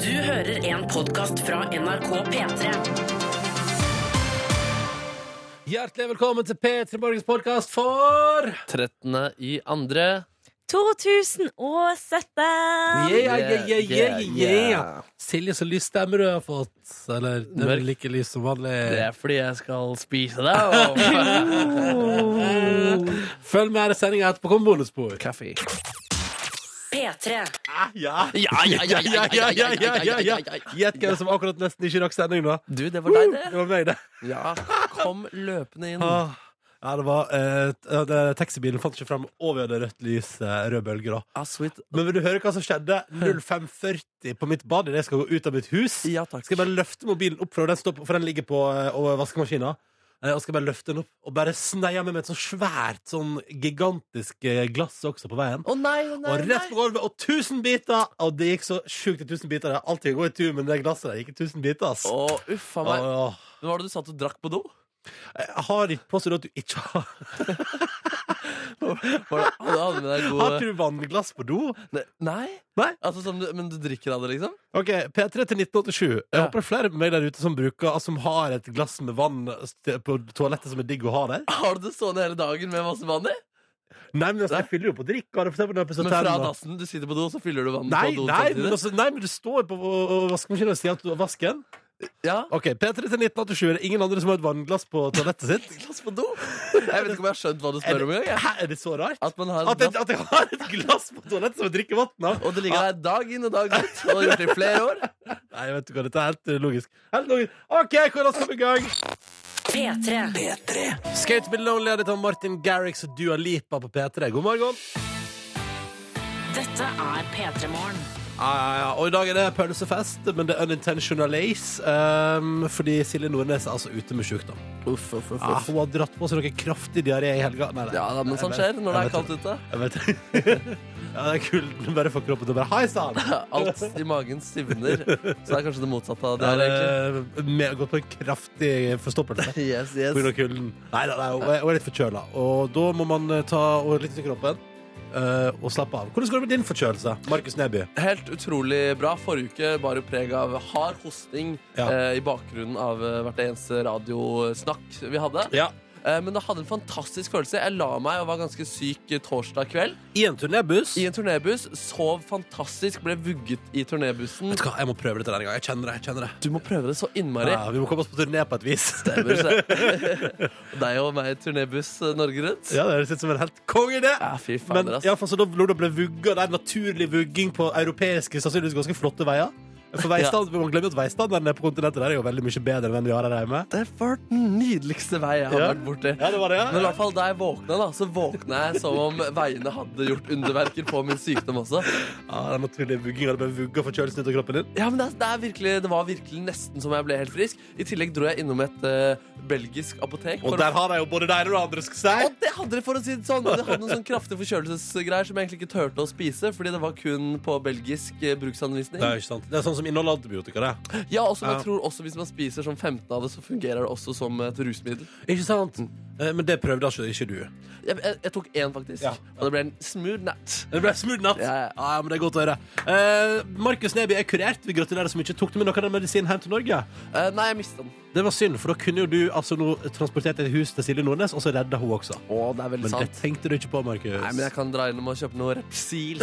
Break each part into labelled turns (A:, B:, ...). A: Du hører en podkast fra NRK P3.
B: Hjertelig velkommen til P3 Morgens podkast for
C: 13. i andre.
D: 2017!
B: yeah, yeah, yeah, yeah, yeah,
C: Yeah, yeah.
B: Silje, så lys stemme du har fått. Eller det er vel like lys som
C: Det
B: vanlig.
C: er fordi jeg skal spise deg.
B: Følg med her i sendinga etterpå. Kom bonusspor.
C: Kaffe.
A: P3.
B: Ah,
C: Ja, ja, ja, ja, ja, ja, ja, ja, ja, ja.
B: Gjett hvem som akkurat nesten ikke rakk sending nå.
C: Du, det var deg,
B: Det
C: det.
B: var meg, det.
C: Ja, kom løpende inn.
B: Åh. Ja, det var eh, t- det- Taxibilen fant ikke fram, og vi hadde rødt lys, eh, rød bølge, da.
C: Ah, sweet.
B: Men vil du høre hva som skjedde? 05.40 på mitt bad idet jeg skal gå ut av mitt hus.
C: Ja, takk.
B: Skal jeg bare løfte mobilen opp fra den, står på- for den ligger på eh, over vaskemaskina. Eh, Og skal bare løfte den opp og bare sneie meg med et sånn svært, sånn gigantisk eh, glass også på veien.
C: Å nei, å nei,
B: og
C: nei.
B: rett på gulvet, og tusen biter! Og det gikk så sjukt i tusen biter. Jeg har alltid gått i tur, men det glasset der gikk i tusen biter, ass.
C: Å, uffa meg.
B: Åh.
C: Men Var det du satt og drakk på do?
B: Ah, Jeg har ikke påstått at du ikke har
C: Var det, du hadde med deg
B: Har
C: god
B: ikke du vannglass på do?
C: Ne- Nei?
B: Nei.
C: Altså, sånn, du- men du drikker av det, liksom?
B: Ok, P3 til 1987. Jeg
C: Ja.
B: håper det er flere med meg der ute som bruker altså, Som har et glass med vann st- på toalettet som er digg å ha der.
C: Har du det stående hele dagen med masse vann i?
B: Nei, men altså, Jeg fyller jo på drikk. Har du for eksempel når jeg pusser
C: Men fra
B: tennene.
C: dassen? Du sitter på do, så fyller du vann
B: Nei,
C: på do
B: nei, men altså, nei, men du står på og- og vaskemaskinen og sier at du har vasken.
C: Ja,
B: Ok, P3 til 1987. Er det ingen andre som har et vannglass på toalettet sitt?
C: glass på do? Jeg vet ikke om jeg har skjønt hva du
B: Er
C: spør om
B: det,
C: engang. jeg.
B: Hæ, er det så rart?
C: At man har
B: At
C: et
B: jeg,
C: glass
B: at jeg har et glass på toalettet som jeg drikker vann av?
C: Og det ligger der dag inn og dag ut Og har gjort det i flere år
B: Nei, vet du hva, dette er helt eh, logisk. Helt logisk. OK, hvordan skal vi i gang?
A: P3.
B: Skate to be lonely er det av Martin Garrix og Dua Lipa på P3. God morgen.
A: Dette er P3 Morgen.
B: Ja, ja, ja. Og i dag er det pølsefest, men det er unintentional ace. ehm, fordi Silje Nordnes er altså ute med sjukdom.
C: Uff, uff, uff,
B: Ja, hun har dratt på seg noe kraftig diaré i helga. Nei, nei.
C: Ja, da, men sånn
B: Jeg
C: skjer
B: vet-
C: når det er
B: jeg vet
C: kaldt ute
B: Jeg vet Ja, det er kult. men Bare få kroppen til å bare Hei sann!
C: Alt i magen stivner Så det er kanskje det motsatte av det
B: Det
C: her egentlig
B: er eh, med, gått på en kraftig forstoppelse.
C: Yes,
B: På grunn
C: yes
B: av kulden. Nei, nei, nei, hun er- hun er litt forkjøla. Og da må man eh, ta og lytte til kroppen. eh, og slappe av. Hvordan går det med din forkjølelse, Markus Neby?
C: Helt utrolig bra Forrige uke bar jo preg av hard hosting
B: Ja.
C: eh, I bakgrunnen av eh, hvert eneste radiosnakk vi hadde
B: Ja.
C: eh, Men det hadde en fantastisk følelse Jeg la meg og var ganske syk eh, torsdag kveld
B: I en turnébuss.
C: I en turnébuss Sov fantastisk Ble vugget i turnébussen
B: Vet du hva, Jeg må prøve dette denne gangen. Jeg kjenner det. jeg kjenner det
C: Du må prøve det så innmari
B: Ja, vi må komme oss på turné på et vis.
C: stemmer seg. Deg og meg i turnébuss eh, Norge rundt.
B: Ja, det høres ut som en helt kongeidé.
C: Ja, fy
B: Men
C: fader, ass.
B: i alle fall, så da når det ble vugga, det er naturlig vugging på europeiske, sannsynligvis ganske flotte veier. For veistand, Man glemmer jo at veistandarden på kontinentet der er jo veldig mye bedre enn den vi har her hjemme.
C: Det var den nydeligste vei jeg har
B: Ja.
C: vært borti.
B: Ja, det var det,
C: Men i hvert fall da jeg våkna, da, så våkna jeg som om veiene hadde gjort underverker på min sykdom også.
B: Ja, den naturlige vugginga. Det ble vugga forkjølelsen ut av kroppen din.
C: Ja, men det, er, det, er virkelig, det var virkelig nesten som jeg ble helt frisk. I tillegg dro jeg innom et eh, belgisk apotek.
B: Og
C: for å-
B: der har de jo både dere og andre, skal jeg si.
C: Og det hadde det, for å si det sånn! Det hadde noen sånn kraftige forkjølelsesgreier som jeg egentlig ikke turte å spise, fordi det var kun på belgisk eh, bruksanvisning.
B: Det er jo ikke sant. Det er sånn som inneholder antibiotika, det.
C: Ja, også, men
B: Ja.
C: jeg tror også Hvis man spiser sånn 15 av det, så fungerer det også som eh, et rusmiddel.
B: Ikke sant? Eh, Men det prøvde altså ikke du.
C: Jeg, jeg, jeg tok én, faktisk.
B: Ja.
C: Og det ble en smooth nat.
B: Det ble smooth natt.
C: Ja,
B: Ja,
C: ja.
B: ja, men det er godt å høre. Eh, Markus Neby er kurert. Vi gratulerer så mye. Tok du med noe av den medisinen hjem til Norge?
C: Eh, nei, jeg mista den.
B: Det var synd, for da kunne jo du altså nå transportert et hus til Silje Nordnes, og så redda hun også.
C: Å, det er veldig
B: Men det
C: sant.
B: tenkte du ikke på, Markus.
C: Nei, men jeg kan dra innom og kjøpe noe Repsil,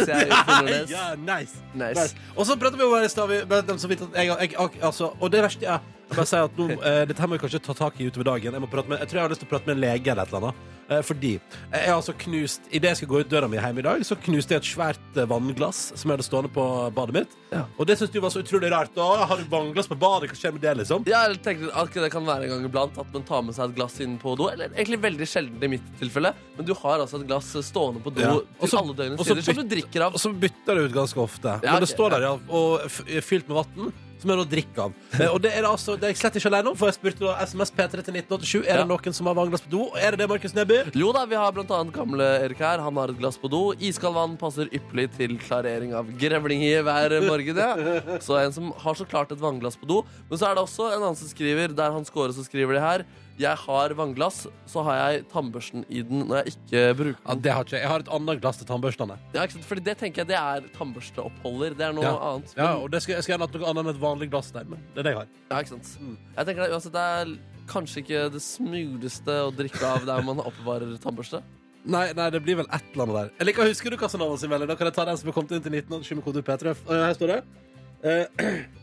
C: så jeg finner det.
B: ja, nice.
C: Nice.
B: nice. Og så prater vi om her i stad vi- bare dem så vidt at jeg, jeg, ak- altså, Og det verste er jeg bare sier at nå, eh, Dette her må jeg kanskje ta tak i utover dagen. Jeg, må prate med, jeg tror jeg har lyst til å prate med en lege eller et eller annet. Eh, fordi jeg har altså knust Idet jeg skal gå ut døra mi hjemme i dag, så knuste jeg et svært eh, vannglass som jeg hadde stående på badet mitt.
C: Ja.
B: Og det syns du var så utrolig rart. Å, har du vannglass på badet? Hva skjer med det, liksom?
C: Ja, jeg tenker at Det kan være en gang iblant at man tar med seg et glass inn på do. Eller egentlig veldig sjelden i mitt tilfelle, men du har altså et glass stående på do
B: Ja.
C: til
B: Også-
C: alle døgnets
B: også
C: tider som du
B: bytte-
C: drikker av.
B: Og så bytter det ut ganske ofte.
C: Ja,
B: Men det
C: ok,
B: står der, ja, og f- fylt med vann. Som jeg nå drikker av. Eh, Og det er, det altså, det er jeg slett ikke alene om, for jeg spurte da SMS P3 til 1987. Er det
C: Ja.
B: noen som har vannglass på do? Og Er det det, Markus Neby?
C: Jo da, vi har blant annet gamle Erik her. Han har et glass på do. Iskaldt vann passer ypperlig til klarering av grevlinger hver morgen. Ja. Så en som har så klart et vannglass på do. Men så er det også en annen som skriver, der han scorer, så skriver de her. jeg har vannglass, så har jeg tannbørsten i den når jeg ikke bruker
B: Ja,
C: den.
B: det har ikke jeg. Jeg har et annet glass til tannbørstene.
C: Ja, ikke sant? Fordi det tenker jeg det er tannbørsteoppholder. Det er noe
B: Ja.
C: annet.
B: Ja, og det skal, jeg skal gjerne hatt noe annet enn et vanlig glass der. Men det er det jeg har.
C: Ja, ikke sant?
B: Mm.
C: Jeg tenker det, uansett, det er kanskje ikke det smootheste å drikke av der man oppbevarer tannbørste.
B: Nei, nei, det blir vel et eller annet der. Jeg liker, husker du Casanovas melding? Da kan jeg ta den som er kommet inn til 1987 med kode P3. Og Her står det. eh,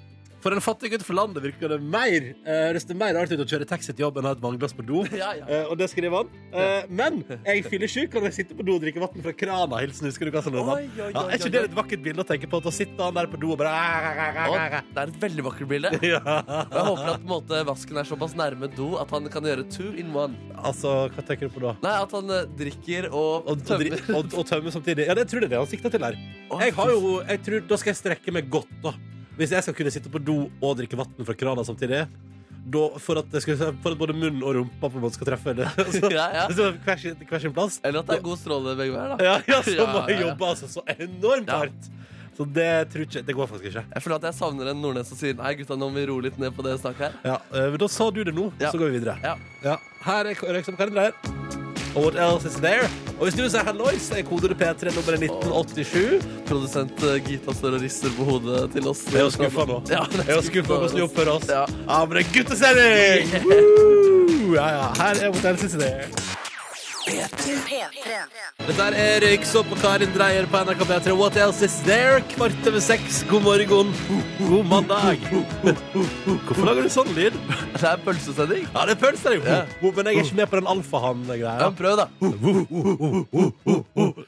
B: For en fattig gutt fra landet virker det mer eh, Høres det mer artig ut å kjøre taxi til jobb enn å ha et vannglass på do.
C: Ja, ja.
B: Eh, og det skriver han. Eh, men jeg fyller sjuk når jeg sitter på do og drikker vann fra krana. Hilsen, husker du hva som
C: Oi, oi, oi,
B: ja, Er ikke det
C: oi, oi.
B: et vakkert bilde å tenke på? At Da sitter han der på do og
C: Og
B: bare
C: det er et veldig vakkert bilde. Og
B: ja.
C: jeg håper at på en måte, vasken er såpass nærme do at han kan gjøre two in one.
B: Altså, hva tenker du på da?
C: Nei, at han eh, drikker og,
B: Og, og,
C: tømmer.
B: dri- og, og tømme samtidig. Ja, det tror jeg det er han sikter til her. Jeg har jo, jeg tror, da skal jeg strekke meg godt, da. Hvis jeg skal kunne sitte på do og drikke vann fra krana samtidig. Da, for, at jeg skal, for at både munn og rumpa på en måte skal treffe det. Så,
C: Ja, ja.
B: så hver, sin, hver sin plass.
C: Eller at det er god stråle begge veier, da.
B: Ja, ja, så
C: Ja,
B: må jeg
C: ja, ja.
B: jobbe altså, så enormt
C: Ja.
B: hardt. Så det tror ikke, det går faktisk ikke.
C: Jeg føler at jeg savner en nordnes som sier Nei, gutta, nå må vi roe litt ned på det snakket her.
B: Ja, eh, men Da sa du det nå,
C: Ja.
B: så går vi videre.
C: Ja.
B: Ja. Her er Røyksom kalender. Og what else is there? Og hvis du sier hallois, er kodet P3 nummeret 1987.
C: Produsent eh, Gita står og rister på hodet til oss.
B: Jeg er jo skuffa nå.
C: Ja, det er
B: Jeg er jo skuffa hvordan de oppfører oss.
C: Ja.
B: Ja, men det er guttesending! Woo! Ja, ja. Her er what else is there.
A: P3.
B: Dette er Erik Sopp og Karin Dreyer på NRK P3. What else is there? Kvart over seks. God morgen. God mandag. Hvorfor lager du sånn lyd?
C: Det er pølsesending.
B: Ja, det føles det jo.
C: Ja.
B: Men jeg er ikke med på den alfahann-greia.
C: Ja, prøv, da.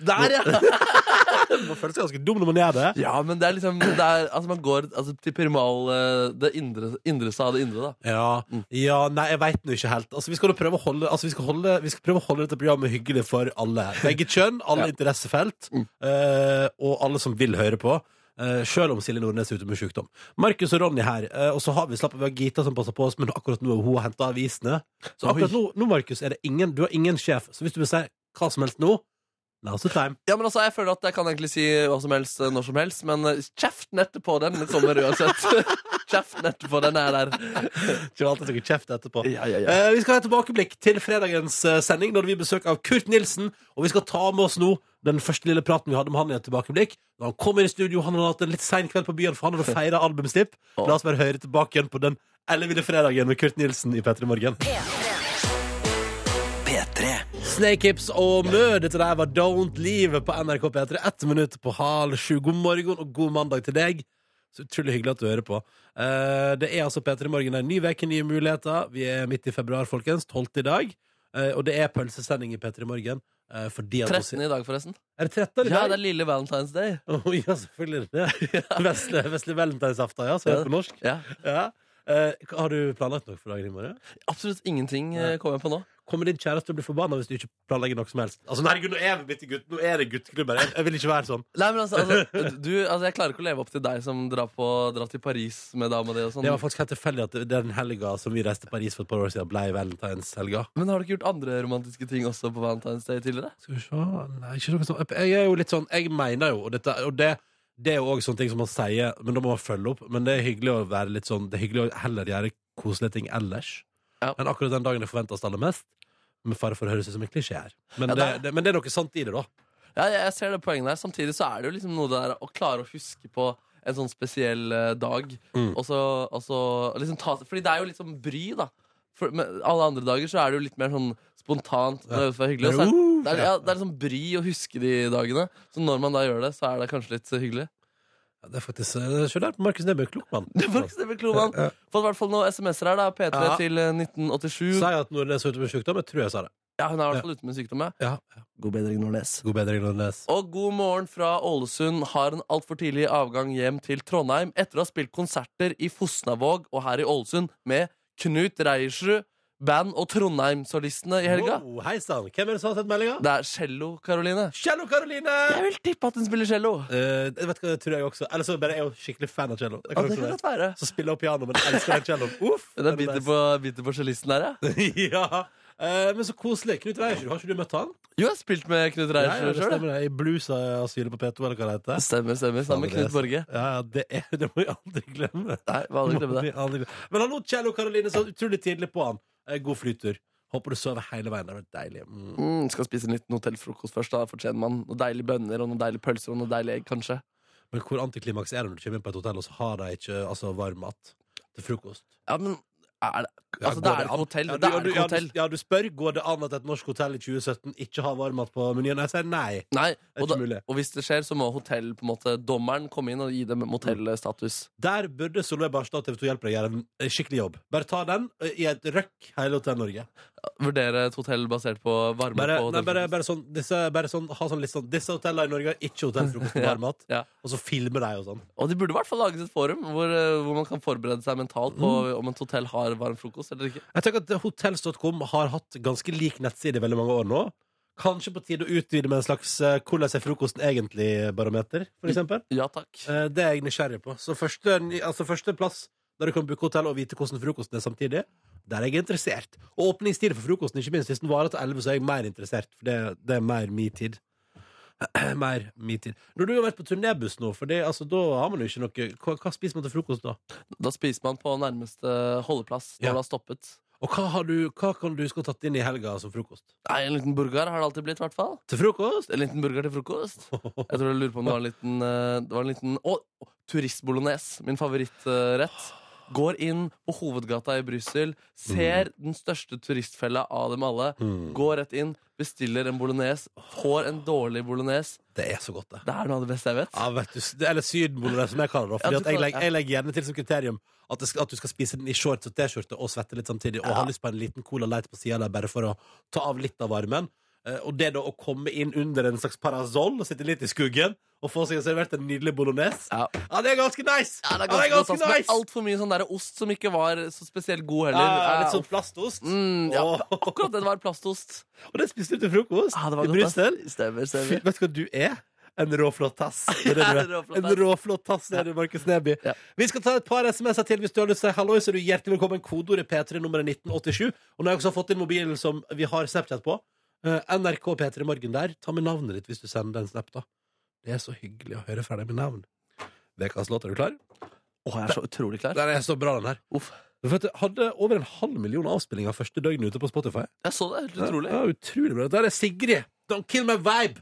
B: Der, ja! Man føler seg ganske dum når man gjør det.
C: Ja, men det er liksom det er, Altså, man går altså, til primal eh, Det indre, indre seg av det indre, da. Mm.
B: Ja, ja nei, jeg veit nå ikke helt. Altså, vi, skal jo prøve å holde, altså, vi, skal holde, vi skal prøve å holde dette programmet hyggelig for alle. Begge kjønn, alle interessefelt, eh, og alle som vil høre på. eh, selv om Silje Nordnes er ute med sykdom. Markus og Ronny her, eh, og så har vi slapp av vi har Gita som passer på oss, men akkurat nå har hun henta avisene. Så akkurat nå, nå Markus, er det ingen, du har ingen sjef. Så hvis du vil si hva som helst nå, now's the time.
C: Ja, men altså, Jeg føler at jeg kan egentlig si hva som helst eh, når som helst, men eh, kjeften etterpå, den kommer uansett. kjeften etterpå, den er der.
B: Ikke alltid noe kjeft etterpå.
C: Ja, ja, ja.
B: Eh, vi skal ha et tilbakeblikk til fredagens eh, sending, når vi har besøk av Kurt Nilsen. Og vi skal ta med oss nå den første lille praten vi hadde med han i et tilbakeblikk. Når han kommer i studio, han hadde hatt en litt sein kveld på byen, for han hadde feira albumslipp. La oss bare høre tilbake igjen på den elleville fredagen med Kurt Nilsen i P3 Morgen. Snake Hips og Mø, dette der var Don't Leave på NRK P3. Ett minutt på halv sju. God morgen og god mandag til deg. Så utrolig hyggelig at du hører på. Eh, det er altså P3 Morgen. Det er en ny uke, nye muligheter. Vi er midt i februar, folkens. 12. i dag. Eh, og det er pølsesending i P3 Morgen. eh, fordi at
C: 13 i dag, forresten.
B: Er det 13 i
C: Ja,
B: dag?
C: det er lille Valentine's Day.
B: Å, ja, selvfølgelig er det det. Vesle, vesle valentinsaften, ja, som er på norsk.
C: Ja.
B: Ja. Eh, har du planlagt noe for dagen i morgen?
C: Absolutt ingenting eh, kommer jeg på nå.
B: Kommer din kjæreste til å bli forbanna hvis du ikke planlegger noe som helst? Altså, nei, herregud, nå er vi blitt gutt, nå er det gutteklubber. Jeg, jeg vil ikke være sånn.
C: Nei, men altså, altså, du, altså Jeg klarer ikke å leve opp til deg som drar, på, drar til Paris med dama di og sånn.
B: Det var faktisk helt tilfeldig at den helga som vi reiste til Paris for et par år siden, ble valentinshelga.
C: Men har du ikke gjort andre romantiske ting også på Valentine's Day tidligere?
B: Skal vi se Nei, ikke noe sånt. Jeg er jo litt sånn Jeg mener jo og dette, og det, det er jo òg sånne ting som man sier, men da må man følge opp. Men det er hyggelig å være litt sånn Det er hyggelig å heller gjøre koselige ting ellers
C: Ja.
B: enn akkurat den dagen det forventes aller mest. Med fare for å høres ut som en klisjé her. Men,
C: Ja,
B: det,
C: det-
B: det, men det er noe sant i det, da.
C: Ja, jeg, jeg ser det poenget der. Samtidig så er det jo liksom noe der å klare å huske på en sånn spesiell eh, dag.
B: Mm.
C: Og så, og så liksom ta Fordi det er jo litt sånn bry, da. For, men alle andre dager så er det jo litt mer sånn spontant.
B: Ja. Uh.
C: Når det var hyggelig og så er, det, er, ja, det er liksom bry å huske de dagene. Så når man da gjør det, så er det kanskje litt eh, hyggelig.
B: Ja, det er faktisk eh, Se der, Markus Neby, klok mann.
C: For eksempel, Kloman.
B: Ja.
C: Fått i hvert fall noen SMS-er her, da. P3
B: Ja.
C: til eh, 1987.
B: Sier at Nordnes er ute med sykdom. Jeg tror jeg sa det.
C: Ja, hun er i hvert fall ute med sykdom, ja.
B: Ja.
C: God bedring, Nordnes.
B: God bedring, Nordnes.
C: Og god morgen fra Ålesund har en altfor tidlig avgang hjem til Trondheim etter å ha spilt konserter i Fosnavåg og her i Ålesund med Knut Reiersrud, band og Trondheim-solistene i helga.
B: Wow, Hei sann. Hvem er det som har sett meldinga?
C: Det er cello, Karoline.
B: Cello Karoline!
C: Jeg vil tippe at hun spiller cello.
B: Eh, vet du hva, det tror jeg også. Eller så bare er jeg jo skikkelig fan av cello. Det
C: Ja,
B: kan også
C: det kan
B: være.
C: godt være.
B: Så spiller jeg piano, men jeg elsker den celloen. Uff!
C: Hun er bitter på, bitter på cellisten her, ja.
B: nice. ja. Eh, men så koselig. Knut Reiersrud, har ikke du møtt han?
C: Jo, jeg har spilt med Knut
B: det
C: Reiersrud sjøl.
B: stemmer det. I Bluesasylet på P2, eller hva det heter.
C: Stemmer, stemmer. Sammen med Knut Borge.
B: Ja, ja, det, er, det må vi aldri glemme.
C: Nei, hva hadde jeg glemt det?
B: Må vi aldri glemme. Men hallo, cello Karoline, så utrolig tidlig på han. Eh, God flytur. Håper du sover hele veien. Det var deilig. Mm.
C: Mm, skal spise litt hotellfrokost først. Da fortjener man noen deilige bønner og noen deilige pølser og noen deilige egg, kanskje.
B: Men hvor antiklimaks er det når du kommer inn på et hotell, og så har de ikke altså, varm mat til frokost?
C: Ja, men er det
B: Ja,
C: Altså,
B: går
C: det er et
B: an?
C: hotell.
B: Ja, ja,
C: Det er et
B: ja,
C: hotell.
B: ja, du spør går det an at et norsk hotell i 2017 ikke har varmmat på menyen. Jeg sier nei.
C: Nei,
B: Det er
C: og,
B: ikke
C: da,
B: mulig.
C: og hvis det skjer, så må hotell, på en måte, dommeren komme inn og gi dem motellstatus.
B: Der burde Solveig Barstad og TV 2 hjelpe deg gjøre en eh, skikkelig jobb. Bare ta den eh, i et røkk hele Hotell Norge.
C: Vurdere et hotell basert på varme
B: Bare,
C: på
B: nei, bare,
C: hotellfrokost.
B: bare sånn, disse, bare sånn, ha sånn litt sånn Disse hotellene i Norge har ikke hotellfrokost med
C: Ja,
B: varmmat.
C: ja.
B: Og så filmer de og sånn.
C: Og de burde i hvert fall laget et forum hvor, eh, hvor man kan forberede seg mentalt på
B: Mm.
C: om et hotell har varm frokost eller ikke.
B: Jeg tenker at Hotels.com har hatt ganske lik nettside i veldig mange år nå. Kanskje på tide å utvide med en slags eh, 'Hvordan er frokosten egentlig?'-barometer, for eksempel.
C: Ja takk.
B: Eh, Det er jeg nysgjerrig på. Så første, altså første plass der du kan booke hotell og vite hvordan frokosten er samtidig, der er jeg interessert. Og åpningstid for frokosten, ikke minst. Hvis den varer til 11, så er jeg mer interessert. For det, det er mer min tid. mer min tid. Når du har vært på turnébuss nå, for det, altså, da har man jo ikke noe hva, hva spiser man til frokost da?
C: Da spiser man på nærmeste holdeplass når
B: Ja.
C: det har stoppet.
B: Og hva, har du, hva kan du huske å ha tatt inn i helga som frokost?
C: Nei, En liten burger har det alltid blitt. i hvert fall
B: Til frokost?
C: En liten burger til frokost. Jeg tror jeg lurer på om det var en liten, eh, det var en liten Å, turistbolognese. Min favorittrett. Går inn på hovedgata i Brussel,
B: Mm.
C: ser den største turistfella av dem alle. Går rett inn, bestiller en bolognese, får en dårlig bolognese.
B: Det er så godt, det.
C: Det er noe av det beste jeg vet.
B: Ja, vet du, det- eller sydenbolognese, som jeg kaller det. Fordi
C: Ja, du
B: at jeg,
C: kaller-
B: legger, jeg legger gjerne til som kriterium at, det skal, at du skal spise den i shorts og T-skjorte og svette litt samtidig, og ha lyst på en liten cola light på sida der bare for å ta av litt av varmen. Eh, Og det da å komme inn under en slags parasoll og sitte litt i skuggen og få seg servert en nydelig bolognese,
C: Ja.
B: ja, det er ganske nice!
C: Ja, det er
B: Ja,
C: ganske godt, ass, men
B: nice!
C: Altfor mye sånn der ost som ikke var så spesielt god
B: Ja,
C: heller.
B: ja, litt
C: Ja,
B: sånn plastost.
C: Mm, ja,
B: Åh.
C: akkurat det det var plastost.
B: Og det spiste du til frokost
C: Ja, det var
B: i
C: godt, ass.
B: Brussel.
C: Stemmer,
B: Fy,
C: stemmer.
B: Vet du hva du er? En råflott tass. Det er det du er.
C: Ja, en råflott
B: En
C: tass.
B: råflott tass er du, Markus Neby.
C: Ja.
B: Vi skal ta et par SMS-er til hvis du har lyst til å si hallo, så er du hjertelig velkommen. Kodeordet P3 nummeret 1987. Og nå har jeg også fått inn mobilen som vi har Snapchat på. Eh, NRK P3 Morgen der. Ta med navnet ditt hvis du sender den snap, da. Det er så hyggelig å høre fra deg med navn. Ukas låt, er du klar?
C: Åh, jeg er så utrolig klar.
B: Den er så bra, den her.
C: Uff.
B: Du vet, det hadde over en halv million avspillinger første døgnet ute på Spotify.
C: Jeg så det. Helt utrolig.
B: Ja, utrolig bra. Der er Sigrid. Don't kill my vibe.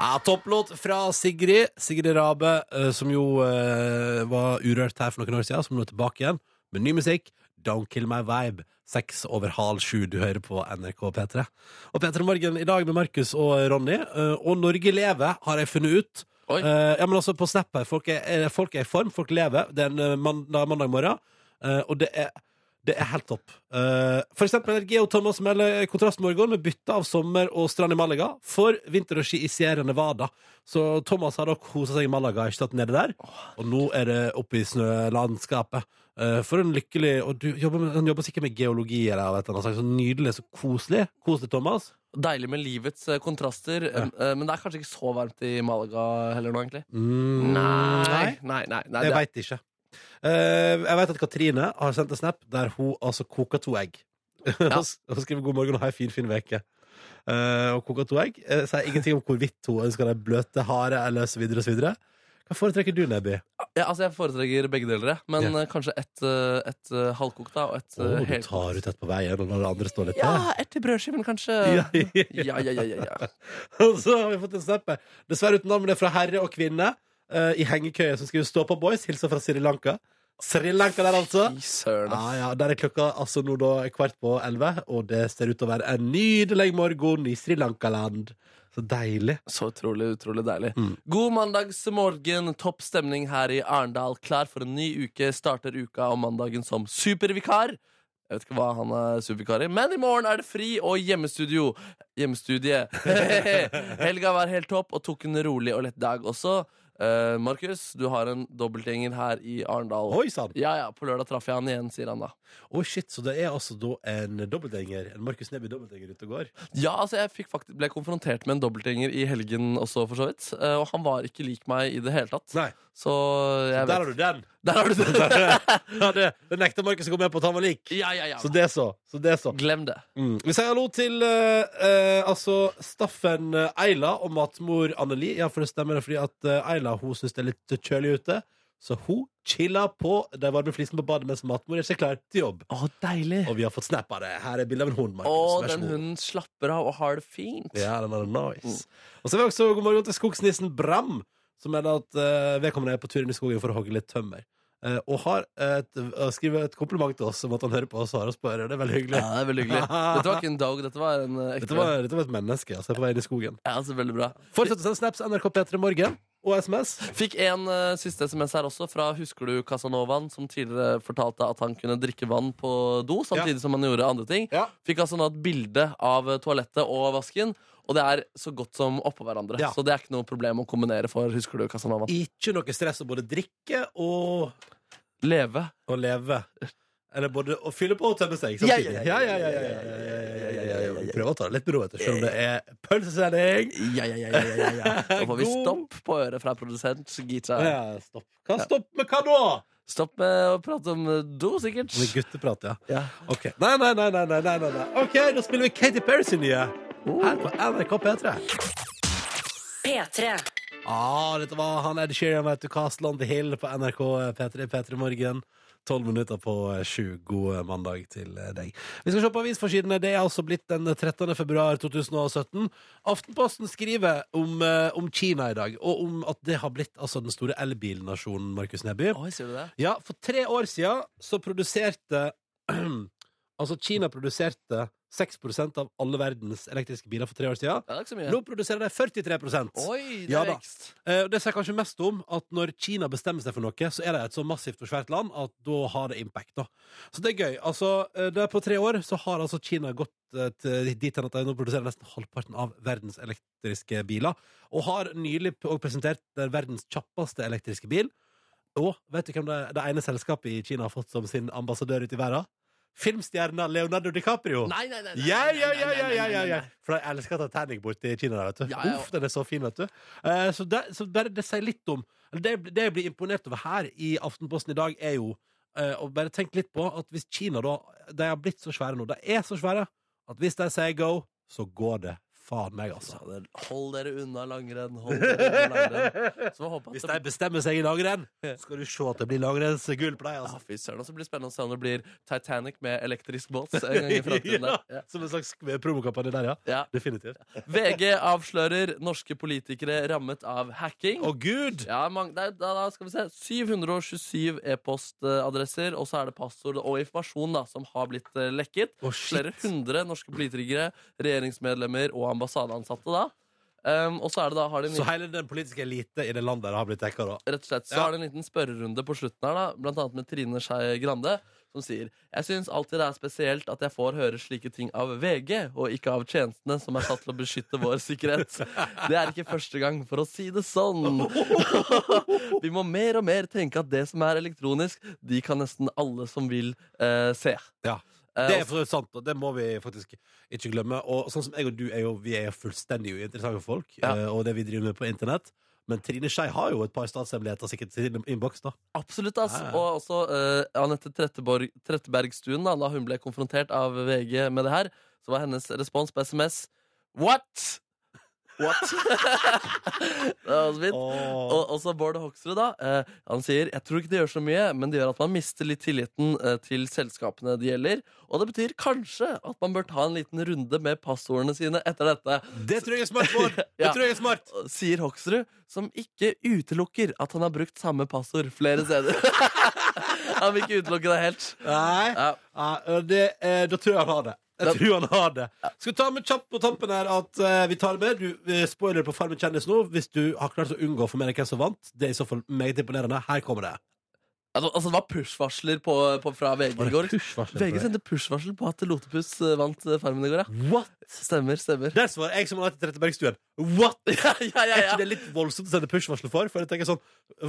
B: Ja, Topplåt fra Sigrid. Sigrid Rabe, eh, som jo eh, var urørt her for noen år siden, som nå er tilbake igjen med ny musikk. Don't kill my vibe. Seks over halv sju, du hører på NRK P3. Og P3 Morgen i dag med Markus og Ronny. eh, Og Norge lever, har jeg funnet ut.
C: Oi.
B: Eh, ja, men altså på Snap her, folk er, eh, folk er i form, folk lever. Det er en eh, mandag, mandag morgen, eh, og det er, det er helt topp. Eh, for eksempel Geo Thomas melder kontrastmorgen med bytte av sommer og strand i Malaga for vinterski i Sierra Nevada. Så Thomas har da kosa seg i Malaga, ikke tatt nede der. Og nå er det oppe i snølandskapet. Eh, for en lykkelig Og du jobber med, han jobber sikkert med geologi eller noe sånt. Så nydelig, så koselig. Koselig, Thomas.
C: Deilig med livets eh, kontraster. eh, eh, Men det er kanskje ikke så varmt i Malaga heller nå, egentlig.
B: Mm,
C: nei, nei, nei
B: Jeg
C: det,
B: veit ikke. Eh, jeg veit at Katrine har sendt en snap der hun altså koker to egg. og s- og skriver 'god morgen og ha ei fin, fin veke'. Eh, og koker to egg. Eh, sier ingenting om hvorvidt hun ønsker de bløte, harde eller så videre og så videre. Hva foretrekker du, Nebby?
C: ja, altså, jeg foretrekker begge deler, jeg. Men eh, kanskje et, eh, et eh, halvkokt da, og et
B: Å,
C: eh,
B: du
C: helt
B: tar ut et på veien og lar det andre stå litt
C: Ja,
B: der.
C: et til brødskiven, kanskje.
B: Ja.
C: Ja, ja, ja, ja, ja.
B: Og så har vi fått en snap her. Dessverre uten navn, men det er fra herre og kvinne eh, i hengekøye som skriver 'Stå på, boys'. Hilser fra Sri Lanka. Sri Lanka der, altså.
C: Fy
B: Ja,
C: søren, ass.
B: ja, Der er klokka altså nå da kvart på elleve, og det ser ut til å være en nydelig morgen i Sri Lankaland. Så deilig.
C: Så utrolig, utrolig deilig.
B: Mm.
C: God mandagsmorgen, topp stemning her i Arendal. Klar for en ny uke. Starter uka om mandagen som supervikar. Jeg vet ikke hva han er supervikar i, men i morgen er det fri og hjemmestudio. Hjemmestudie. Helga var helt topp og tok en rolig og lett dag også. Eh, Markus, du har en dobbeltgjenger her i Arendal.
B: Oi sann!
C: Ja, ja, på lørdag traff jeg han igjen, sier han da.
B: Oi, shit, så det er altså da en dobbeltgjenger, en Markus Neby dobbeltgjenger ute og går.
C: Ja, altså jeg fikk faktisk, ble konfrontert med en dobbeltgjenger i helgen også, for så vidt. Eh, og han var ikke lik meg i det hele tatt.
B: Nei,
C: Så jeg
B: der
C: vet
B: har du den!
C: Der har du det!
B: Ja, det, det nekta Markus å gå med på at han var lik.
C: Ja, ja, ja.
B: Så det så. så, det så.
C: Glem det.
B: Mm. Vi sier hallo til eh, eh, altså Staffen eh, Eila og matmor Anneli. Ja, for det stemmer det fordi at eh, Eila hun syns det er litt kjølig ute. Så hun chilla på de varme flisene på badet mens matmor gjør seg klar til jobb.
C: Å, deilig!
B: Og vi har fått snap av det. Her er bilde av en hund.
C: Å,
B: Markus. Vær så
C: den
B: god.
C: hunden slapper av og har det fint. Mm.
B: Ja, den var nice. Og så vil jeg også god morgen til skogsnissen Bram, som mener at eh, vedkommende er på tur inn i skogen for å hogge litt tømmer. Eh, og har et, og skriver et kompliment til oss om at han hører på og svarer oss på øret. Det er veldig hyggelig.
C: Ja, det er veldig hyggelig. Dette var ikke en dog, dette var en eh, ekte
B: Dette, var, dette var et menneske altså, på vei inn i skogen.
C: Ja, altså, veldig bra.
B: Fortsett å sende snaps NRK P3 Morgen og SMS.
C: Fikk en eh, siste SMS her også, fra husker du Casanovaen, som tidligere fortalte at han kunne drikke vann på do, samtidig som han gjorde andre ting.
B: Ja.
C: Fikk altså nå et bilde av eh, toalettet og vasken, og det er så godt som oppå hverandre.
B: Ja.
C: Så det er ikke noe problem å kombinere for husker du Casanovaen.
B: Ikke noe stress å både drikke og,
C: Leve.
B: og leve. Eller både å fylle på og tømme seg samtidig. Ja, ja, ja. ja, ja, ja, ja, ja, ja, ja. Prøv å ta det litt eh, med ro, vet du, selv om det er pølsesending.
C: Ja, ja, Eh. ja, ja, ja, ja. Nå får vi
B: God.
C: stopp på øret fra produsent Gita.
B: Ja, stopp. Hva, stopp med hva da?
C: Stopp med å prate om eh, do, sikkert.
B: Med gutteprat, ja.
C: Ja.
B: Ok. Nei, nei, nei, nei, nei, nei, nei, nei. Ok, da spiller vi Katy Perry sin nye. Her på NRK P3.
A: P3.
B: Ah, dette var han Ed Sheeran, vet du, Castle on the Hill på NRK eh, P3 P3 Morgen. Tolv minutter på eh, sju. God eh, mandag til eh, deg. Vi skal se på avisforsidene. Det er altså blitt den 13. februar 2017. Aftenposten skriver om, eh, om Kina i dag, og om at det har blitt altså, den store elbilnasjonen, Markus Neby.
C: Oi, sier du det?
B: Ja, for tre år siden så produserte Altså, Kina produserte 6 av alle verdens elektriske biler for tre år siden.
C: Ja, det er ikke så mye.
B: Nå produserer de 43
C: Oi, det
B: Ja
C: er
B: da.
C: vekst.
B: Eh, og Det sier kanskje mest om at når Kina bestemmer seg for noe, så er det et så massivt og svært land at da har det impact. da. Så det er gøy. Altså, eh, det er På tre år så har altså Kina gått eh, til dit hen at de nå produserer nesten halvparten av verdens elektriske biler. Og har nylig p- også presentert den verdens kjappeste elektriske bil. Og vet du hvem det, det ene selskapet i Kina har fått som sin ambassadør ute i verden? Filmstjerna Leonardo DiCaprio.
C: Nei, nei, nei. nei,
B: Ja,
C: nei,
B: ja,
C: nei,
B: ja, ja,
C: nei,
B: ja,
C: nei,
B: ja,
C: nei,
B: ja.
C: nei.
B: For jeg elsker Titanic borti Kina der, vet du.
C: Ja, ja.
B: Uff, den er så fin, vet du. Eh, så det, så bare det sier litt om eller det, det jeg blir imponert over her i Aftenposten i dag, er jo eh, å bare tenke litt på at hvis Kina da De har blitt så svære nå. De er så svære at hvis de sier go, så går det faen meg, altså.
C: Så det- Hold dere unna langrenn. Hold dere unna langrenn. Så får vi håpe
B: Hvis
C: at
B: de
C: det...
B: bestemmer seg i langrenn, skal du se at det blir langrennsgull på deg,
C: Ja,
B: altså.
C: fy søren. Og så blir det spennende å se om det blir Titanic med elektrisk båt en gang i fremtiden. der.
B: Ja, som en slags eh, promokampanje der, ja.
C: Ja.
B: Definitivt.
C: VG avslører norske politikere rammet av hacking.
B: Å, gud!
C: Ja, mang- det er- da, da skal vi se 727 e-postadresser, og så er det passord og informasjon da, som har blitt eh, lekket.
B: Å,
C: Flere
B: shit.
C: hundre norske politikere, regjeringsmedlemmer og ambassadeansatte. da. Um, og så er det da, har de en
B: Så hele den politiske elite i det landet der har blitt dekka, da.
C: rett og slett, så
B: Ja.
C: har det en liten spørrerunde på slutten her, da, blant annet med Trine Skei Grande, som sier Jeg syns alltid det er spesielt at jeg får høre slike ting av VG, og ikke av tjenestene som er satt til å beskytte vår sikkerhet. Det er ikke første gang, for å si det sånn. Vi må mer og mer tenke at det som er elektronisk, de kan nesten alle som vil eh, se.
B: Ja.
C: Eh,
B: Det er
C: og-
B: for sant, og det må vi faktisk ikke glemme. Og sånn som jeg og du er jo, vi er jo fullstendig uinteressante folk,
C: Ja.
B: eh, og det vi driver med på internett. Men Trine Skei har jo et par statshemmeligheter sikkert i sin innboks, da.
C: Absolutt, ass.
B: Ja, ja.
C: Og også eh, Anette Tretteborg- Trettebergstuen, da, da hun ble konfrontert av VG med det her, så var hennes respons på SMS What?! What? det var så fint. Og, og så Bård Hoksrud, da. eh, han sier jeg tror ikke det gjør så mye, men det gjør at man mister litt tilliten eh, til selskapene det gjelder. Og det betyr kanskje at man bør ta en liten runde med passordene sine etter dette
B: det tror jeg er smart, Bård! Det
C: Ja.
B: tror jeg er smart!
C: sier Hoksrud, som ikke utelukker at han har brukt samme passord flere steder. han vil ikke utelukke det helt.
B: Nei,
C: Ja.
B: Ja, det, eh, da tror jeg han har det. Jeg
C: Da-
B: tror han har det. Skal vi ta med kjapt på tampen her at eh, vi tar det med. Du, eh, spoiler på Farmen kjendis nå. Hvis du har klart å unngå å få med deg hvem som vant, det er i så fall meget imponerende. Her kommer det.
C: Altså, altså, det var push-varsler på, på, fra VG i går. VG sendte push-varsel på at Lotepus eh, vant eh, Farmen i går, ja.
B: What?
C: Stemmer, stemmer.
B: Der svarer jeg som Anette Trettebergstuen. What?
C: ja, ja, ja,
B: Er ikke
C: ja.
B: det litt voldsomt å sende push-varsel for? For jeg tenker sånn,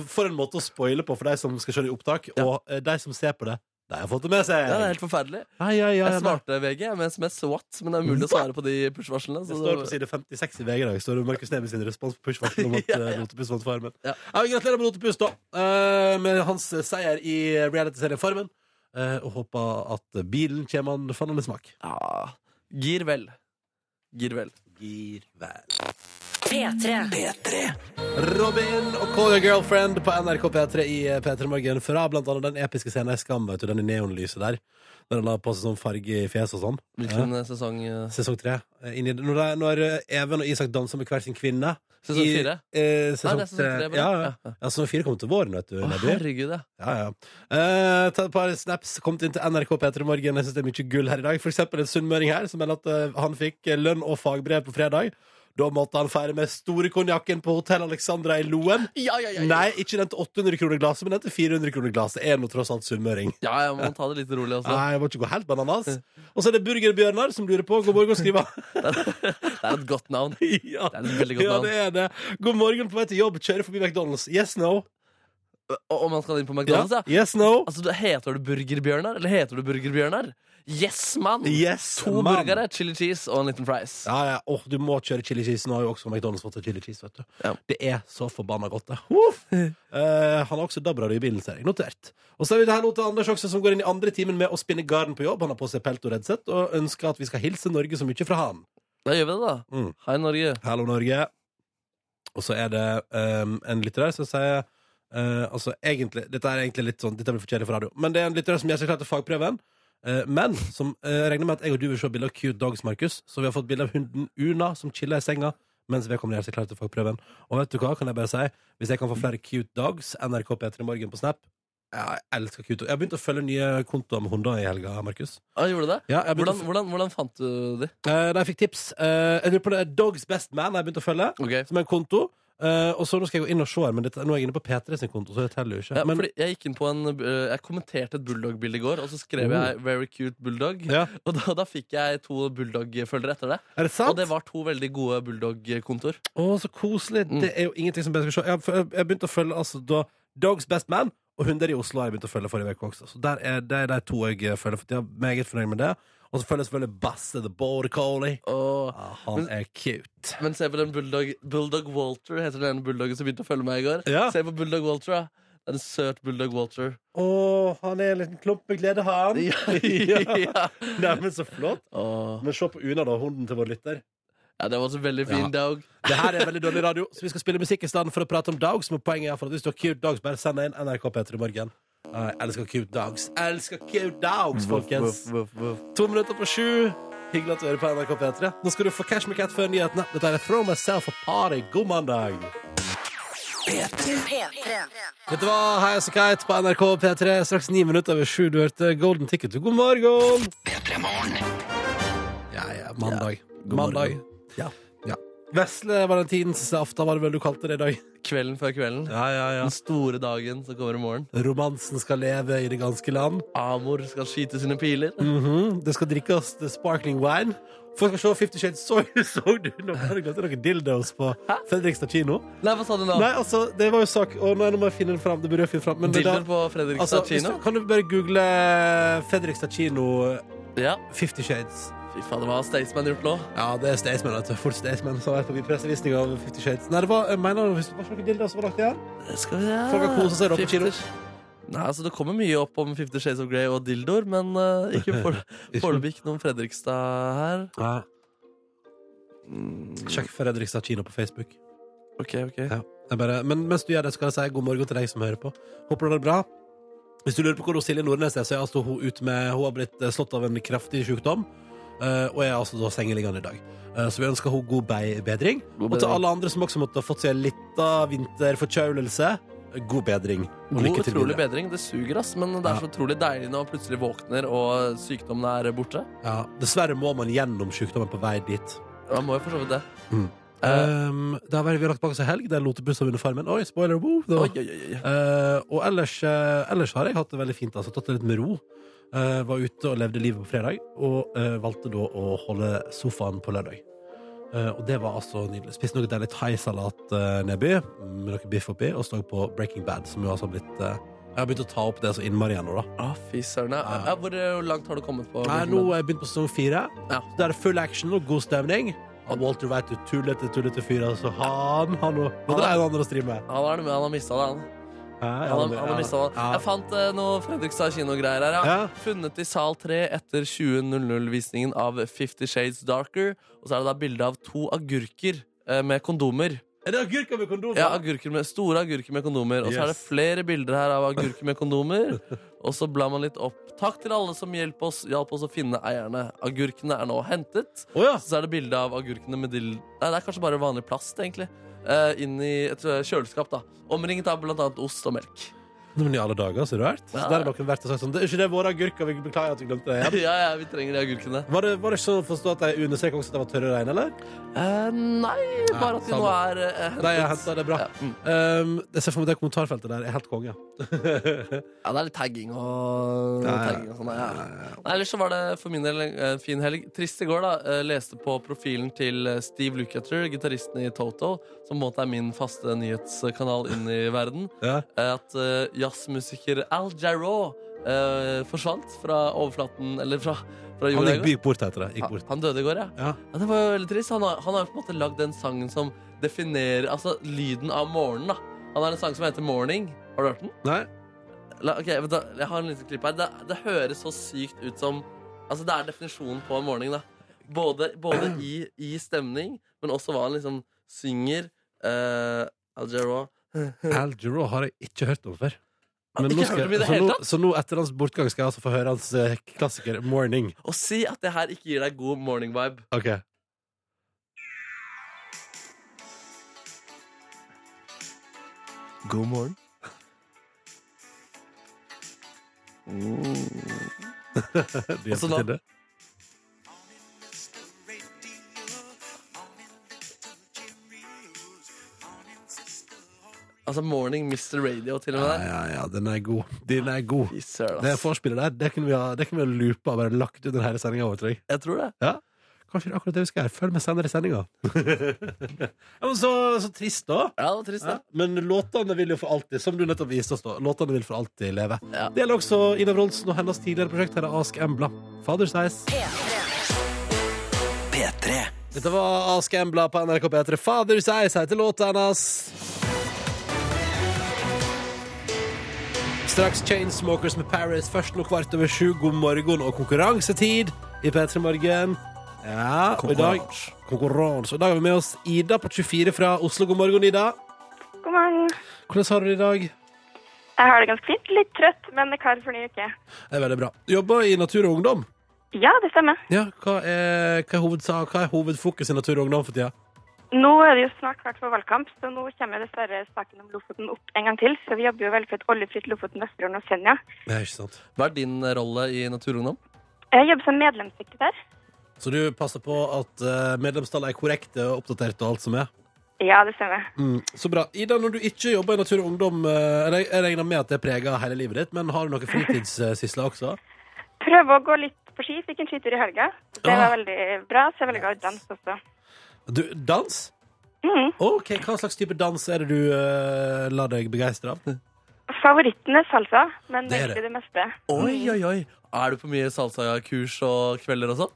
B: for en måte å spoile på for de som skal kjøre i opptak,
C: Ja.
B: og eh, de som ser på det. De har fått det med seg.
C: Ja, det er helt forferdelig.
B: Ai, ai, ai,
C: Jeg
B: nei.
C: svarte VG med SMS what, men det er mulig å svare på de push-varslene.
B: Det
C: så
B: står
C: det-
B: på side 56 i VG i dag. Står det Markus Neby sin respons på eh, push-varsel om at
C: Ja,
B: ja,
C: ja.
B: Lotepus vant Farmen.
C: Ja.
B: Ja. men gratulerer med Lotepus, da. eh, med hans seier i reality-serien Farmen. eh, og håper at bilen kommer han fannende smak.
C: Ja. Gir vel. Gir vel.
B: Gir vel.
A: P3.
B: Eh, Robin og Call Your Girlfriend på NRK P3 i P3 Morgen fra blant annet den episke scenen i Skam, vet du, den i neonlyset der. Der han har på seg sånn farge i fjes og sånn.
C: Hvilken eh, sesong? eh,
B: Sesong tre. eh, Inn i det. Når, det, er- når eh, Even og Isak danser med hver sin kvinne.
C: Sesong
B: i-
C: fire?
B: Eh,
C: Nei,
B: sesong
C: det er sesong tre. bare.
B: Ja, ja.
C: Ja.
B: ja, sesong fire kommer til våren, vet du.
C: Å,
B: Nebby.
C: herregud, ja.
B: Ja, ja. Eh, ta et par snaps kommet inn til NRK P3 Morgen. Jeg synes det er mye gull her i dag. For eksempel en sunnmøring her som melder at eh, han fikk eh, lønn og fagbrev på fredag. Da måtte han feire med store konjakken på Hotell Alexandra i Loen.
C: Ja, ja, ja, ja.
B: Nei, ikke den til 800 kroner glasset, men den til 400 kroner glasset. Er nå tross alt sunnmøring.
C: Ja, altså. ja, man må ta det litt rolig også.
B: Nei, jeg må ikke gå helt bananas. Og så er det Burgerbjørnar som lurer på. God morgen, skriver han.
C: Det er et godt navn.
B: ja.
C: Det er et veldig godt
B: ja,
C: navn.
B: det er det. God morgen på vei til jobb, kjører forbi McDonald's. Yes, no.
C: Og og man skal inn på McDonald's, ja.
B: Yes, no.
C: Altså, det- Heter du Burgerbjørnar, eller heter du Burgerbjørnar? Yes, mann!
B: Yes,
C: to
B: mann.
C: burgere, chili cheese og en liten fries.
B: Ja, ja. Åh, du må kjøre chili cheese. Nå har jo også McDonald's fått chili cheese. vet du
C: Ja.
B: Det er så forbanna godt, det. Uff. Eh, han har også dabra det i bilen, ser jeg. Notert. Og så er vi det her nå til Anders også, som går inn i andre timen med å spinne garn på jobb. Han har på seg pelt og redsett og ønsker at vi skal hilse Norge så mye fra han.
C: Da gjør vi det, da.
B: Mm.
C: Hei, Norge.
B: Hallo, Norge. Og så er det ehm, en lytter der som sier eh, Altså, egentlig Dette er egentlig litt sånn Dette blir for kjedelig for radio. Men det er en lytter der som gjør seg klar til fagprøven. eh, men som eh, regner med at jeg og du vil se bilde av cute dogs, Markus. Så vi har fått bilde av hunden Una som chiller i senga mens vedkommende gjør seg klar til fagprøven. Og vet du hva, kan jeg bare si hvis jeg kan få flere cute dogs, NRK P3 Morgen på Snap Jeg elsker cute dogs. Jeg har begynt å følge nye kontoer med hunder i helga, Markus.
C: Ah, gjorde du det?
B: Ja, jeg har begynt å
C: Hvordan, hvordan, hvordan fant du de?
B: f- eh, da jeg fikk tips eh, Jeg lurer på det er Dogs Best Man jeg har begynt å følge
C: Ok.
B: som er en konto. Eh, og så nå skal jeg gå inn og se her, men dette, nå er jeg inne på P3 sin konto, så det teller jo ikke.
C: Ja,
B: men,
C: fordi jeg gikk inn på en eh, Jeg kommenterte et bulldog-bilde i går, og så skrev
B: Oh.
C: jeg 'very cute bulldog'.
B: ja.
C: Og da, da fikk jeg to bulldog-følgere etter det.
B: Er det
C: Og
B: sant?
C: det var to veldig gode bulldog-kontor.
B: Å, så koselig.
C: Mm.
B: Det er jo ingenting som bedre skal se. Jeg, har- jeg, jeg begynte å følge altså, da, Dogs Best Man og Hunder i Oslo har jeg begynt å følge forrige uke også. Så der er det er de to jeg eh, følger. For jeg er meget fornøyd med det. Og så følger jeg selvfølgelig Basse the Border Collie.
C: Og,
B: Ja, han
C: Men-
B: er cute.
C: men se på den bulldog Bulldog Walter, heter den ene bulldoggen som begynte å følge meg i går.
B: Ja.
C: Se på bulldog Walter, da. Det er en søt bulldog Walter.
B: Å, han er en liten klump med glede, han.
C: Ja.
B: ja.
C: ja.
B: Neimen, så flott.
C: Åh.
B: Men se på Una, da. Hunden til vår lytter.
C: ja, det var også en veldig
B: Ja.
C: fin dog.
B: Det her er veldig dårlig radio, så vi skal spille musikk i stedet for å prate om dogs. Men poenget er for at hvis du har cute dogs, bare send deg inn NRK Peter i morgen. Jeg elsker cute dogs. Jeg elsker cute dogs, folkens.
C: Voff, voff, voff.
B: To minutter på sju. Hyggelig at du hører på NRK P3. Nå skal du få Cash Me Cat før nyhetene. Dette er Throw Myself a Party. God mandag.
A: P3.
B: Dette var High As A Kite på NRK P3. Straks ni minutter over sju. Du hørte Golden Ticket. God morgen! Ja, ja. Mandag.
C: God
B: mandag.
C: morgen.
B: Ja. ja. Vesle valentinsaften var det vel du kalte det i dag.
C: Kvelden før kvelden.
B: Ja, ja, ja.
C: Den store dagen som kommer i morgen.
B: Romansen skal leve i det ganske land.
C: Amor skal skyte sine piler.
B: Mhm. Det skal drikkes the sparkling wine. Folk skal se Fifty Shades Soy. Så du nå har jeg glemt noen dildos på Fredrikstad kino?
C: Nei, hva sa du nå?
B: Nei, altså, det var jo sak Å, nei, nå må jeg finne den fram. Det burde jeg finne fram. Men det
C: Dildoer
B: da-
C: på Fredrikstad
B: altså, hvis
C: kino?
B: du, kan du bare google Fredrikstad kino
C: Ja.
B: Fifty Shades?
C: Fy faen, hva har Staysman gjort nå?
B: Ja, det er Staysman. vet du. Fort Staysman som har vært på min pressevisning av Fifty Shades. Nei, det var, jeg mener, hvis det var ikke noen dildos som var lagt igjen?
C: Det skal vi
B: Folk har koset seg opp på kino.
C: Nei, altså Det kommer mye opp om Fifty Shades of Grey og dildoer, men eh, ikke for- foreløpig ikke noen Fredrikstad her.
B: Nei.
C: Mm,
B: Sjekk Fredrikstad kino på Facebook.
C: ok, ok
B: Ja. Jeg bare, men mens du gjør det, skal jeg si god morgen til deg som hører på. Håper du har det bra. Hvis du lurer på hvor hun Silje Nordnes er, så er altså hun ute med Hun har blitt eh, slått av en kraftig sykdom. eh, og er altså da sengeliggende i dag. Eh, så vi ønsker henne god bei- bedring.
C: God
B: Og til
C: bedring.
B: alle andre som også måtte ha fått seg en lita vinterforkjølelse, eh, god bedring. Og
C: God,
B: lykke til
C: utrolig
B: videre.
C: bedring. Det suger, ass, men det er
B: Ja.
C: så utrolig deilig når man plutselig våkner og sykdommen er borte.
B: Ja, dessverre må man gjennom sykdommen på vei dit.
C: Man må jo for så vidt det.
B: Mm.
C: Eh,
B: Um, det har vært, vi har lagt bak oss en helg der Lotepus har vunnet Farmen. Oi, spoiler! Woo, det var-
C: oi, oi, oi, oi.
B: Eh, og ellers, eh, ellers har jeg hatt det veldig fint. Altså, tatt det litt med ro. Eh, var ute og levde livet på fredag, og eh, valgte da å holde sofaen på lørdag. Eh, og det var altså nydelig. Spiste noe deilig thaisalat uh, nedby, med noe biff oppi, og så på Breaking Bad, som jo altså har blitt eh, Jeg har begynt å ta opp det så innmari igjen nå, da.
C: Ah, Fy søren. ja.
B: Ja.
C: Ja, Hvor eh, langt har du kommet på?
B: Nei, nå har jeg begynt på sesong fire.
C: Ja.
B: Så Der er det full action og god stemning. Og Walter White er tullete, tullete fyr. Altså, han har noe Og det er en annen å stri med.
C: Han har, han har mista det, han. Han har, han har mistet det. Jeg fant eh, noe Fredrikstad kinogreier her. Ja.
B: Ja.
C: Funnet i sal 3 etter 20.00-visningen av Fifty Shades Darker. Og så er det da bilde av to agurker eh, med kondomer.
B: Er det agurker med kondom?
C: Ja, agurker med, Store agurker med kondomer. Og så er det
B: Yes.
C: flere bilder her av agurker med kondomer. Og så blar man litt opp. Takk til alle som hjelp oss, hjalp oss å finne eierne. Agurkene er nå hentet.
B: Å ja.
C: Så er det bilde av agurkene med dill... Nei, det er kanskje bare vanlig plast, egentlig. Eh, inn i et eh, kjøleskap, da. Omringet av blant annet ost og melk.
B: Nei, Men i alle dager, så rart.
C: Ja.
B: Der har noen vært og sagt sånn Det er ikke det våre agurker, vi beklager at vi glemte det
C: Ja,
B: igjen.
C: ja, vi trenger de agurkene.
B: Var det, var det ikke sånn å forstå at de understreket også at de var tørre og reine, eller?
C: Eh, nei, bare at de nå
B: samme.
C: er eh, hentet.
B: Nei, jeg hentet det bra.
C: Ja, mm.
B: Um, jeg ser for meg det kommentarfeltet der er helt konge.
C: Ja, det er litt tagging og,
B: Ja, ja.
C: tagging og sånn. Ja. Nei, ellers så var det for min del en eh, fin helg. Trist i går, da. Eh, Leste på profilen til eh, Steve Lukather, gitaristen i Toto, som på en måte er min faste nyhetskanal inn i verden,
B: Ja.
C: eh, at eh, jazzmusiker Al Jarreau eh, forsvant fra overflaten Eller fra, fra
B: Han
C: jorda
B: gikk
C: i går.
B: by- bort etter det. Gikk
C: Han,
B: bort.
C: han døde i går, ja.
B: Ja.
C: ja. Det var jo veldig trist. Han har, han har jo på en måte lagd den sangen som definerer Altså lyden av morgenen, da. Han har en sang som heter 'Morning'. Har du hørt den?
B: Nei?
C: La, ok, vent da, Jeg har en liten klipp her. Det, det høres så sykt ut som Altså, det er definisjonen på en morgen, da. Både, både i, i stemning, men også hva han liksom synger. Uh, Al Jarreau.
B: Al Jarreau har jeg ikke hørt om før.
C: Har ikke hørt om i det
B: så,
C: hele
B: nå, så nå etter hans bortgang skal jeg altså få høre hans eh, klassiker 'Morning'.
C: Og si at det her ikke gir deg god morning vibe.
B: Ok
C: God morgen.
B: Du
C: Og
B: hjelper
C: så da-
B: til det?
C: Altså Morning Mr. Radio, til og
B: Ja,
C: med. der.
B: ja, ja, den er god. Den er god.
C: Fy søren,
B: Det
C: ass.
B: vorspielet der, det kunne vi ha, det kunne vi ha loopa og bare lagt ut denne sendinga over, tror jeg.
C: Jeg tror det.
B: Ja. Kanskje det er akkurat det vi skal gjøre. Følg med senere i sendinga. ja, men så, så trist, da.
C: Ja, det var trist, det.
B: Men låtene vil jo for alltid Som du nettopp viste oss, da. Låtene vil for alltid leve.
C: Ja.
B: Det gjelder også Ina Wroldsen og hennes tidligere prosjekt her, Ask Embla. Fathers Eyes. Dette var Ask Embla på NRK P3. Fathers Eyes heter låta hennes. Straks Chainsmokers med Paris. Først nå kvart over sju. God morgen og konkurransetid i P3 Morgen. Ja, og i dag Konkurranse. Og I dag har vi med oss Ida på 24 fra Oslo. God morgen, Ida.
D: God morgen.
B: Hvordan har du det i dag?
D: Jeg har det ganske fint. Litt trøtt, men klar for ny uke.
B: Det er veldig bra. Jobber i Natur og Ungdom.
D: Ja, det stemmer.
B: Ja, hva er, hva er, hovedsa- hva er hovedfokus i Natur og Ungdom for tida?
D: Nå er det jo snart klart for valgkamp, så nå kommer dessverre saken om Lofoten opp en gang til. Så vi jobber jo veldig for et oljefritt Lofoten, Vesterålen og Senja.
B: Nei, ikke sant.
C: Hva er din eh, rolle i Naturungdom?
D: Jeg jobber som medlemssekretær.
B: Så du passer på at eh, medlemstallet er korrekte og oppdatert og alt som er?
D: Ja, det stemmer.
B: Mm, så bra. Ida, når du ikke jobber i Natur og Ungdom, eh, eller jeg regner med at det preger hele livet ditt, men har du noen fritidssysler også?
D: Prøver å gå litt på ski. Fikk en skitur i helga. Det
B: Ah.
D: var veldig bra. Så jeg velger å danse også.
B: Du, dans?
D: Mm.
B: Ok, Hva slags type dans er det du eh, lar deg begeistre av?
D: Favoritten er salsa, men
B: Det er det.
D: egentlig det meste.
C: Oi, oi, oi! Er du på mye salsa-kurs og kvelder og sånn?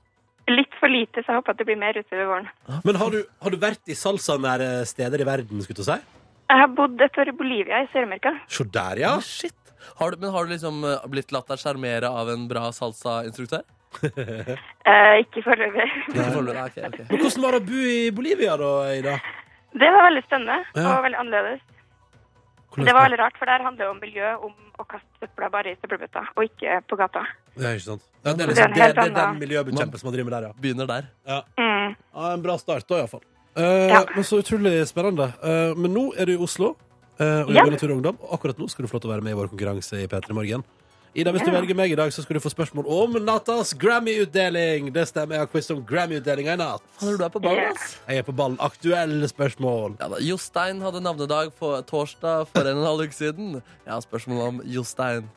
D: Litt for lite, så jeg håper at det blir mer utover våren.
B: Men har du, har du vært i salsanære steder i verden? skulle du si?
D: Jeg har bodd et år i Bolivia, i Sør-Amerika.
B: Se der, ja.
C: Ah, shit. Har du, men har du liksom eh, blitt latt deg sjarmere av en bra salsa-instruktør?
D: Eh, ikke foreløpig.
C: Ikke foreløpig, nei, ok, ok.
B: Men hvordan var det å bo i Bolivia, da, Ida?
D: Det var veldig spennende
B: Ja.
D: og veldig annerledes.
B: Hvordan
D: Det var veldig rart, for der handler det om miljø, om å kaste søpla bare i søppelbøtta, og ikke på gata.
B: Det er ikke sant. Ja, det, er
D: Det er
B: liksom,
D: en
B: det,
D: helt
B: det er den
D: annen-
B: miljøbekjempelsen man driver med der, ja.
C: Begynner der.
D: Mm.
B: ja en bra start, da, iallfall. Uh,
D: Ja.
B: Men så utrolig spennende. Eh, men nå er du i Oslo eh, og
D: Ja.
B: jobber i Natur og Ungdom. Og akkurat nå skal du få lov til å være med i vår konkurranse i P3 Morgen. Ida, hvis du velger meg i dag, så skal du få spørsmål om nattas Grammy-utdeling. Det stemmer, jeg har quiz om Grammy-utdelinga i natt.
C: Fader, du er på ballen, ass.
B: Jeg er på ballen. Aktuelle spørsmål.
C: Ja, da. Jostein hadde navnedag på torsdag for en og en halv uke siden. Jeg har spørsmål om Jostein.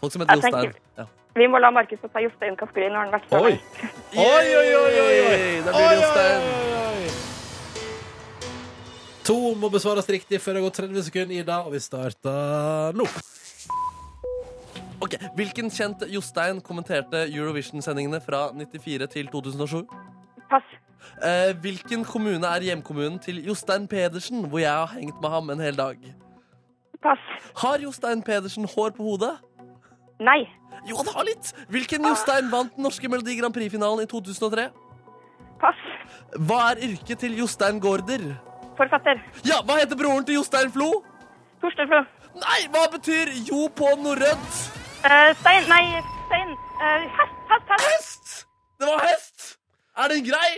C: Folk som heter
D: Jeg tenker-
C: Jostein. Ja.
D: Vi må la Markus få ta Jostein-kategorien når han har vært
B: Oi!
D: sammen.
B: Oi, oi, oi, oi, oi.
C: Da blir det
B: Oi, oi,
C: Jostein.
B: oi, oi. To må besvares riktig før det går 30 sekunder, Ida, og vi starter nå.
C: Ok, Hvilken kjent Jostein kommenterte Eurovision-sendingene fra 94 til 2007?
D: Pass.
C: Eh, hvilken kommune er hjemkommunen til Jostein Pedersen, hvor jeg har hengt med ham en hel dag?
D: Pass.
C: Har Jostein Pedersen hår på hodet?
D: Nei.
C: Jo, han har litt! Hvilken Jostein vant den norske Melodi Grand Prix-finalen i 2003?
D: Pass.
C: Hva er yrket til Jostein Gaarder?
D: forfatter.
C: Ja, hva heter broren til Jostein Flo?
D: Torstein Flo.
C: Nei, hva betyr jo på norrønt?
D: Eh, stein Nei, stein. Eh, hest, hest, hest.
C: Hest! Det var hest! Er den grei?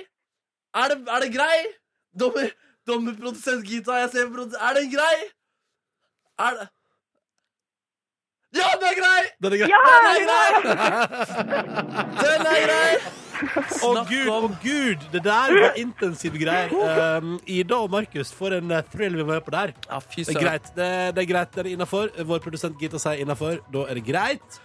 C: Er det, er det grei? Dommer, dommerprodusent Gita, jeg ser produ- Er den grei? Er det Ja, den er grei!
B: Den er grei.
D: Ja!
C: Den er grei! Den er grei!
B: Å
C: Snakk
B: gud,
C: om-
B: å gud! Det der var intensive greier. Um, Ida og Markus, for en eh, thrill vi var på der.
C: Ja, fy
B: Det er greit, det, det er greit, det er innafor. Vår produsent Gita sier innafor. Da er det greit.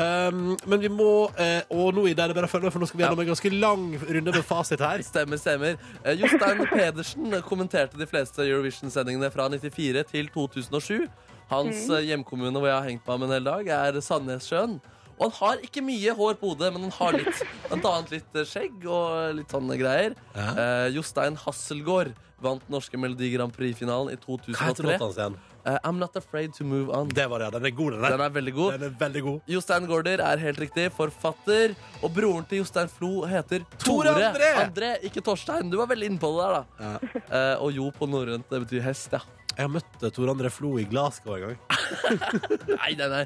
B: Um, men vi må eh, Og nå Ida, er det bare å følge med, for nå skal vi gjennom en ganske lang runde med fasit her.
C: Stemmer, stemmer. Eh, Jostein Pedersen kommenterte de fleste Eurovision-sendingene fra 94 til 2007. Hans eh, hjemkommune hvor jeg har hengt meg med en hel dag, er Sandnessjøen. Og han har ikke mye hår på hodet, men han har litt, blant annet litt eh, skjegg og litt sånne greier. Eh, Jostein Hasselgaard vant den norske Melodi Grand Prix-finalen i
B: Hva heter
C: 2003.
B: låta hans igjen?
C: Eh, I'm Not Afraid To Move On.
B: Det var det, ja. Den er god, den
C: Den
B: der.
C: er veldig god.
B: Den er veldig god.
C: Jostein Gaarder er helt riktig forfatter. Og broren til Jostein Flo heter
B: Tore
C: Tore
B: André.
C: André. Ikke Torstein. Du var veldig inne på det der, da. Eh, og jo på norrønt, det betyr hest, ja.
B: Jeg har møtt eh, Tor André Flo i Glasgow en gang.
C: Nei, nei, nei.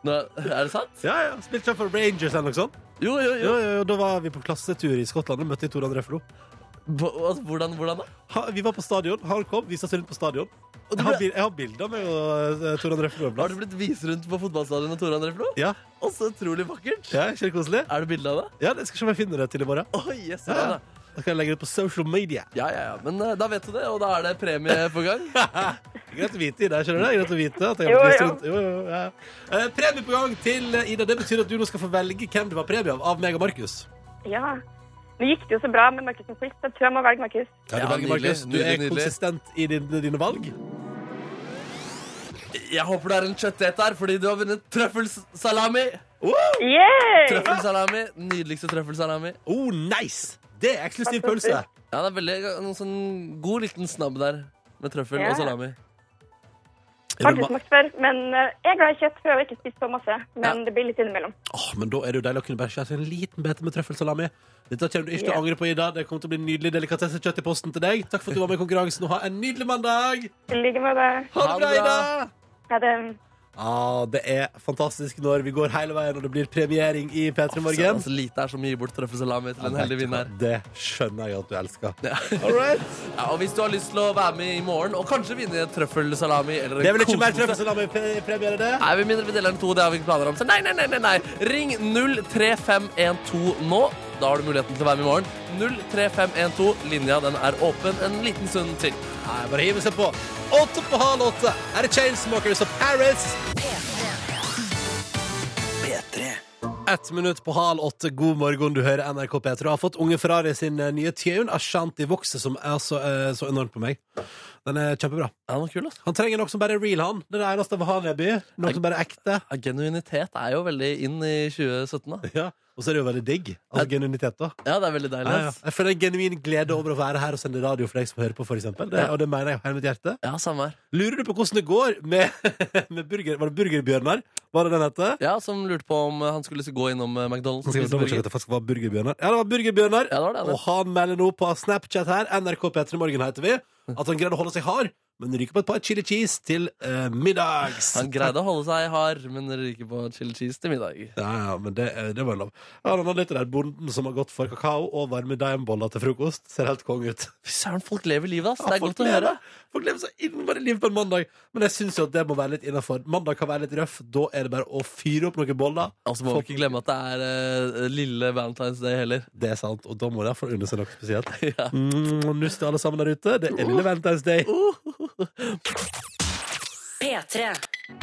C: Nå, er det sant?
B: Ja, ja, Spilte for Rangers eller noe sånt.
C: Jo, jo, jo.
B: Jo, jo, jo, Da var vi på klassetur i Skottland og møtte Tor André Flo.
C: Hva- hva- Hvordan, hvordan da?
B: Ha, vi var på stadion. Han kom, viste oss rundt på stadion.
C: Og
B: Jeg
C: du
B: har,
C: ble,
B: bil, jeg har bilder av meg og eh, Tor André Flo. en
C: har
B: plass.
C: du blitt vist rundt på fotballstadionet, Tore André Flo?
B: Ja,
C: Og så utrolig vakkert.
B: ja kjempekoselig.
C: Er det bilde av det?
B: Ja, jeg skal se om jeg finner det til i morgen.
C: Oi, yes,
B: Ja,
C: ja,
B: ja.
C: da.
B: Da kan jeg legge det på social media.
C: ja, ja, ja. Men eh, da vet du det, og da er det premie på gang.
B: Greit å vite, Ida. Skjønner du det? Greit å vite at jeg
D: Jo,
B: har blitt
D: jo.
B: rundt. Jo, jo, ja. Eh, premie på gang til eh, Ida. Det betyr at du nå skal få velge hvem det var premie av, av meg og Markus.
D: Ja. Nå gikk det jo så bra med Markus som quiz, så jeg tror jeg må velge Markus.
B: Ja, du,
C: Ja,
B: velger,
C: nydelig,
B: Markus. du
C: nydelig,
B: er
C: nydelig.
B: konsistent i dine, dine valg.
C: Jeg håper det er en kjøttdate her, fordi du har vunnet trøffelsalami.
D: Yeah!
C: Trøffelsalami. Nydeligste trøffelsalami.
B: Oh, nice! Det er eksklusiv pølse.
C: Ja, det er veldig en sånn god liten snabb der med trøffel
D: Ja.
C: og salami.
D: Har ikke smakt før, men eh, jeg er glad i kjøtt. Prøver ikke å spise så masse, men
C: Ja.
D: det blir litt innimellom.
B: Åh, men da er det jo deilig å kunne bare skjære seg en liten bete med trøffelsalami. Dette kommer du ikke til
D: Ja.
B: å angre på, Ida. Det kommer til å bli nydelig delikatessekjøtt i posten til deg. Takk for at du var med i konkurransen, og ha en nydelig mandag!
D: I like måte.
B: Ha
C: Ha
B: det
C: det
B: bra,
C: bra.
B: Ida!
D: Ja, det-
B: Ah, det er fantastisk når vi går hele veien, og det blir premiering i P3
C: Så
B: Morgen.
C: altså, lite er som å gi bort trøffelsalami til en heldig vinner.
B: Det skjønner jeg at du elsker.
C: Ja.
B: All right.
C: Ja, og hvis du har lyst til å være med i morgen og kanskje vinne trøffelsalami eller en
B: Det er vel ikke mer
C: kosepose-
B: trøffelsalami i premie, er det det?
C: Nei, vi mindre vi deler den to, det har vi ikke planer om. Så nei, nei, nei, nei, nei. Ring 03512 nå. Da har du muligheten til å være med i morgen. 03512. Linja den er åpen en liten stund til.
B: Nei, bare hive seg på. Åtte på halv åtte. Her er Chainsmokers of Paris. Ett minutt på halv åtte. God morgen, du hører NRK P3. Har fått Unge Ferrari sin eh, nye tune, Ashanti Vokse, som er så, eh, så enormt på meg. Den er kjempebra.
C: Ja, den var kul, altså.
B: Han trenger noe som bare er real, han. Det er det eneste av han i by. Noe som bare er ekte.
C: Ja, genuinitet er jo veldig inn i 2017, da.
B: Ja. Og så er det jo veldig digg. Altså genuinitet, da.
C: Ja, det er veldig deilig.
B: Ja, ja.
C: ass.
B: Jeg føler en genuin glede over å være her og sende radio for deg som hører på, for eksempel. Det,
C: Ja.
B: og det mener jeg av hele mitt hjerte.
C: Ja, samme her.
B: Lurer du på hvordan det går med, med burger, Var det Burgerbjørnar? Var det den hette?
C: Ja, som lurte på om han skulle gå innom eh, McDonald's.
B: Skal
C: og
B: vi
C: spise
B: dobbeltsjekke at
C: burger.
B: det faktisk var Burgerbjørnar? Ja, det var Burgerbjørnar.
C: Ja, det var det, det.
B: Og han melder nå på Snapchat her, NRK P3 Morgen heter vi, at han greide å holde seg hard, men ryker på et par chili cheese til eh, middags.
C: Han greide å holde seg hard, men ryker på chili cheese til middag.
B: Ja, ja, men det, eh, det var lov. Ja, han hadde litt den der bonden som har gått for kakao og varme daimboller til frokost. Ser helt kong ut.
C: Fy søren, folk lever livet, ass.
B: Ja,
C: det er
B: folk
C: godt å
B: lever.
C: høre.
B: Folk lever så innmari liv på en mandag. Men jeg syns jo at det må være litt innafor. Mandag kan være litt røff. Da er det bare å fyre opp noen boller.
C: Og så må vi
B: Folk-
C: ikke glemme at det er eh, lille Valentine's Day heller.
B: Det er sant, og da må dere få unne seg noe spesielt.
C: Ja. Uh.
B: Mm, og Nuss til alle sammen der ute. Det er lille Valentine's Day.
A: P3.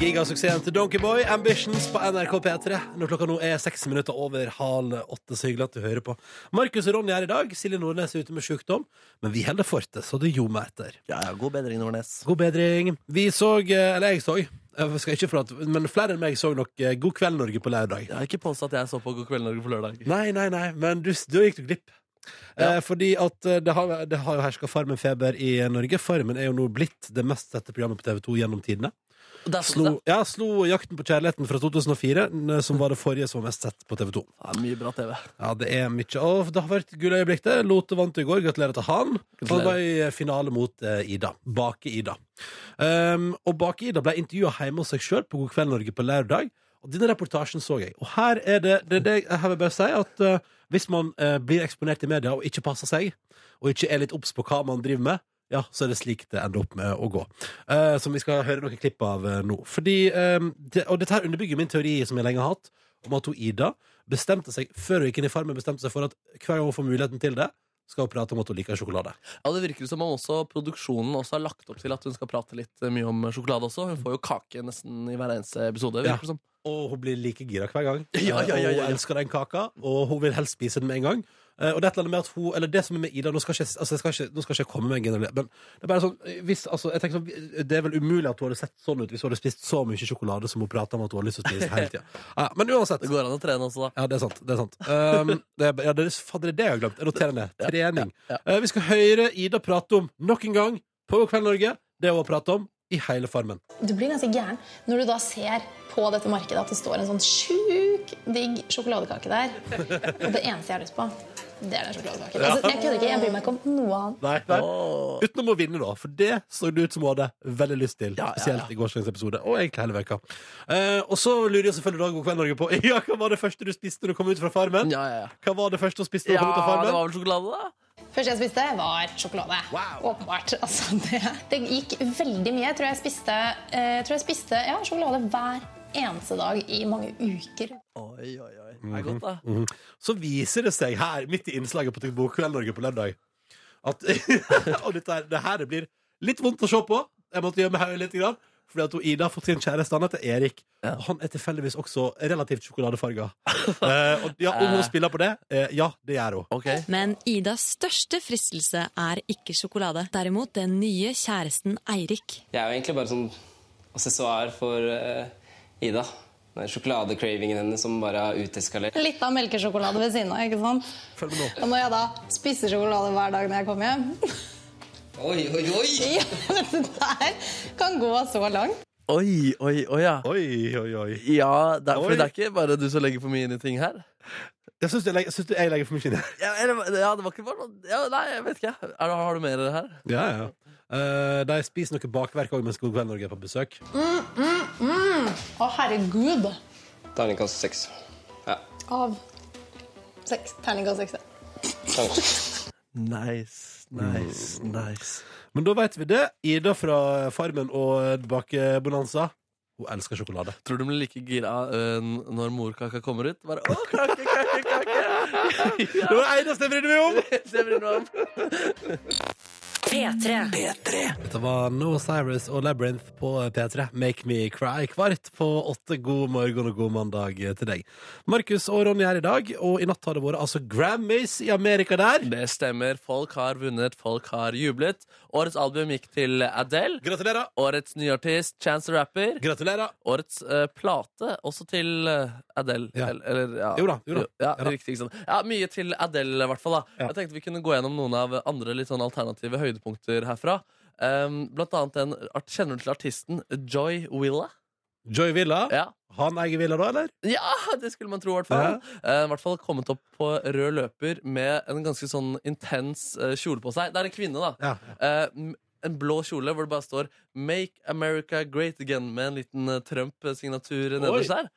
B: Gigasuksessen til Donkeyboy, Ambitions på NRK P3. Når klokka nå er seks minutter over halv åtte, så hyggelig at du hører på. Markus og Ronny er i dag. Silje Nordnes er ute med sykdom, men vi holder fortet, så det ljomer etter.
C: Ja, ja, god bedring, Nordnes.
B: God bedring. Vi så, eh, eller jeg så, jeg skal ikke forlate, men flere enn meg så nok eh, God kveld Norge på lørdag.
C: Jeg har ikke påstått at jeg så på God kveld Norge på lørdag.
B: Nei, nei, nei, men du, da gikk du glipp. Eh, fordi at eh, det har, det har jo herska Farmen-feber i Norge. Farmen er jo nå blitt det mest sette programmet på TV 2 gjennom tidene.
C: Det er så-
B: Slo, ja, slo Jakten på kjærligheten fra 2004, n- som var det forrige som var mest sett på TV 2.
C: Det er mye bra TV.
B: Ja, det er mye Å, Det har vært gulle øyeblikk, det. Lote vant i går. Gratulerer til han. Han
C: Gratulerer.
B: var i finale mot eh, Ida. Bake-Ida. Um, og Bake-Ida ble intervjua hjemme hos seg sjøl på God kveld Norge på lørdag. Og Denne reportasjen så jeg. Og her er det, det, er det jeg her vil bare si at eh, hvis man eh, blir eksponert i media og ikke passer seg, og ikke er litt obs på hva man driver med, ja, så er det slik det ender opp med å gå. Eh, som vi skal høre noen klipp av eh, nå. Fordi, eh, det, og dette her underbygger min teori som jeg lenge har hatt, om at hun Ida bestemte seg før hun gikk inn i farmen bestemte seg for at hver gang hun får muligheten til det, skal hun prate om at hun liker sjokolade.
C: Ja, Det virker som om også produksjonen også har lagt opp til at hun skal prate litt eh, mye om sjokolade også. Hun får jo kake nesten i hver eneste episode.
B: Ja.
C: virker det som.
B: Og hun blir like gira hver gang.
C: liksom. Ja, ja, ja, ja,
B: Og
C: ja.
B: hun elsker den kaka, og hun vil helst spise den med en gang. Eh, Og det, er et eller annet med at hun, eller det som er med Ida Nå skal ikke, altså jeg skal ikke, nå skal ikke jeg komme med en generell Men det er bare sånn hvis, altså, jeg tenker sånn Det er vel umulig at hun hadde sett sånn ut hvis hun hadde spist så mye sjokolade som hun prater om at hun har lyst til å spise hele tida. Ja, men uansett.
C: Det går an å trene også, da.
B: Ja, det er sant. Det er sant. Um, det, er, ja, det, er, fader, det er det jeg har glemt. Jeg noterer ned. Trening. Eh, vi skal høre Ida prate om nok en gang på God kveld Norge det hun har pratet om i hele Farmen.
E: Du blir ganske gæren når du da ser på dette markedet at det står en sånn sjuk digg sjokoladekake der. Og det eneste jeg har lyst på, det er den sjokoladekaken. Altså, jeg kødder ikke, jeg bryr meg ikke om noe annet.
B: Nei, nei. Utenom å vinne, da. For det så det ut som hun hadde veldig lyst til.
C: Ja, ja,
B: spesielt
C: ja.
B: i gårsdagens episode. Og egentlig hele veka. Eh, og så lurer jeg selvfølgelig da God kveld Norge på Ja, hva var det første du spiste når du kom ut fra Farmen?
C: Ja, ja, ja.
B: Hva var det første du spiste når du
C: Ja,
B: kom ut av
C: det
B: Farmen?
C: var vel sjokolade, da?
E: Første jeg spiste, var sjokolade. Åpenbart. Altså, det, det gikk veldig mye. Jeg tror jeg spiste, eh, jeg tror jeg spiste ja, sjokolade hver eneste dag i mange uker.
C: Oi, oi, oi. Det er godt, da.
B: Så viser det seg her, midt i innslaget på God kveld Norge på lørdag, at Og dette her, det her blir litt vondt å se på. Jeg måtte gjemme hodet litt. Grann, fordi at hun Ida har fått sin kjæreste, han heter Erik. Og Han er tilfeldigvis også relativt sjokoladefarga. eh, og ja, om hun spiller på det? Eh, ja, det gjør hun.
C: Ok.
F: Men Idas største fristelse er ikke sjokolade, derimot den nye kjæresten Eirik.
G: Jeg er jo egentlig bare sånn assessoar for eh, Ida. Den sjokoladecravingen hennes som bare har uteskalert.
E: Litt av melkesjokolade ved siden av, ikke sant?
B: Følg med nå.
E: Og når jeg da spiser sjokolade hver dag når jeg kommer hjem
G: Oi, oi, oi!
E: ja, Det der kan gå så langt.
C: Oi, oi, oi, ja.
B: Oi, oi, oi.
C: Ja, det
B: Oi.
C: er, for det er ikke bare du som legger for mye inn i ting her.
B: Jeg syns du jeg, syns du jeg legger for mye inn i det.
C: Ja, eller, ja, det var ikke bare noe- ja, Nei, jeg vet ikke. Er, det- har du mer her?
B: Ja, ja. Eh, de spiser noe bakverk òg mens God kveld Norge er på besøk.
E: Mm, Å, herregud.
G: Terningkast seks. Ja.
E: Av seks. Terningkast seks. ja.
G: terningkast.
C: Nice, nice, nice.
B: Mm. Men da veit vi det. Ida fra Farmen og eh, Bakebonanza. Hun elsker sjokolade.
C: Tror du de blir like gira ø, når morkaka kommer ut? Bare, Å, kake, kake, kake!
B: Det var det eneste jeg brydde meg om!
C: Det blir noe om.
A: P3.
B: Dette var Noah Cyrus og Labyrinth på P3. Make me cry kvart på åtte. God morgen og god mandag til deg. Markus og Ronny er i dag, og i natt har det vært altså Grammys i Amerika der.
C: Det stemmer. Folk har vunnet, folk har jublet. Årets album gikk til Adele.
B: Gratulerer!
C: Årets nye artist, Chance the Rapper.
B: Gratulerer!
C: Årets eh, plate også til eh, Adele.
B: Ja.
C: Eller, eller, ja.
B: Jo da, jo da.
C: Ja,
B: Ja da.
C: Riktig, ikke sant? ja, mye til Adele, i hvert fall. Da.
B: Ja.
C: Jeg tenkte vi kunne gå gjennom noen av andre litt sånn alternative høydepunkter herfra. Um, blant annet en art- Kjenner du til artisten Joy Willa?
B: Joy Villa.
C: Ja.
B: Han eier Villa da, eller?
C: ja, det skulle man tro, i hvert fall. Eh, I hvert fall kommet opp på rød løper med en ganske sånn intens eh, kjole på seg. Det er en kvinne, da.
B: Ja.
C: Eh, m- en blå kjole hvor det bare står 'Make America Great Again' med en liten eh, Trump-signatur nederst der.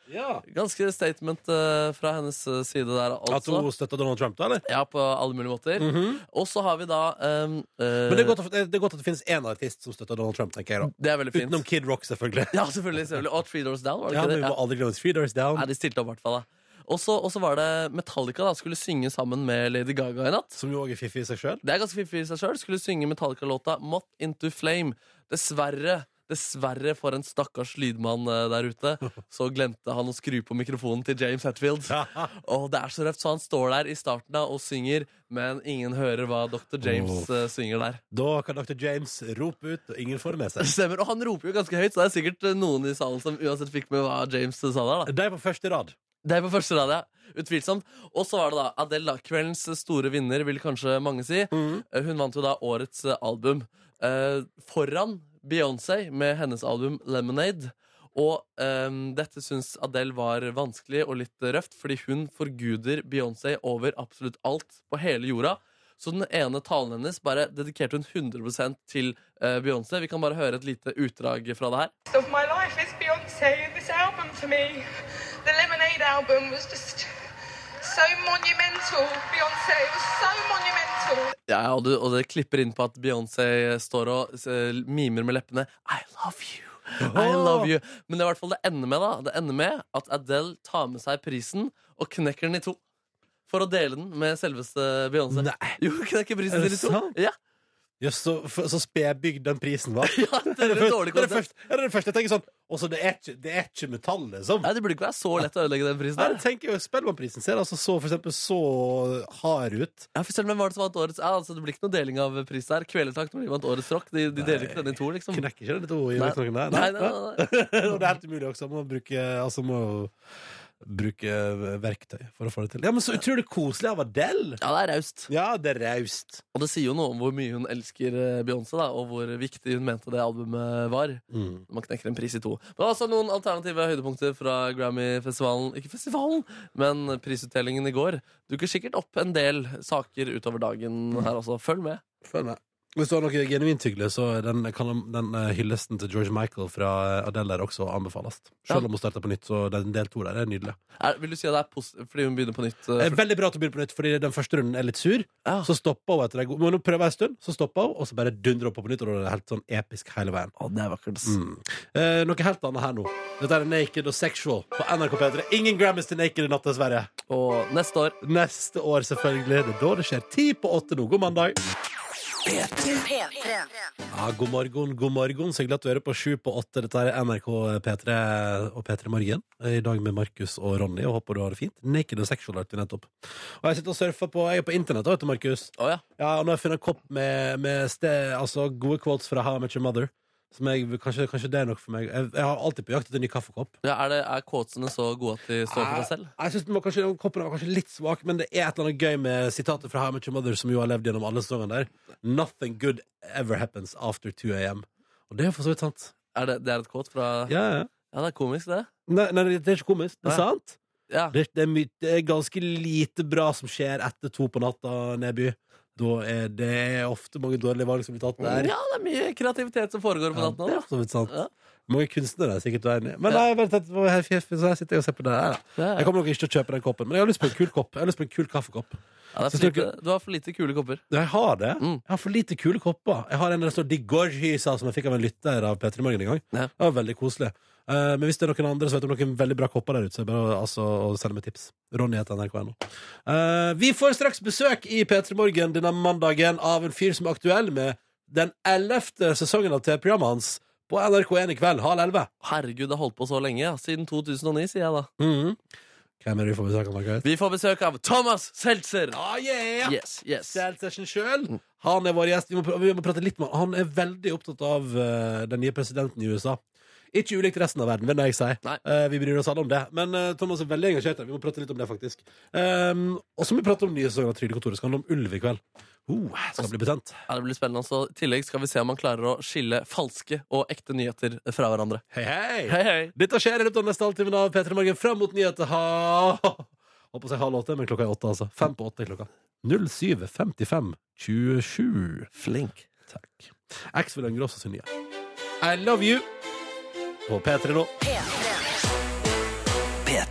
C: Ganske statement eh, fra hennes eh, side der,
B: At hun
C: altså.
B: støtter Donald Trump, da, eller? Mhm.
C: Ja, på alle mulige måter. Og så har vi da ehm, eh,
B: Men det er, godt, at- det er godt at det finnes én artist som støtter Donald Trump, tenker jeg da.
C: det er veldig fint.
B: Utenom Kid Rock, selvfølgelig.
C: Ja, selvfølgelig. selvfølgelig. Og Three Doors Down, var det
B: Ja, men
C: ikke det?
B: vi må aldri glemme Three Doors
C: Nei,
B: Down.
C: de stilte opp i hvert fall, da. Og så og så var det Metallica da, skulle synge sammen med Lady Gaga i natt.
B: Som jo òg er fiffig i seg sjøl.
C: Det er ganske fiffig i seg sjøl. Skulle synge Metallica-låta Mot Into Flame. Dessverre. Dessverre for en stakkars lydmann eh, der ute. Så glemte han å skru på mikrofonen til James Hetfield. Og det er så røft, så han står der i starten da og synger, men ingen hører hva Dr. James eh, synger der.
B: Da kan Dr. James rope ut, og ingen får det med seg.
C: Stemmer, Og han roper jo ganske høyt, så det er sikkert eh, noen i salen som uansett fikk med hva James eh, sa der. da
B: De på første rad.
C: Det er på første rad, ja. Utvilsomt. Og så var det da Adele, da. Kveldens store vinner, vil kanskje mange si.
B: Mm.
C: Eh, Hun vant jo da årets eh, album. Eh, foran Beyoncé med hennes album Lemonade. Og ehm, dette syns Adele var vanskelig og litt røft, fordi hun forguder Beyoncé over absolutt alt på hele jorda. Så den ene talen hennes bare dedikerte hun 100 til eh, Beyoncé. Vi kan bare høre et lite utdrag fra det her.
H: of my life is Beyonce, and this album for me, the Lemonade album, was just so monumental. Beyonce was so monumental.
C: Ja, og, du, og det klipper inn på at Beyoncé står og eh, mimer med leppene I love you, I love you Men det er i hvert fall det ender med da Det ender med at Adele tar med seg prisen Og knekker den i to For å dele den med selveste Beyoncé
B: Nei.
C: Jo, hun knekker
B: Er
C: prisen
B: det
C: sin i to
B: sant?
C: Ja,
B: Jøss, så, f- så spedbygd den prisen var.
C: ja det er et dårlig
B: det, er det,
C: konsept
B: første, det er det første jeg tenker sånn Og så det er ikke, det er ikke metall, liksom.
C: Nei, det burde ikke være så lett å ødelegge den prisen
B: Nei,
C: der
B: det tenker jeg jo Spellemannprisen ser altså så, for eksempel, så hard ut.
C: Ja, for selv om hvem var det som vant årets ja, altså, Det blir ikke noe deling av pris der Kvelertakt når de vant årets rock De, de deler ikke den i to liksom
B: Knekker ikke den i to i
C: Nei.
B: knokene der?
C: Nei, nei, nei, nei.
B: Og det er helt umulig også. Man må bruke, altså, må bruke verktøy for å få det til. Ja, men Så utrolig koselig av Adele!
C: Ja, det er raust
B: Ja, det er raust.
C: Og det sier jo noe om hvor mye hun elsker eh, Beyoncé, da, og hvor viktig hun mente det albumet var.
B: Mm.
C: Når man knekker en pris i to. Men altså noen alternative høydepunkter fra Grammy-festivalen Ikke festivalen, men prisutdelingen i går. Dukker sikkert opp en del saker utover dagen her også. Følg med.
B: Følg med. Hvis du har noe genuint hyggelig, så er den, kan den eh, hyllesten til George Michael fra eh, Adele der også anbefales. Selv
C: Ja.
B: om hun starter på nytt, så den del to der er nydelig.
C: Er, vil du si at det er positivt fordi hun begynner på nytt? eh,
B: Det er
C: for-
B: veldig bra at hun begynner på nytt, fordi den første runden er litt sur.
C: Ja.
B: Så stopper hun etter en god Men hun prøver en stund, så stopper hun, og så bare dundrer hun på på nytt, og da er det helt sånn episk hele veien.
C: Å, det er vakkert. ass.
B: Mm. Eh, noe helt annet her nå. Dette er Naked og Sexual på NRK P3. Ingen Grammys til Naked i natt, dessverre.
C: Og neste år
B: Neste år, selvfølgelig. Det er da det skjer. Ti på åtte nå. God mandag. Ja, god morgen, god morgen. Så hyggelig at du hører på sju på åtte. Dette er NRK P3 og P3 Morgen. I dag med Markus og Ronny, og håper du har det fint. Naked og Sexual hørte vi nettopp. Og jeg sitter og surfer på, jeg er på internett, da, vet du, Markus.
C: Å ja.
B: Ja, og nå har jeg funnet en kopp med, med ste, altså gode quotes fra How I Met Your Mother. Som jeg, kanskje, kanskje det er nok for meg. Jeg, jeg har alltid på jakt etter en ny kaffekopp.
C: ja. Er, det, er quotesene så gode at de står for seg selv?
B: Jeg, jeg synes den var kanskje, Koppen var kanskje litt svak, men det er et eller annet gøy med sitatet fra How I Met Your Mother, som jo har levd gjennom alle sesongene der. Nothing good ever happens after 2 a.m. Og det er jo for så vidt sant.
C: Er det, det er et quote fra ja.
B: Ja, ja.
C: det er komisk, det.
B: Nei, nei, det er ikke komisk. Det er
C: Nei.
B: sant.
C: Ja.
B: Det, det, er my, det er ganske lite bra som skjer etter to på natta, Neby. Da er det ofte mange dårlige valg som blir tatt der.
C: ja, det er mye kreativitet som foregår på
B: Ja,
C: natten
B: det
C: òg,
B: er for så vidt sant.
C: Ja.
B: Mange kunstnere er sikkert uenige. Men
C: Ja.
B: nei, vent, litt, hvor her, fjeff, så her sitter jeg og ser på det her. da.
C: da.
B: Jeg kommer nok ikke til å kjøpe den koppen, men jeg har lyst på en kul kopp. Jeg har lyst på en kul kaffekopp.
C: Ja, det er
B: Syns
C: for
B: du
C: lite, du har for lite kule kopper.
B: Jeg har det.
C: Mm.
B: Jeg har for lite kule kopper. Jeg har en der det står Digorgisa, som jeg fikk av en lytter av P3 Morgen en gang.
C: Ja.
B: Det var veldig koselig. Eh, men hvis det er noen andre som vet om noen veldig bra kopper der ute, så er det bare å- altså, å sende meg tips. Ronny heter nrk.no. Eh, vi får straks besøk i P3 Morgen denne mandagen av en fyr som er aktuell med den ellevte sesongen av TV-programmet hans på NRK1 i kveld, halv elleve.
C: Herregud, det har holdt på så lenge. Ja. Siden 2009, sier jeg da.
B: Mhm. Hvem er det vi får besøk av, Margaret?
C: Vi får besøk av Thomas Seltzer!
B: Ah, yeah!
C: Yes, yes. Mm.
B: Seltzer selv. Han er vår gjest. Vi må, pr- vi må prate litt med han. Han er veldig opptatt av eh, den nye presidenten i USA. Ikke ulikt resten av verden, vil jeg si.
C: Nei.
B: Eh, vi bryr oss alle om det. Men eh, Thomas er veldig engasjert. her. Vi må prate litt om det, faktisk. Um, og så må vi prate om nye sesonger av Trygdekontoret. Skal handle om ulv i kveld. Uh, skal bli betent.
C: Ja, det blir spennende. Så I tillegg skal vi se om han klarer å skille falske og ekte nyheter fra hverandre.
B: Hei, hei!
C: Hei, hei!
B: Dette skjer i løpet av neste halvtimen av P3 Morgen fram mot nyheter. Ha... Holdt på å si halv åtte, men klokka er åtte, altså. Fem på åtte er klokka. 07.55. 27.
C: Flink.
B: Takk. Axel Øngre også sin nye. I love you på P3 nå.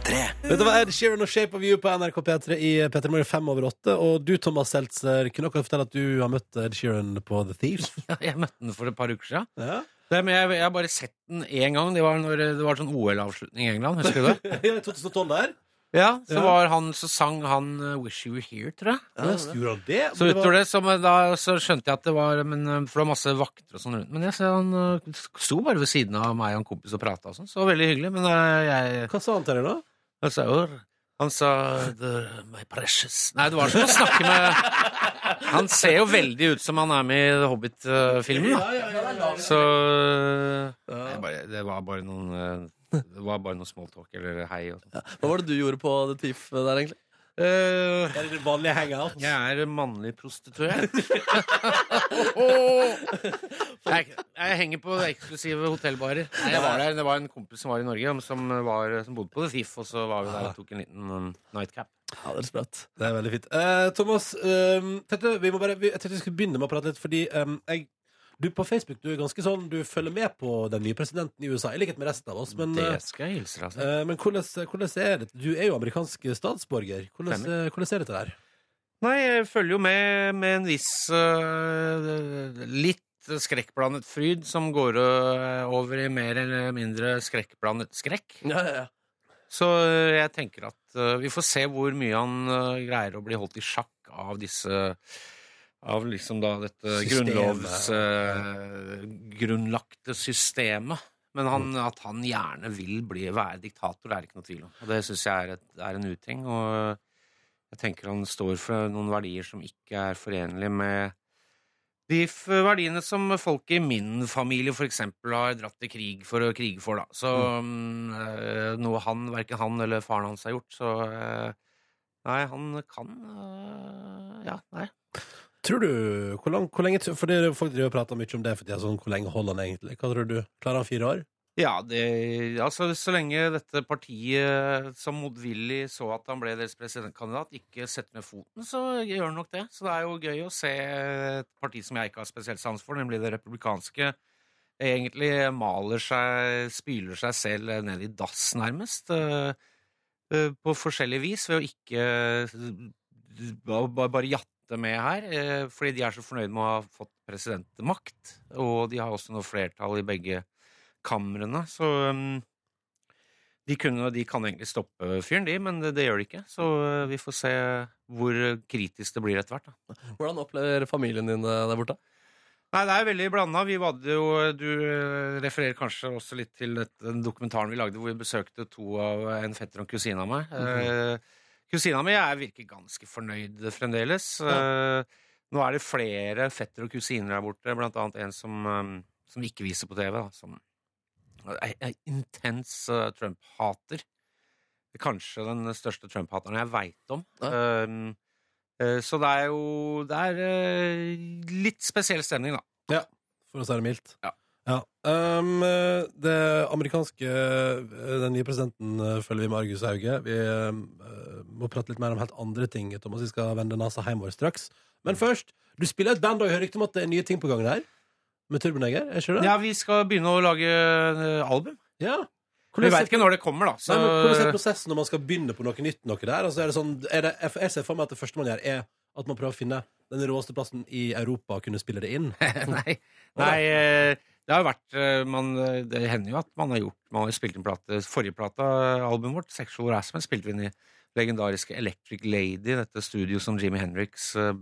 B: Dette var Ed Sheeran og Shape of You på NRK P3 i P3 Morgen fem over åtte. Og du, Thomas Seltzer, kunne dere fortelle at du har møtt Ed Sheeran på The Thieves?
I: Ja, jeg møtte den for et par uker siden.
B: Ja,
I: Det, men jeg, jeg har bare sett den én gang. Det var når det var sånn OL-avslutning i England. Husker du det?
B: I 2012 der.
I: Ja, Så
B: Ja.
I: var han, så sang han eh, 'Wish You Were Here', tror jeg.
B: Ja, gjorde han det?
I: Så
B: Men var-
I: utover det, så, men da, så skjønte jeg at det var men, eh, For det var masse vakter og sånn rundt. Men jeg så han eh, sto bare ved siden av meg og en kompis og prata og sånn. Så det var veldig hyggelig. Men eh, jeg,
B: Hva sa han til deg da?
I: jeg sa jo han sa "The- 'My precious' Nei, det var som å snakke med Han ser jo veldig ut som han er med i Hobbit-filmen, da.
B: ja, ja, ja.
I: Så jeg bare, det, det var bare noen eh, Det var bare noe smalltalk eller hei og sånn.
C: Hva var det du gjorde på The Thief der, egentlig?
I: Eh,
B: Er det din vanlige hangout?
I: jeg er mannlig prostituert. jeg, jeg henger på eksklusive hotellbarer. Nei, jeg var der, Det var en kompis som var i Norge, som, var, som bodde på The Thief, og så var vi der og tok en liten um, nightcap.
C: Ja, det er sprøtt.
B: Det er veldig fint. Eh, Thomas, ehm, tenkte, vi må bare, vi, jeg tenkte vi skulle begynne med å prate litt, fordi ehm, jeg, du på Facebook du er ganske sånn, du følger med på den nye presidenten i USA, i likhet med resten av oss. Men,
I: Det
B: eh,
I: skal jeg hilse deg altså.
B: eh, men hvordan, hvordan er det? Du er jo amerikansk statsborger. Hvordan, eh, hvordan er dette der?
I: Nei, jeg følger jo med med en viss øh, litt skrekkblandet fryd som går øh, over i mer eller mindre skrekkblandet skrekk.
C: Ja, ja, ja.
I: Så øh, jeg tenker at øh, vi får se hvor mye han øh, greier å bli holdt i sjakk av disse av liksom da dette
B: Systemet.
I: grunnlovsgrunnlagte systemet. Men han, at han gjerne vil bli, være diktator, det er det ikke noe tvil om. Og det syns jeg er, et, er en uting. Og eh, jeg tenker han står for noen verdier som ikke er forenlige med de f- verdiene som folk i min familie for eksempel har dratt til krig for å krige for, da. Så mm, øh, noe han, verken han eller faren hans har gjort, så øh, Nei, han kan øh, Ja, nei.
B: Tror du, hvor, lang, hvor lenge, for det, er jo Folk driver og prater mye om det, for tiden, sånn, hvor lenge holder han egentlig? Hva tror du? Klarer han fire år?
I: Ja, det, altså så lenge dette partiet som motvillig så at han ble deres presidentkandidat, ikke setter ned foten, så gjør han nok det. Så det er jo gøy å se et parti som jeg ikke har spesielt sans for, nemlig det republikanske, egentlig maler seg, spyler seg selv ned i dass nærmest, eh, eh, på forskjellig vis, ved å ikke eh, ba- ba- bare jatte med her, eh, fordi de er så fornøyd med å ha fått presidentmakt, og de har også noe flertall i begge kamrene, så um, de, kunne, de kan egentlig stoppe fyren, de, men det, det gjør de ikke. Så uh, vi får se hvor uh, kritisk det blir etter hvert. da.
C: Hvordan opplever familien din eh, der borte?
I: Nei, det er veldig blanda. Vi hadde jo Du eh, refererer kanskje også litt til et, den dokumentaren vi lagde hvor vi besøkte to av en fetter og en kusine av meg. Eh, kusina mi er, virker ganske fornøyd fremdeles. Eh, nå er det flere fetter og kusiner der borte, blant annet en som, eh, som vi ikke viser på TV, da, som er, er intens eh, Trump-hater. Kanskje den største Trump-hateren jeg veit om.
C: Ja.
I: Eh, Eh, Så det er jo Det er eh, litt spesiell stemning, da.
B: for å si det mildt.
I: Ja.
B: Ehm, det amerikanske Den nye presidenten eh, følger vi med Argus Hauge. Vi eh, må prate litt mer om helt andre ting. Thomas, Vi skal vende nesa hjemover straks. Men først, du spiller et band, og jeg hører rykte om at det er nye ting på gang der? Med Turboneger? Er ikke det?
I: Ja, vi skal begynne å lage eh, album.
B: ja.
I: Vi veit ikke når det kommer, da. Så
B: Nei, men Hvordan er prosessen når man skal begynne på noe nytt? Noe der? Altså, er det sånn, er det, jeg ser for meg at det første man gjør, er at man prøver å finne den råeste plassen i Europa og kunne spille det inn.
I: nei, nei eh, det har jo vært eh, man, Det hender jo at man har gjort Man har jo spilt inn plate Forrige plata, albumet vårt, Sexual Harassment, spilte vi inn i legendariske Electric Lady, dette studio som Jimmy Henriks eh,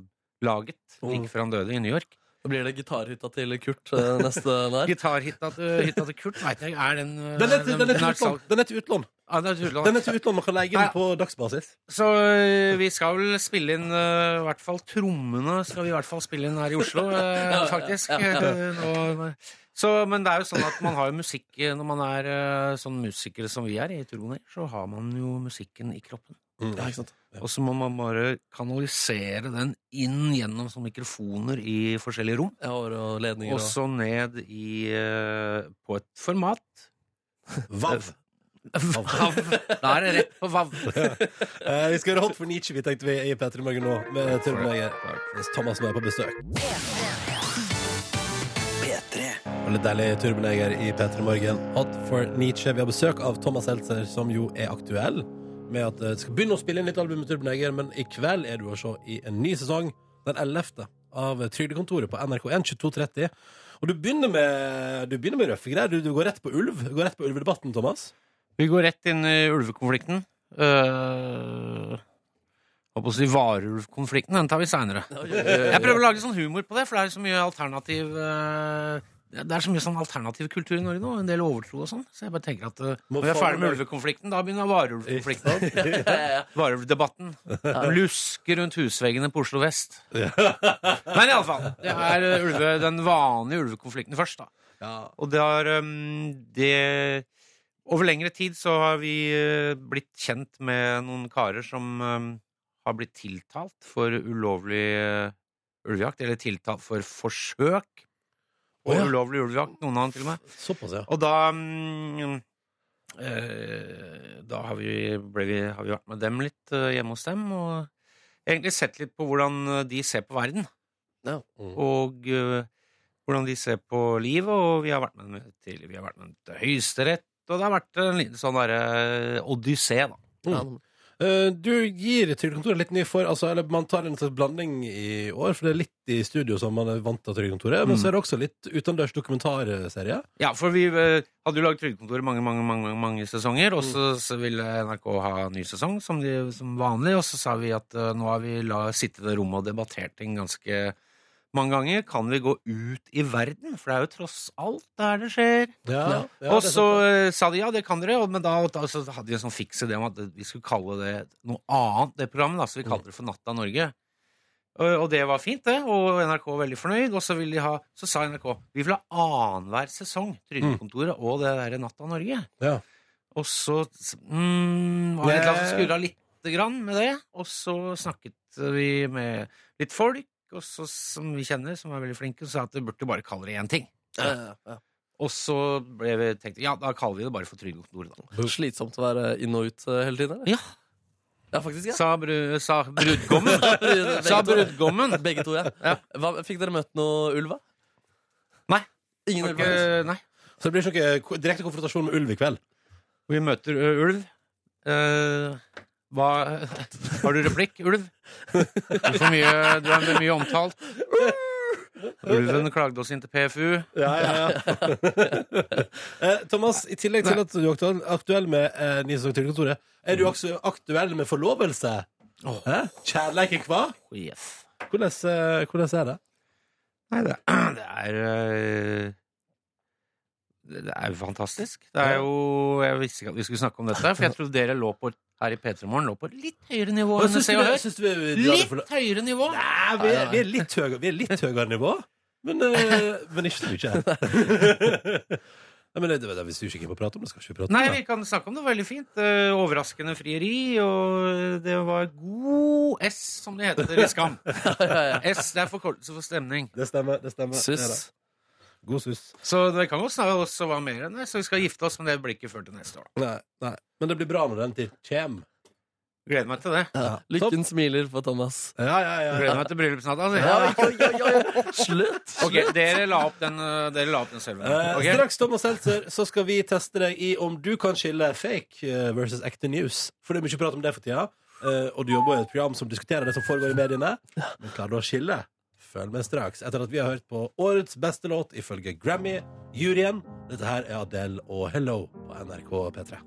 I: laget like før han døde, i New York.
C: Da blir det gitarhytta til Kurt eh, neste der.
I: Gitarhytta til, Eh, hytta til Kurt, veit jeg ikke. Er den eh,
B: Den er til, den er til
I: er
B: utlån!
I: salg-
B: Den er til utlån.
I: Ja, den er til utlån.
B: Den er til utlån. Man kan leie
I: Nei.
B: den på dagsbasis.
I: Så ø, vi skal vel spille inn ø, i hvert fall trommene skal vi i hvert fall spille inn her i Oslo, ø, faktisk. Eh, Nå- Så, men det er jo sånn at man har jo musikk ø, når man er ø, sånn musikere som vi er i Troner, så har man jo musikken i kroppen.
B: Ja,
C: ikke sant?
I: Og så må man bare kanalisere den inn gjennom sånne mikrofoner i forskjellige rom.
C: Ja, og og ledninger
I: Og
C: og
I: så ned i ø, på et format.
B: Vav.
I: Vav. Da er det rett på vav.
B: Eh, vi skal gjøre hot for Nietzsche, vi tenkte vi i P3 Morgen nå, med Turboneger. Thomas som er på besøk. Og litt deilig Turboneger i P3 Morgen. Hot for Nietzsche. Vi har besøk av Thomas Heltzer, som jo er aktuell med at eh, skal begynne å spille inn nytt album med Turboneger, men i kveld er du å se i en ny sesong, den 11. av Trygdekontoret på NRK1 22.30. Og du begynner med, du begynner med røffe greier. Du, du går rett på ulv. Du går rett på ulvedebatten, Thomas.
I: Vi går rett inn i ulvekonflikten. Uh, Hva på å si varulvkonflikten? Den tar vi seinere. Jeg prøver å lage sånn humor på det, for det er så mye alternativ eh, det det er så mye sånn alternativ kultur i Norge nå, en del overtro og sånn. Så jeg bare tenker at eh,
B: Må
I: når vi er
B: faen
I: ferdig med
B: meg-
I: ulvekonflikten, da begynner varulvkonflikten. Varulvdebatten. De lusker rundt husveggene på Oslo vest. Men iallfall, det er eh, ulve, den vanlige ulvekonflikten først, da. Og det har ehm, det Over lengre tid så har vi eh, blitt kjent med noen karer som ehm, har blitt tiltalt for ulovlig eh, ulvejakt, eller tiltalt for forsøk på
B: Å, ja.
I: ulovlig ulvejakt, noen av dem til og med.
B: Såpass, ja.
I: Og da mm, eh, Da har vi, ble vi, har vi vært med dem litt eh, hjemme hos dem, og egentlig sett litt på hvordan eh, de ser på verden.
C: Ja.
I: Og eh, hvordan de ser på livet, og vi har vært med dem til, vi har vært med dem til Høyesterett, og det har vært en liten sånn derre odyssé, da.
B: Mm.
C: Ja,
B: Eh, du gir Trygdekontoret litt ny for altså, eller Man tar en slags blanding i år, for det er litt i studio som man er vant til av Trygdekontoret, men
I: Mm.
B: så er det også litt utendørs dokumentarserie.
I: Ja, for vi eh, hadde jo lagd Trygdekontoret mange, mange, mange, mange sesonger, og så, så ville NRK ha en ny sesong som, de, som vanlig, og så sa vi at eh, nå har vi la, sittet i det rommet og debattert ting ganske mange ganger. Kan vi gå ut i verden? For det er jo tross alt der det skjer.
B: Ja, ja,
I: og
B: det er
I: så
B: sant,
I: eh, sa de ja, det kan dere, og, men da, og da så hadde vi en sånn fiks idé om at vi skulle kalle det noe annet, det programmet, da, så
B: Mm.
I: vi kalte det for Natta Norge. Og og det var fint, det, og NRK var veldig fornøyd. Og så, ville de ha, så sa NRK vi vil ha annenhver sesong
B: Mm.
I: Trygdekontoret og det derre Natta Norge.
B: Ja.
I: Og så mm, var det et eller
B: Eh.
I: annet som skurra lite grann med det. Og så snakket vi med litt folk og så, som vi kjenner, som er veldig flinke, og sa at vi burde bare kalle det én ting.
C: ja, ja, ja.
I: Og så ble vi tenkt ja, da kaller vi det bare for Trygdekontoret, da.
C: Slitsomt å være inn og ut eh, hele tiden? eller?
I: Ja.
C: ja, faktisk. ja
I: Sa, bru, sa brudgommen.
C: Begge
I: sa
C: to.
I: brudgommen.
C: Begge to, ja. Hva, fikk dere møtt noe ulv, da?
I: Nei.
C: Ingen ulv? faktisk?
I: Ikke- Nei.
B: Så det blir ikke noe ko- direkte konfrontasjon med ulv i kveld.
I: Vi møter ø, ulv. Eh, hva Har du replikk, ulv? Du, får mye, du er mye omtalt. Ulven klagde oss inn til PFU.
B: Eh, Thomas, i tillegg til at du er aktuell, aktuell med eh, ny sesong Trygdekontoret, er du også aktuell med forlovelse?
I: Mm. Åh.
B: Hæ? Kjærleik i hva? Hvordan, eh, hvordan er det?
I: Nei, det, det er eh, Det det er jo fantastisk. Det er jo Jeg visste ikke at vi skulle snakke om dette, for jeg trodde dere lå på her i P3 Morgen lå på litt høyere nivå enn Se og Hør.
B: Syns du vi, vi, vi hadde forlo-
I: Litt høyere nivå!
B: Nei, vi er, vi er litt høyere, vi er litt høyere nivå, men, eh, men ikke så mye. Nei, men det, det, hvis du ikke er keen på å prate om det, skal ikke vi prate
I: Nei,
B: om
I: vi
B: det.
I: kan snakke om det veldig fint. Eh, Overraskende frieri, og det var god S, som det heter i Skam. S det er forkortelse for stemning.
B: Det stemmer. det stemmer Det er
C: Sus.
B: det. God sus.
I: Så det kan godt snakke også hva mer enn det, så vi skal gifte oss, men det blir ikke før til neste år.
B: Nei, nei. Men det blir bra når den tid kjem.
I: Gleder meg til det.
C: Ja. Lykken smiler på Thomas.
B: Ja, ja, ja.
I: Gleder meg til bryllupsnatta. Altså.
C: Ja, oi, oi, oi. Slutt!
I: Ok, dere la opp den, eh, dere la opp den serveren.
B: Eh,
I: Ok?
B: Straks, Thomas Seltzer, så skal vi teste deg i om du kan skille fake eh, versus ekte news. For det er mye prat om det for tida, eh, og du jobber i et program som diskuterer det som foregår i mediene. Men klarer du å skille? Følg med straks, etter at vi har hørt på årets beste låt ifølge Grammy-juryen. Dette her er Adele og Hello på NRK P3.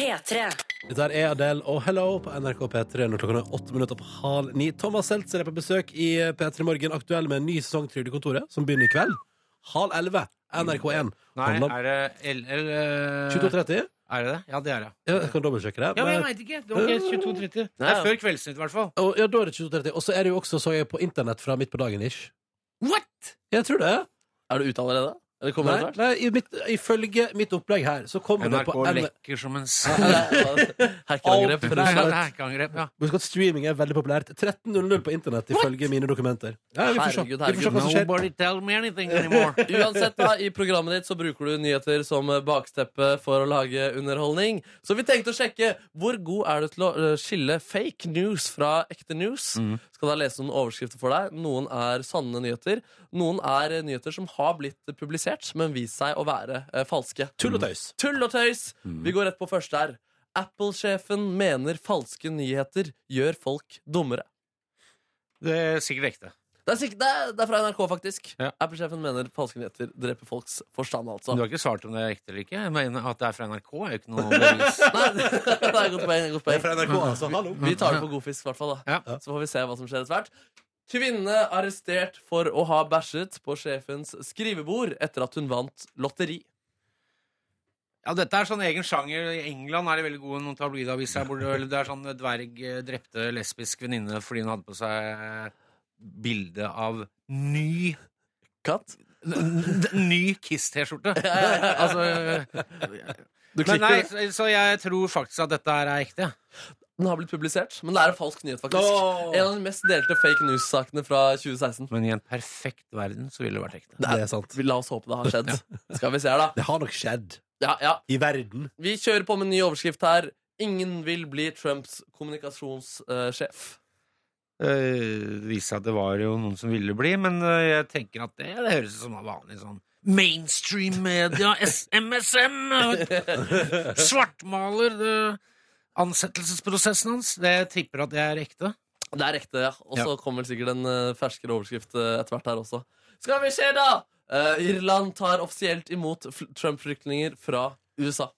A: P3.
B: Dette her er Adele og Hello på NRK P3 når klokken er åtte minutter på halv ni. Thomas Seltzer er på besøk i eh, P3 Morgen, aktuell med en ny sesong Trygdekontoret, som begynner i kveld. Halv elleve. NRK1.
I: Nei,
B: Handler om-
I: er det eh, LL
B: 22.30?
I: Er det det? Ja, det er det.
B: Ja, jeg kan dobbeltsjekke det.
I: Ja, men jeg
B: Men-
I: veit ikke. Det var ikke 22.30. Det er før Kveldsnytt, i hvert fall.
B: og, ja, da er det 22.30. Og så er det jo også, så jeg på internett fra midt på dagen ish.
I: What?!
B: Jeg tror det.
C: Er du ute allerede? Eller kommer
B: Nei,
C: det
B: nei i mitt, ifølge mitt opplegg her, så kommer det
I: NRK
B: på N
I: lekker som en sa...
C: snart? Hackangrep.
I: Nei,
C: rett og slett.
I: det sånn. er ikke angrep, ja.
B: Husk at streaming er veldig populært. 13.00 på internett, ifølge mine dokumenter. Ja, vi får se. Vi får
C: Herregud,
B: se hva som skjer.
I: Nobody tell me anything anymore.
C: Uansett, da, i programmet ditt så bruker du nyheter som baksteppe for å lage underholdning. Så vi tenkte å sjekke hvor god er du til å eh, skille fake news fra ekte news.
B: Mm.
C: Skal da lese noen overskrifter for deg. Noen er sanne nyheter. Noen er eh, nyheter som har blitt publisert, men vist seg å være eh, falske. Mm.
B: Tull og tøys. Mm.
C: Tull og tøys! Vi går rett på første her. Apple-sjefen mener falske nyheter gjør folk dummere.
I: Det er sikkert ekte.
C: Det er, sikk- det er, det er fra NRK, faktisk.
I: Ja.
C: Apple-sjefen mener falske nyheter dreper folks forstand, altså.
I: Du har ikke svart om det er ekte eller ikke? Jeg mener at det er fra NRK, er jo ikke noe bevis.
C: Nei, det er et godt poeng. et Godt
B: Det er fra
C: poeng.
B: NRK, altså. Hallo.
C: Vi tar det på god fisk, i hvert fall. da.
I: Ja.
C: Så får vi se hva som skjer etter hvert. Kvinne arrestert for å ha bæsjet på sjefens skrivebord etter at hun vant lotteri.
I: Ja, dette er sånn egen sjanger. I England er de veldig gode noen tabloidaviser. her borte, eller Det er sånn dverg eh, drepte lesbisk venninne fordi hun hadde på seg eh, bilde av ny
C: Katt?
I: n- n- Ny Kiss-T-skjorte. altså eh,
C: Du
I: Men
C: klikker.
I: nei, så, så jeg tror faktisk at dette her er ekte.
C: Den har blitt publisert, men det er en falsk nyhet, faktisk.
B: Åh!
C: En av de mest delte fake news-sakene fra 2016.
I: Men i en perfekt verden så ville det vært ekte.
B: Det er sant.
C: Vi La oss håpe det har skjedd. Skal vi se her, da.
B: Det har nok skjedd
C: Ja, ja.
B: i verden.
C: Vi kjører på med en ny overskrift her. Ingen vil bli Trumps kommunikasjonssjef.
I: Eh, Det viste seg at det var jo noen som ville bli, men eh, jeg tenker at det, det høres ut som en vanlig sånn mainstream media, S- MSM, eh, svartmaler det, ansettelsesprosessen hans. Det jeg tipper at det er ekte.
C: Det er ekte, ja. Og så kommer vel sikkert en eh, ferskere overskrift eh, etter hvert her også. Skal vi se, da! Eh, Irland tar offisielt imot fl- Trump-flyktninger fra USA.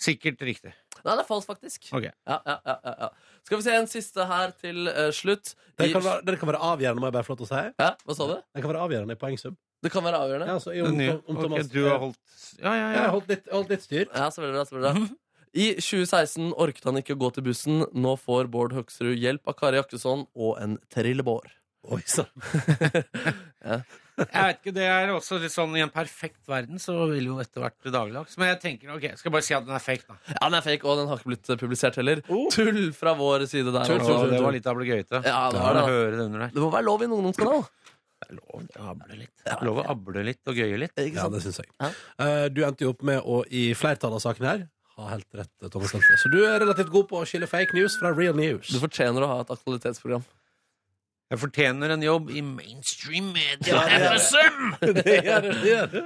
I: Sikkert riktig.
C: Nei, det er falskt, faktisk.
I: Ok.
C: Ja, ja, ja, ja, ja. Skal vi se en siste her til eh, slutt.
B: Den
C: I-
B: kan være, den kan være avgjørende, må jeg bare få lov til å si.
C: Hæ? Hva sa du?
B: Den kan være avgjørende i poengsum.
C: Det kan være avgjørende.
B: Ja, altså, i om,
I: Ny.
B: om, om
I: Ok,
B: Thomas,
I: du har holdt Ja, ja,
B: Ja,
I: ja.
B: jeg har holdt litt, holdt litt styr.
C: Ja, så blir det bra, så blir det bra. I 2016 orket han ikke å gå til bussen. Nå får Bård Hoksrud hjelp av Kari Jakkesson og en trillebår.
B: Oi sann.
I: Jeg vet ikke, Det er også litt sånn i en perfekt verden, så ville jo dette vært dagligdags. Men jeg tenker, ok, jeg skal bare si at den er fake, da.
C: Ja, den er fake, og den har ikke blitt eh, publisert heller. Tull fra vår side der.
B: Oh. Tull, tull,
C: altså.
B: tull,
I: Og det var litt av gøyete.
C: Ja, det var det.
I: Høre det under der.
C: Det må være lov i en ungdomskanal.
I: Det er lov å able litt. Det er Lov å able litt og gøye litt.
C: Ikke
B: Ja,
C: sant?
B: det syns jeg.
C: Ja.
B: Eh, du endte jo opp med å i flertallet av sakene her ha helt rett, Thomas Lente. Så du er relativt god på å skille fake news fra real news.
C: Du fortjener å ha et aktualitetsprogram.
I: Jeg fortjener en jobb i mainstream media. FSM!
B: det gjør det, det gjør det.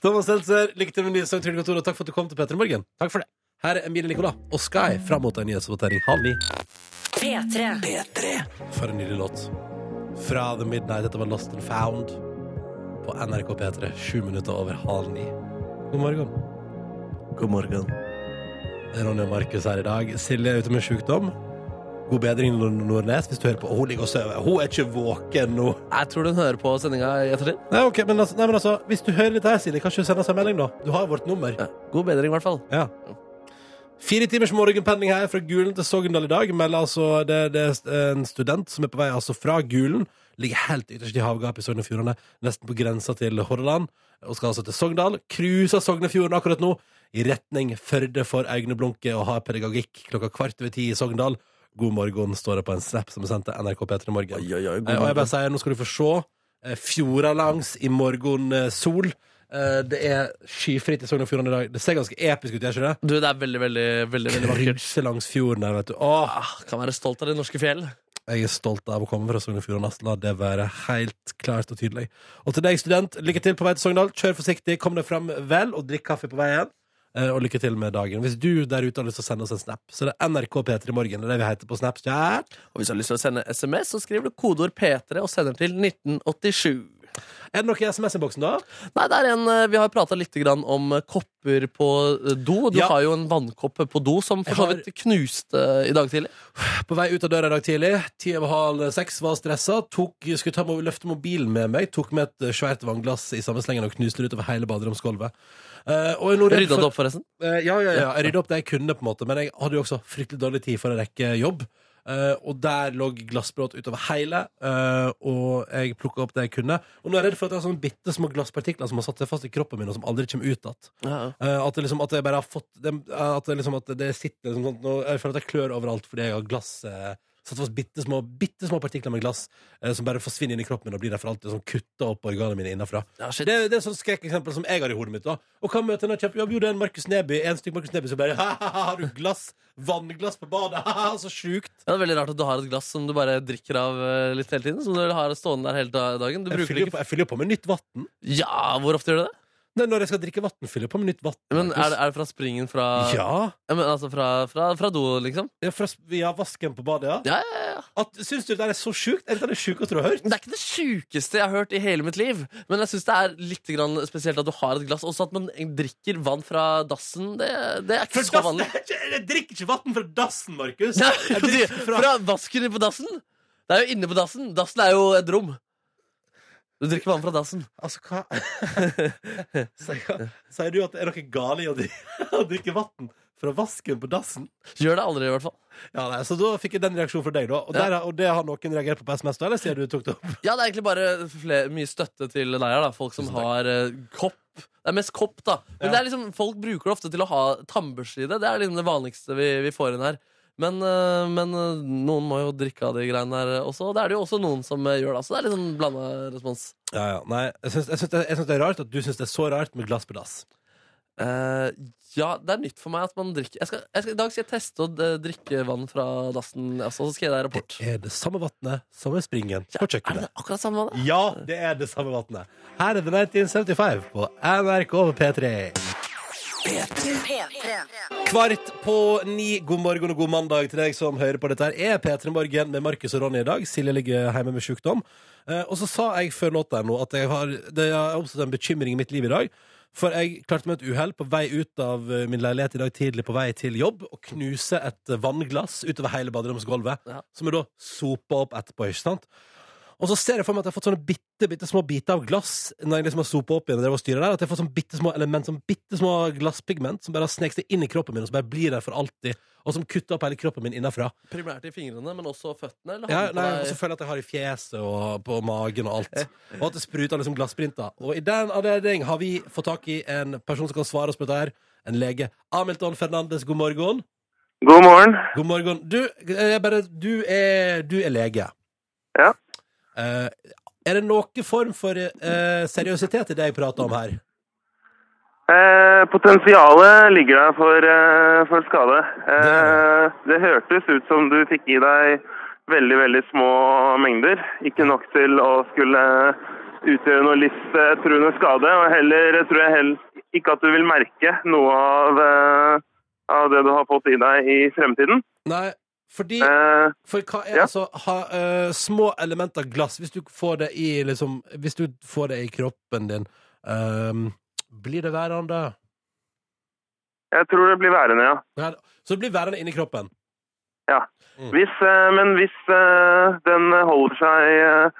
B: Thomas Seltzer, lykke til med ny sang, Trygdekontoret, og takk for at du kom til Petter i morgen.
I: Takk for det.
B: Her er Emilie Nicolas og Sky fram mot en nyhetsvotering halv ni.
A: P3.
B: For en nydelig låt. Fra The Midnight. Dette var Lost and Found på NRK P3. Sju minutter over halv ni. God morgen. God morgen. Det er Ronny og Markus her i dag. Silje er ute med sykdom. God bedring, Nord- Nordnes, hvis du hører på. Hun ligger og sover. Hun er ikke våken nå.
C: Jeg tror hun hører på sendinga i ettertid.
B: Nei, ok, men altså, nei, men altså hvis du hører dette her, Silje, kanskje du sender oss en melding, da? Du har vårt nummer.
C: Ja. God bedring, i hvert fall.
B: Ja. Fire timers morgenpendling her fra Gulen til Sogndal i dag. Melder altså det, det er en student som er på vei altså fra Gulen. Ligger helt ytterst i havgapet i Sogn og Fjordane, nesten på grensa til Hordaland. Og skal altså til Sogndal. Cruiser Sognefjorden akkurat nå, i retning Førde for Aune Blunke og har pedagogikk klokka kvart over ti i Sogndal. God morgen, står det på en snap som er sendt til NRK P3 Morgen. Eh, Og jeg bare sier, nå skal du få se eh, fjorda langs i morgen eh, sol. Eh, Det er skyfritt i Sogn og Fjordane i dag. Det ser ganske episk ut, gjør ikke det?
C: Du, det er veldig, veldig veldig, veldig vakkert.
B: Krydse langs fjorden der, vet du. Åh,
C: Ah, kan være stolt av de norske fjell.
B: jeg er stolt av å komme fra Sogn og Fjordane. ass. La det være helt klart og tydelig. Og til deg, student, lykke til på vei til Sogndal. Kjør forsiktig, kom deg fram vel, og drikk kaffe på veien. Eh, Og lykke til med dagen. Hvis du der ute har lyst til å sende oss en snap, så det er NRK P3 Morgen. Det er det vi heter på Snapchat.
C: Og hvis du har lyst til å sende SMS, så skriver du kodeord P3 og sender til 1987.
B: Er det noe i SMS-innboksen, da?
C: Nei, det er en, eh, Vi har prata litt grann om eh, kopper på eh, do. Du
B: Ja.
C: har jo en vannkopp på do som for
B: Jeg
C: så
B: har-
C: vidt knuste i dag tidlig.
B: På vei ut av døra i dag tidlig, ti over halv seks, var stressa. Tok, skulle ta, mo- løfte mobilen med meg. Tok med et eh, svært vannglass i samme slengen og knuste det utover hele baderomsgulvet. Eh, og jeg er nå redd
C: Rydda
B: for-
C: du opp, forresten?
B: Eh, ja, ja, ja. Jeg rydda opp det jeg kunne, på en måte men jeg hadde jo også fryktelig dårlig tid for å rekke jobb. Eh, og der lå glassbråt utover hele, eh, og jeg plukka opp det jeg kunne. Og nå er jeg redd for at det er sånne bitte små glasspartikler som har satt seg fast i kroppen min, og som aldri kommer ut igjen. Eh, at, det liksom, at jeg bare har fått dem- eh, At det, liksom, at det sitter liksom sånn nå- Jeg føler at jeg klør overalt fordi jeg har glass eh, Satt fast bitte små, bitte små partikler med glass eh, som bare forsvinner inn i kroppen min og blir der for alltid. Sånn kutta opp organene mine innenfra.
C: Ja, shit.
B: Det, det er sånn skrekkeksempel som jeg har i hodet mitt. da Og hva møter en kjempejobb? Jo, det er en Markus Neby. En stykk Markus Neby som bare Ha-ha, har du glass? Vannglass på badet? Ha-ha, så sjukt!
C: Ja, det er veldig rart at du har et glass som du bare drikker av eh, litt hele tiden. Som du har stående der hele da- dagen. Du
B: Jeg
C: bruker
B: fyller
C: det
B: jo på,
C: ikke
B: jeg fyller jo på med nytt vann.
C: Ja, hvor ofte gjør du det?
B: Når jeg skal drikke vann, fyller jeg på med nytt vann.
C: Men er det, er det fra springen fra
B: ja.
C: Ja, men altså fra, fra, fra do, liksom?
B: Ja, fra, ja, vasken på badet, ja.
C: Ja, ja, ja.
B: At, syns du det er så sjukt? Er det det sjukeste du har hørt?
C: Det er ikke det sjukeste jeg har hørt i hele mitt liv. Men jeg syns det er litt grann spesielt at du har et glass. Også at man drikker vann fra dassen. Det, det er ikke
B: For
C: så
B: dassen,
C: vanlig.
B: jeg drikker ikke vann fra dassen, Markus.
C: Nei,
B: Jeg
C: fordi-
B: drikker fra
C: Fra vasken på dassen? Det er jo inne på dassen. Dassen er jo et rom. Du drikker vann fra dassen.
B: Altså, hva Sier sier du at det er noe gale i å drikke, å drikke vann fra vasken på dassen?
C: Gjør det aldri, i hvert fall.
B: Ja, nei, Så da fikk jeg den reaksjonen fra deg, da. Og,
C: Ja.
B: der, og det har noen reagert på på SMS, da? Eller sier du tok det opp?
C: Ja, det er egentlig bare fle- mye støtte til deg her, da. Folk som har eh, kopp. Det er mest kopp, da. Men
B: Ja.
C: det er liksom, folk bruker det ofte til å ha tannbørste i det. Det er liksom det vanligste vi, vi får inn her. Men, eh, men eh, noen må jo drikke av de greiene her også. Og det er det jo også noen som eh, gjør, da. Så det er litt sånn blanda respons.
B: Ja, ja, nei, jeg syns, jeg, syns det, jeg syns det er rart at du syns det er så rart med glass på dass.
C: Eh, ja, det er nytt for meg at man drikker jeg skal, jeg skal, I dag skal jeg teste å eh, drikke vann fra dassen, altså, så skal jeg gi deg rapport.
B: Det er det samme vannet, samme springen, på
C: Er
B: kjøkkenet.
C: det akkurat samme vann?
B: Ja, det er det samme vannet. Her er The 1975 på NRK på P3. Kvart på ni. God morgen og god mandag til deg som hører på dette. her er P3 Morgen med Markus og Ronny i dag. Silje ligger hjemme med sykdom. Eh, og så sa jeg før låta her nå at jeg har, det har oppstått en bekymring i mitt liv i dag. For jeg klarte med et uhell på vei ut av eh, min leilighet i dag tidlig på vei til jobb å knuse et eh, vannglass utover hele baderomsgulvet,
C: Ja.
B: som jeg da sopa opp etterpå, ikke sant? Og så ser jeg for meg at jeg har fått sånne bitte, bitte små biter av glass når jeg liksom har sopa opp igjen. og drevet og styret der, At jeg har fått sånne bitte små element, sånn bitte små glasspigment som bare har sneket seg inn i kroppen min, og som bare blir der for alltid. Og som kutter opp hele kroppen min innenfra.
C: Primært i fingrene, men også føttene? Eller
B: Ja,
C: har du på
B: nei, altså
C: deg-
B: og så føler jeg at jeg har i fjeset og på magen og alt. Og at det spruter liksom glassprinter. Og i den anledning har vi fått tak i en person som kan svare oss på dette her. En lege. Hamilton Fernandes, god morgen.
H: God morgen.
B: God morgen. Du, eh, jeg bare, du, er, du er lege.
H: Ja.
B: Eh, er det noen form for eh, seriøsitet i det jeg prater om her?
H: Eh, potensialet ligger der for, eh, for skade. Eh, det hørtes ut som du fikk i deg veldig, veldig små mengder. Ikke nok til å skulle utgjøre noe livstruende skade. Og heller tror jeg heller ikke at du vil merke noe av, eh, av det du har fått i deg i fremtiden.
B: Nei, fordi
H: Eh,
B: For hva er
H: ja.
B: altså ha, eh, små elementer glass Hvis du får det i liksom Hvis du får det i kroppen din ehm, Blir det værende?
H: jeg tror det blir værende, ja.
B: Nei, Så det blir værende inni kroppen?
H: Hvis, eh, men hvis eh, den holder seg eh,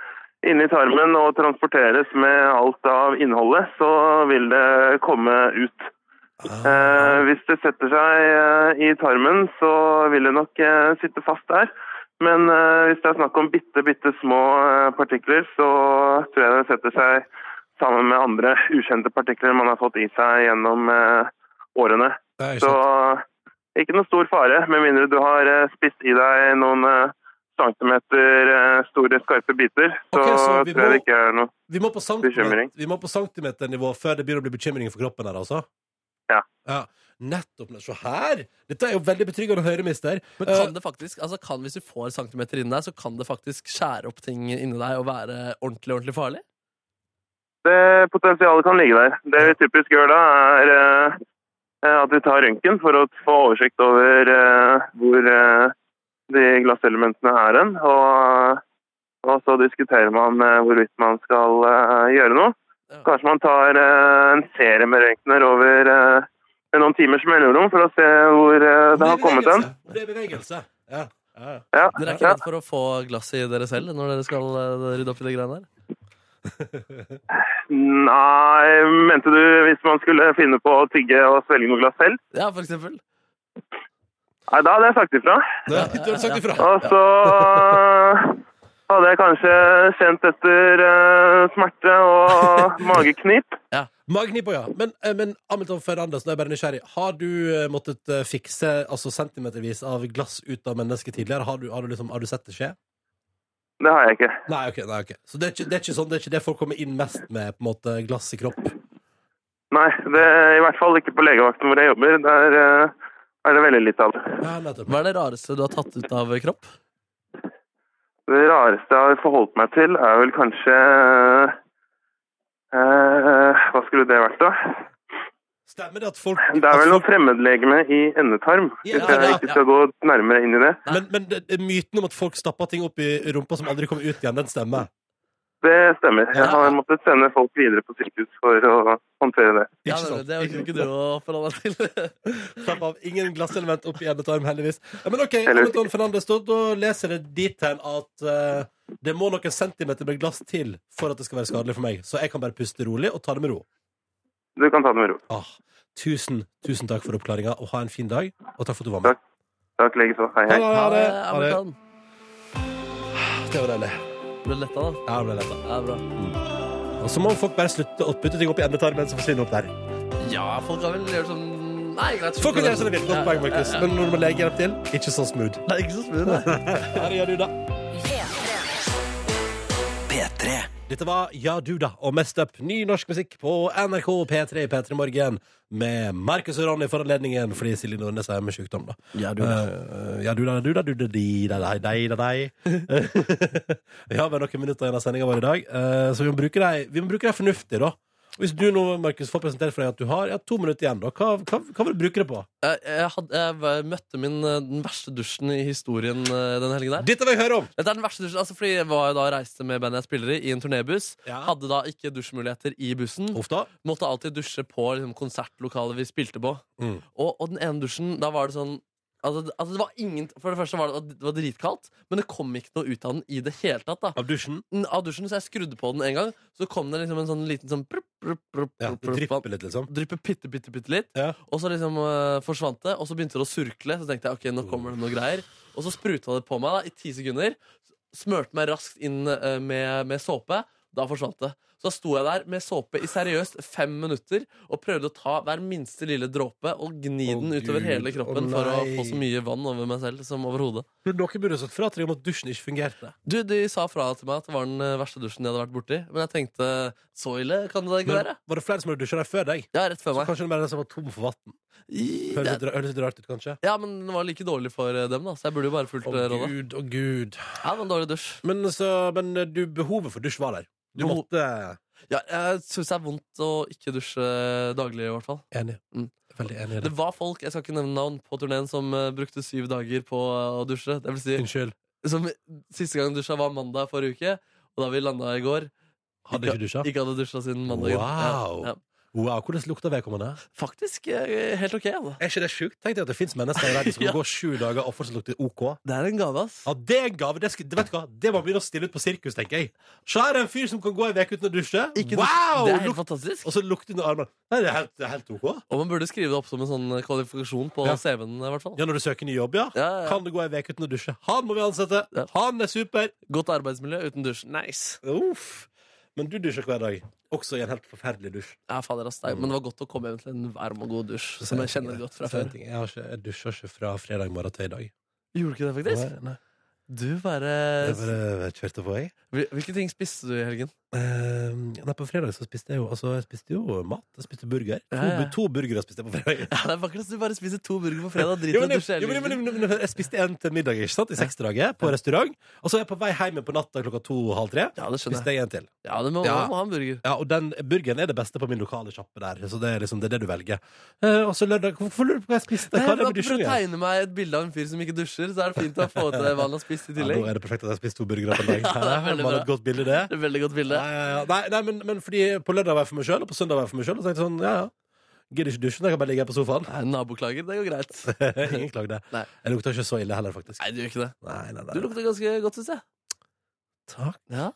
H: inni tarmen og transporteres med alt av innholdet, så vil det komme ut.
B: Ah.
H: Eh, Hvis det setter seg eh, i tarmen, så vil det nok eh, sitte fast der. Men eh, hvis det er snakk om bitte, bitte små eh, partikler, så tror jeg det setter seg sammen med andre ukjente partikler man har fått i seg gjennom eh, årene.
B: Nei, ikke
H: Så eh,
B: sant.
H: ikke noe stor fare, med mindre du har eh, spist i deg noen eh, centimeter eh, store, skarpe biter. Så,
B: Ok, så vi
H: tror jeg
B: må-
H: det ikke er noe.
B: vi, må på centimeter,
H: Bekymring.
B: vi må på centimeternivå før det begynner å bli bekymring for kroppen her, altså?
H: Ja.
B: Nettopp. Se her! Dette er jo veldig betryggende å høre, mister.
C: Men kan det faktisk, altså kan, hvis du får centimeter inni deg, så kan det faktisk skjære opp ting inni deg og være ordentlig ordentlig farlig?
H: Det potensialet kan ligge der. Det vi typisk gjør da, er eh, at vi tar røntgen for å få oversikt over eh, hvor eh, de glasselementene er hen. Og, og så diskuterer man eh, hvorvidt man skal eh, gjøre noe.
C: Ja.
H: Kanskje man tar eh, en serie med røntgener over eh, med noen timers mellomrom for å se hvor eh, det har kommet hen.
B: Om det er bevegelse. Ja. Ja.
H: Ja,
C: Dere er ikke
H: ja.
C: redd for å få glass i dere selv når dere skal eh, rydde opp i de greiene der?
H: Nei, mente du hvis man skulle finne på å tygge og svelge noe glass selv?
C: Ja, for eksempel.
H: Nei, da hadde jeg sagt ifra.
B: Ja, Du har sagt ifra.
H: Og så hadde jeg kanskje kjent etter eh, smerte og mageknip.
B: Magnipå, ja. Men, eh, men Hamilton Fernandes, nå er jeg bare nysgjerrig. Har du eh, måttet eh, fikse altså centimetervis av glass ut av mennesket tidligere? Har du, har du, liksom, har du sett det skje?
H: Det har jeg ikke.
B: Nei, ok. Nei, ok. Så det er, ikke, det er ikke sånn, det er ikke det folk kommer inn mest med, på en måte, glass i kropp?
H: Nei, det er i hvert fall ikke på legevakten hvor jeg jobber. Der eh, er det veldig litt av det.
B: Ja, nettopp.
C: Hva er det rareste du har tatt ut av kropp?
H: Det rareste jeg har forholdt meg til, er vel kanskje eh, eh, Hva skulle det vært, da?
B: Stemmer det at folk
H: Det er vel noe fremmedlegeme i endetarm,
B: Ja,
H: hvis jeg
B: ja,
H: ikke
B: ja.
H: skal gå nærmere inn i det.
B: Men, men det, det- myten om at folk stapper ting opp i rumpa som aldri kommer ut igjen, den stemmer.
H: Det stemmer. Jeg har måttet sende folk videre på sykehus for å håndtere det.
C: Ja,
B: Ikke sant?
C: det orker ikke du å forholde deg til.
B: Slapp av. Ingen glasselement oppi endetarm, heldigvis. Ja, men OK,
H: Heldigvis.
B: Hamilton Fernandes, da, da leser jeg det dit hen at eh, det må noen centimeter med glass til for at det skal være skadelig for meg. Så jeg kan bare puste rolig og ta det med ro.
H: Du kan ta det med ro.
B: Ah, tusen, tusen takk for oppklaringa, og ha en fin dag. Og takk for at du var
H: Takk.
B: med.
H: Takk likeså. Hei, hei.
B: Ha det. Ha det.
C: Amerikan.
B: Det var deilig.
C: Ble du letta, da?
B: Ja, det ble letta.
C: Ja, bra.
B: Og så må folk bare slutte å putte ting opp i endetarmen som forsvinner opp der.
C: Ja, folk har vel gjort sånn Nei, greit.
B: Folk kan gjøre som de vil. Godt poeng, Markus.
C: Ja, ja, ja.
B: Men når du må lege hjelp til, ikke så smooth.
C: Det er ikke så smooth, det.
B: Her gjør du da. Dette var Ja du da og Mest Up, ny norsk musikk på NRK P3 i P3 Morgen med Markus og Ronny for anledningen fordi Silje Nordnes er med sykdom, da.
C: Ja, du da.
B: Eh, ja, du da, du da, du da, de da, dei, dei, da, dei. Vi har bare noen minutter igjen av sendinga vår i dag, eh, så vi må bruke dem vi må bruke dem fornuftig, da. Hvis du nå, Markus, får presentert for deg at du har ja, to minutter igjen, da, hva, hva, hva vil du bruke det på?
C: Jeg, jeg, hadde, jeg var- møtte min, eh, den verste dusjen i historien eh, den helgen der.
B: Dette vil jeg høre om!
C: Dette er den verste dusjen, altså fordi jeg var jo da og reiste med bandet jeg spiller i, i en turnébuss.
B: Ja.
C: Hadde da ikke dusjmuligheter i bussen.
B: Uff da.
C: Måtte alltid dusje på liksom, konsertlokalet vi spilte på.
B: Mm.
C: Og, og den ene dusjen, da var det sånn altså, det- altså, det var ingen, For det første var det, det var dritkaldt, men det kom ikke noe ut av den i det hele tatt. da
B: Av dusjen.
C: Den- Av dusjen, Så jeg skrudde på den en gang, så kom det liksom en sånn liten sånn prup, prup, prup,
B: Ja,
C: prup,
B: det
C: prup, vann.
B: drypper litt, liksom.
C: Dryppe bitte, bitte, bitte litt.
B: Ja.
C: Og så liksom eh, forsvant det, og så begynte det å surkle. Så tenkte jeg ok, nå kommer det noe greier. Og så spruta det på meg da, i ti sekunder. Smurte meg raskt inn eh, med, med såpe. Da forsvant det. Så da sto jeg der med såpe i seriøst fem minutter og prøvde å ta hver minste lille dråpe og gni
B: Å,
C: den utover
B: Gud.
C: hele kroppen
B: Å,
C: for å
B: nei.
C: få så mye vann over meg selv som overhodet.
B: Tror du Dere burde sagt fra til dem om at dusjen ikke fungerte.
C: Du, De sa fra til meg at det var den eh, verste dusjen jeg hadde vært borti, men jeg tenkte så ille kan det ikke
B: Men
C: være.
B: var det flere som hadde dusja der før deg?
C: Ja, rett før
B: Så
C: meg.
B: kanskje det var den som var tom for vann.
C: I-
B: Høres litt ra- høres litt rart ut, kanskje?
C: Ja, men den var like dårlig for eh, dem, da, så jeg burde jo bare fulgt
B: Å
C: eh, rådet.
B: gud, å gud.
C: Ja, men dårlig dusj.
B: Men, så, men eh, du, behovet for dusj var der. Du
C: Beho-
B: måtte
C: Ja, jeg syns det er vondt å ikke dusje daglig, i hvert fall.
B: Enig.
C: Mm.
B: Veldig enig i
C: Det
B: det.
C: var folk jeg skal ikke nevne navn på turneen som eh, brukte syv dager på eh, å dusje. Det vil si,
B: Unnskyld.
C: som Siste gang dusja var mandag forrige uke, og da vi landa i går
B: Hadde ikke dusja?
C: Ikke hadde dusja siden mandag.
B: Wow.
C: Ja, ja.
B: Wow, hvordan lukta vedkommende?
C: Faktisk eh, helt ok. Altså.
B: Er ikke det sjukt? Tenk deg at det fins mennesker i verden som
C: Ja.
B: kan gå sju dager og fortsatt lukte OK.
C: Det er en gave, ass.
B: Ja, det er en gave. Det, skal, det, vet du hva? det må man begynne å stille ut på sirkus, tenker jeg. Så her er en fyr som kan gå en uke uten å dusje.
C: Ikke dusj-
B: wow!
C: det er helt
B: lukt-
C: fantastisk.
B: og så lukte under armene. Nei, det er helt, det er helt OK.
C: Og man burde skrive det opp som en sånn kvalifikasjon på
B: Ja.
C: CV-en. i hvert fall
B: Ja, når du søker ny jobb, ja.
C: Ja, ja, ja.
B: Kan det gå en uke uten å dusje? Han må vi ansette.
C: Ja.
B: Han er super.
C: Godt arbeidsmiljø uten dusj. Nice.
B: Uff. Men du dusjer hver dag. Også i en helt forferdelig dusj.
C: Ja, fader, ass,
B: Mm.
C: det er- Men det var godt å komme hjem til en varm og god dusj som jeg kjenner godt fra
B: Så en
C: før.
B: ting, Jeg, har ikke, jeg dusjer ikke fra fredag morgen til i dag.
C: Gjorde du ikke det, faktisk?
B: Nei, nei.
C: Du
B: Jeg
C: bare
B: bare kjørte på, jeg.
C: Hvil- Hvilke ting spiste du i helgen?
B: Eh, nei, på fredag så spiste jeg jo Altså, jeg spiste jo mat. Jeg spiste burger. To,
C: Ja, ja.
B: bu- to burgere spiste jeg på fredag.
C: Ja, det er faktisk Du bare spiser to burger på fredag. Drit i
B: Jo,
C: å
B: men,
C: dusje
B: jeg, jo,
C: hele
B: men, men,
C: tiden.
B: men, men, jeg spiste en til middag ikke sant? i seksdraget på restaurant. Og så er jeg på vei hjem på natta klokka to-halv tre.
C: Ja, det skjønner
B: Spiste
C: jeg.
B: jeg en til.
C: Ja, det må,
B: Ja.
C: man må ha en burger.
B: Ja, Og den burgeren er det beste på min lokale sjappe der. Så det er liksom det, er det du velger. Eh, og så lørdag Hvorfor lurer du på hva jeg spiste?
C: Nei,
B: Hva er det med
C: bare for å
B: dusjing? her?
C: tegne meg et bilde av en fyr som ikke dusjer, så er det fint å få til hva han har spist i
B: Ja, nå
C: tillegg.
B: er det perfekt at jeg har spist to burgere på en dag. Hæ?
C: Ja, det er veldig
B: Bare
C: bra.
B: et godt bilde, det.
C: Det er et veldig godt bilde.
B: Ja, ja, ja. Nei, nei men, men fordi på lørdag var jeg for meg sjøl, og på søndag var jeg for meg sjøl. Og så tenkte jeg sånn, ja, ja. Gidder ikke dusjen, jeg kan bare ligge her på sofaen.
C: Nei, Naboklager, det går greit.
B: Ingen klagde.
C: Nei.
B: Jeg lukta ikke så ille heller, faktisk.
C: Nei, du gjør ikke det.
B: Nei, nei, nei.
C: Du lukter ganske godt, syns jeg.
B: Takk.
C: Ja.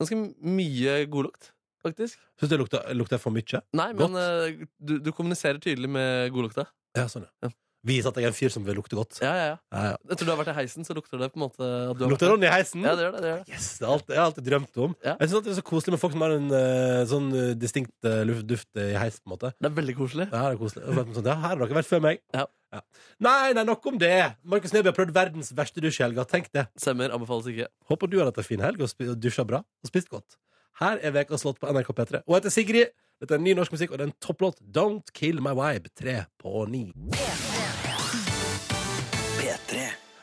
C: Ganske mye godlukt, faktisk.
B: Syns du jeg lukta, lukta jeg for mye?
C: Nei, men eh, du, du kommuniserer tydelig med godlukta.
B: Ja, sånn,
C: Ja.
B: ja. Vis at jeg er en fyr som vil lukte godt.
C: Ja, ja, ja.
B: Ja, ja.
C: Etter du har vært i heisen, så lukter det på en måte at du har
B: Lukter Ronny i heisen?
C: Ja, det gjør det. det, gjør det.
B: Yes, det er alt det har jeg alltid drømt om.
C: Ja.
B: Jeg synes at Det er så koselig med folk som har en eh, sånn eh, distinkt eh, luft- duft eh, i heis. på en måte
C: Det er veldig koselig.
B: Det her er koselig. Og sånn, Ja, her har dere vært før meg.
C: Ja.
B: Nei, nei, nok om det. Markus Neby har prøvd verdens verste dusj i helga. Tenk det.
C: Semmer anbefales ikke.
B: Håper du har hatt en fin helg og spi- og dusja bra og spist godt. Her er Vekas låt på NRK P3. Og jeg heter Sigrid. Dette er ny norsk musikk, og det er en topplåt. Don't Kill My Vibe. Tre på ni.